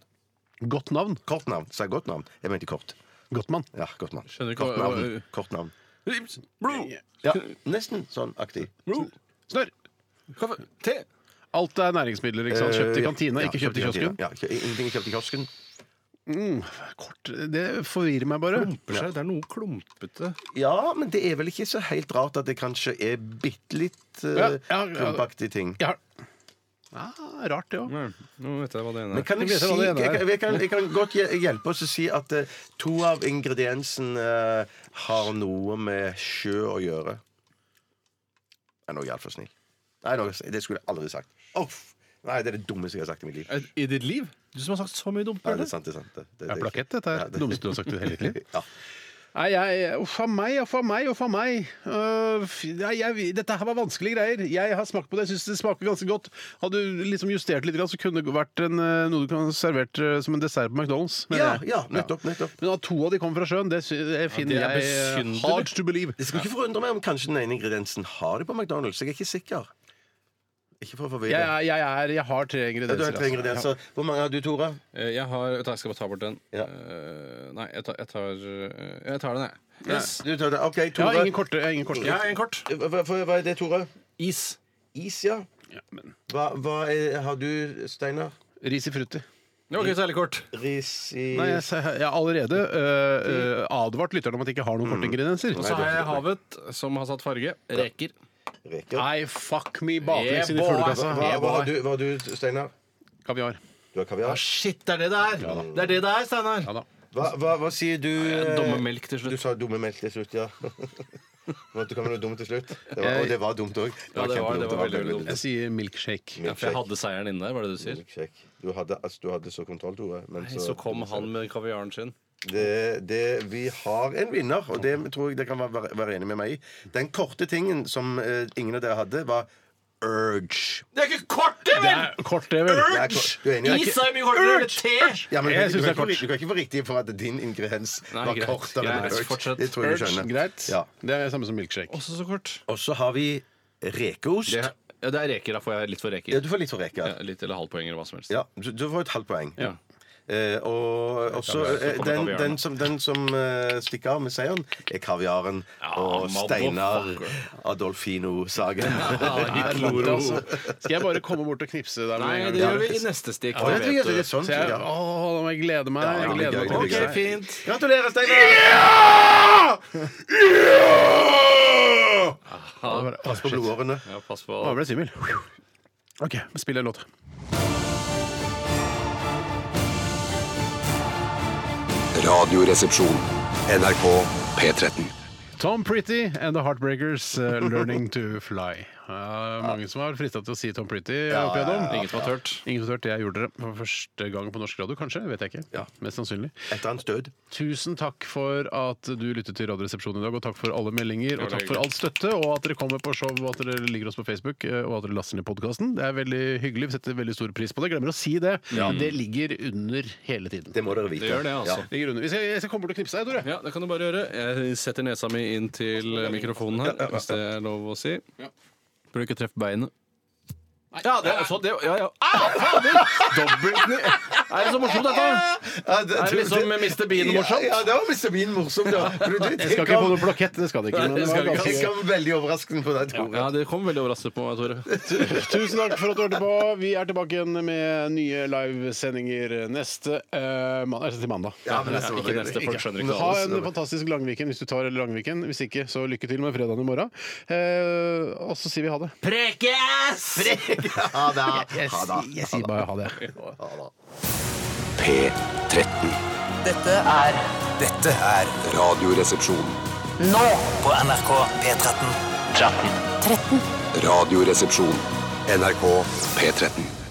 Speaker 3: Godt navn.
Speaker 2: Kort navn. Sa jeg godt navn? Jeg mente kort.
Speaker 3: Godt mann.
Speaker 2: Ja, godt navn.
Speaker 4: Skjønner ikke
Speaker 2: kort
Speaker 4: hva-
Speaker 2: navn. Kort navn.
Speaker 4: Rips, bro,
Speaker 2: Ja, nesten sånn aktig.
Speaker 4: bro,
Speaker 3: Snørr.
Speaker 4: kaffe, te.
Speaker 3: Alt er næringsmidler. ikke sant? Sånn Kjøpt i
Speaker 2: Eh, ja.
Speaker 3: kantina,
Speaker 2: Ja,
Speaker 3: ikke kjøpt i kiosken.
Speaker 2: Ja, kjø- ingenting kjøpt i kiosken.
Speaker 3: Kort, Det forvirrer meg bare.
Speaker 4: Klumper seg. Det er noe klumpete.
Speaker 2: Ja, men det er vel ikke så helt rart at det kanskje er bitte litt
Speaker 3: Ja,
Speaker 2: uh,
Speaker 3: ja, ja.
Speaker 2: klumpaktige ting.
Speaker 3: Ja. Ah, rart, det òg.
Speaker 4: Nei, Nå vet jeg hva det ene
Speaker 2: Men
Speaker 4: er.
Speaker 2: kan jeg,
Speaker 3: Jeg vet
Speaker 2: si,
Speaker 3: hva det
Speaker 2: jeg,
Speaker 3: ene er.
Speaker 2: kan- jeg, kan, jeg kan godt hje- hjelpe oss å si at eh, to av ingrediensene eh, har noe med sjø å gjøre. Nei, nå er jeg altfor snill. Nei, nå, det skulle jeg aldri sagt. Uff. Nei, det er det dummeste jeg har sagt i mitt
Speaker 3: Eh,
Speaker 2: liv.
Speaker 4: Er- I ditt liv? Du som har sagt så mye dumt.
Speaker 2: Nei, det er
Speaker 4: Bjarte.
Speaker 2: sant, det er sant. Det, det,
Speaker 3: Det er plakett, dette
Speaker 2: Ja,
Speaker 3: er det
Speaker 2: det-
Speaker 3: dummeste du har sagt i hele ditt liv.
Speaker 2: [laughs] Ja.
Speaker 3: [laughs] Nei, jeg Uff a meg, uff a meg, uff a meg. Øh, f- nei, jeg, dette her var vanskelige greier. Jeg har smakt på det, jeg syns det smaker ganske godt. Hadde du liksom justert litt, grann, så kunne det vært en, øh, noe du kan servert øh, som en dessert på McDonald's. mener
Speaker 2: Ja,
Speaker 3: jeg.
Speaker 2: ja, nettopp, nettopp.
Speaker 3: Men at to av de kommer fra sjøen, det, sy- det finner
Speaker 4: det er
Speaker 3: jeg øh,
Speaker 4: besynderlig.
Speaker 3: hard to believe.
Speaker 2: Det skulle ikke forundre meg om kanskje den ene ingrediensen har det på McDonald's. Jeg er ikke sikker. Ikke for å forvirre.
Speaker 3: Jeg, er- jeg, er, jeg har tre
Speaker 2: Ja, du
Speaker 3: ingredienser.
Speaker 2: har tre
Speaker 3: altså.
Speaker 2: ingredienser. Hvor mange har du, Tore?
Speaker 4: Eh, Jeg har vet du hva, Jeg skal bare ta bort den.
Speaker 2: Ja.
Speaker 4: Eh, Nei, jeg tar, jeg tar, eh, jeg tar den, jeg.
Speaker 2: Du tar det. OK,
Speaker 3: Jeg
Speaker 2: Tore.
Speaker 3: har ingen korte. Jeg har ingen korte.
Speaker 4: Jeg har en kort.
Speaker 2: Hva, hva- hva er det, Tore?
Speaker 4: Is.
Speaker 2: Is, ja. Hva, hva er, har du, Steinar?
Speaker 3: Ris i frutti.
Speaker 4: Ok, særlig kort.
Speaker 2: Ris i
Speaker 3: Nei, jeg, sa- jeg har allerede øh,
Speaker 2: Mm.
Speaker 3: øh, advart lytterne om at jeg ikke har noen korte ingredienser.
Speaker 4: Og så har jeg havet, som har satt farge. Reker.
Speaker 2: reker.
Speaker 3: Nei, fuck me baklengs inn i
Speaker 4: Yeah, boy.
Speaker 3: fuglekassa.
Speaker 2: Hva,
Speaker 4: Jeg
Speaker 2: hva,
Speaker 4: bare-
Speaker 2: har du, hva har du, Steinar?
Speaker 3: Kaviar.
Speaker 2: Du har kaviar.
Speaker 4: Shit, det er det det er! Det er det det er, Steinar.
Speaker 3: Ja da.
Speaker 2: Hva, hva, hva sier du? eh,
Speaker 4: Dumme melk til
Speaker 2: Du
Speaker 4: slutt.
Speaker 2: sa dumme melk til slutt,
Speaker 4: [laughs]
Speaker 2: ja. Men At du kan være dum til slutt. Det var, og det var dumt òg.
Speaker 4: Ja, det var- det var veldig, veldig
Speaker 3: Jeg sier milkshake.
Speaker 4: Ja, for jeg hadde seieren inne der, var det du sier?
Speaker 2: Milkshake. Du hadde, altså, du hadde så kontroll, Tore. Men
Speaker 4: Nei, så kom han med kaviaren sin.
Speaker 2: det, det, Vi har en vinner, og det tror jeg dere kan være, være enig med meg i. Den korte tingen som eh, ingen av dere hadde, var urge.
Speaker 4: Det er ikke kort, det,
Speaker 3: Det er kort, det, vel.
Speaker 2: Det er kort. Du er enig? Det er ikke-
Speaker 4: er mye kortere enn te!
Speaker 2: Ja,
Speaker 3: Jeg synes det er
Speaker 2: men du, kan ikke- du, kan ikke,
Speaker 3: kort.
Speaker 2: få- du kan ikke få riktig for at din ingrediens
Speaker 4: Nei,
Speaker 2: var
Speaker 4: greit.
Speaker 2: kortere enn
Speaker 4: Greit,
Speaker 2: urge.
Speaker 4: fortsett.
Speaker 2: Det tror jeg du skjønner.
Speaker 3: Greit.
Speaker 2: Ja.
Speaker 3: Det er det samme som milkshake.
Speaker 4: Også så kort.
Speaker 2: Og så har vi rekeost.
Speaker 4: Det, ja, det er reker. Da får jeg litt for
Speaker 2: Ja,
Speaker 4: reker.
Speaker 2: du får litt for reker.
Speaker 4: Ja, litt eller halvt poeng eller hva som helst.
Speaker 2: Ja, du, du får et halvt poeng.
Speaker 4: Ja.
Speaker 2: Eh, og også eh,
Speaker 4: Kaviar, så kommer
Speaker 2: den,
Speaker 4: kaviaren,
Speaker 2: den
Speaker 4: da.
Speaker 2: som, den som eh, stikker av med seieren, er kaviaren og Steinar Adolfino Sagen.
Speaker 3: Nei, vent, altså. Skal jeg bare komme bort og knipse der
Speaker 4: Nei,
Speaker 3: med en
Speaker 4: det gjør
Speaker 3: gang?
Speaker 4: vi i neste stikk.
Speaker 2: Ja, det gjør det sånn,
Speaker 3: Så jeg,
Speaker 2: ja.
Speaker 3: å, da må jeg glede meg.
Speaker 2: Ja, ja,
Speaker 3: Jeg gleder
Speaker 2: det
Speaker 3: meg til
Speaker 2: blir
Speaker 3: å
Speaker 2: gøy, det
Speaker 4: OK,
Speaker 3: knipse.
Speaker 2: blir
Speaker 4: fint.
Speaker 2: Gratulerer, Steinar!
Speaker 3: Ja, det var-
Speaker 2: [laughs] Pass på blodårene.
Speaker 4: Ja, pass på
Speaker 3: Å, jeg ble svimmel. OK, spill en låt.
Speaker 5: Radioresepsjon. NRK P13.
Speaker 3: Tom Pretty and The Heartbreakers, eh, uh, 'Learning to Fly'. Ja, mange som har frista til å si Tom Pretty.
Speaker 4: Ja,
Speaker 3: opp igjennom.
Speaker 4: ja, ja. Ingen som har turt.
Speaker 3: Ingen som har turt. Jeg gjorde det for første gang på norsk radio, kanskje. Vet jeg ikke. Mest sannsynlig.
Speaker 2: Etter hans død.
Speaker 3: Tusen takk for at du lyttet til Radioresepsjonen i dag, og takk for alle meldinger, og takk for all støtte, og at dere kommer på show, og at dere ligger oss på Facebook, eh, og at dere laster ned podkasten. Det er veldig hyggelig. Vi setter veldig stor pris på det. Glemmer å si det.
Speaker 4: Ja.
Speaker 3: men Det ligger under hele tiden.
Speaker 2: Det må dere vite.
Speaker 4: Det gjør det, altså.
Speaker 3: Det ligger under. Vi skal, jeg skal komme til å knipse deg, Tore.
Speaker 4: Ja, det kan du bare gjøre. Jeg setter nesa mi inn til mikrofonen her, hvis det er lov å si. Burde ikke treffe beinet. Ja, det er sånn det, ja, ja. Au, fader! Dobbeltkni- [laughs] Er det så morsomt,
Speaker 3: [laughs]
Speaker 4: dette?
Speaker 2: Ja, det-
Speaker 4: Er det liksom Mr. Bean morsomt?
Speaker 2: Ja, ja, det var Mr. Bean morsomt,
Speaker 4: [laughs]
Speaker 2: ja. For du-
Speaker 3: Jeg skal ikke på noen blokett, det skal det ikke.
Speaker 2: Nei,
Speaker 3: men det
Speaker 2: det
Speaker 3: var
Speaker 2: skal vi ikke.
Speaker 3: ganske-
Speaker 2: Jeg skal være veldig overraskende på deg, Tore.
Speaker 4: Ja, det kom veldig overraskende på meg, Tore.
Speaker 3: Tusen takk for at du hørte på. Vi er tilbake igjen med nye livesendinger neste eh, mandag. Altså til mandag.
Speaker 2: Ja, men neste
Speaker 4: Ikke neste, folk skjønner ikke
Speaker 3: Ha
Speaker 4: alles.
Speaker 3: en fantastisk langviken hvis du tar langviken. Hvis ikke, så lykke til med fredagen i morgen. Eh, og så sier vi ha det.
Speaker 10: Prekes!
Speaker 2: Ha det.
Speaker 3: Jeg,
Speaker 2: Ha det.
Speaker 3: sier- jeg sier bare ha det.
Speaker 5: P13.
Speaker 10: Dette er Dette er
Speaker 5: Radioresepsjon.
Speaker 10: Nå på NRK P13. 13.
Speaker 7: 13.
Speaker 5: Radioresepsjon. NRK P13.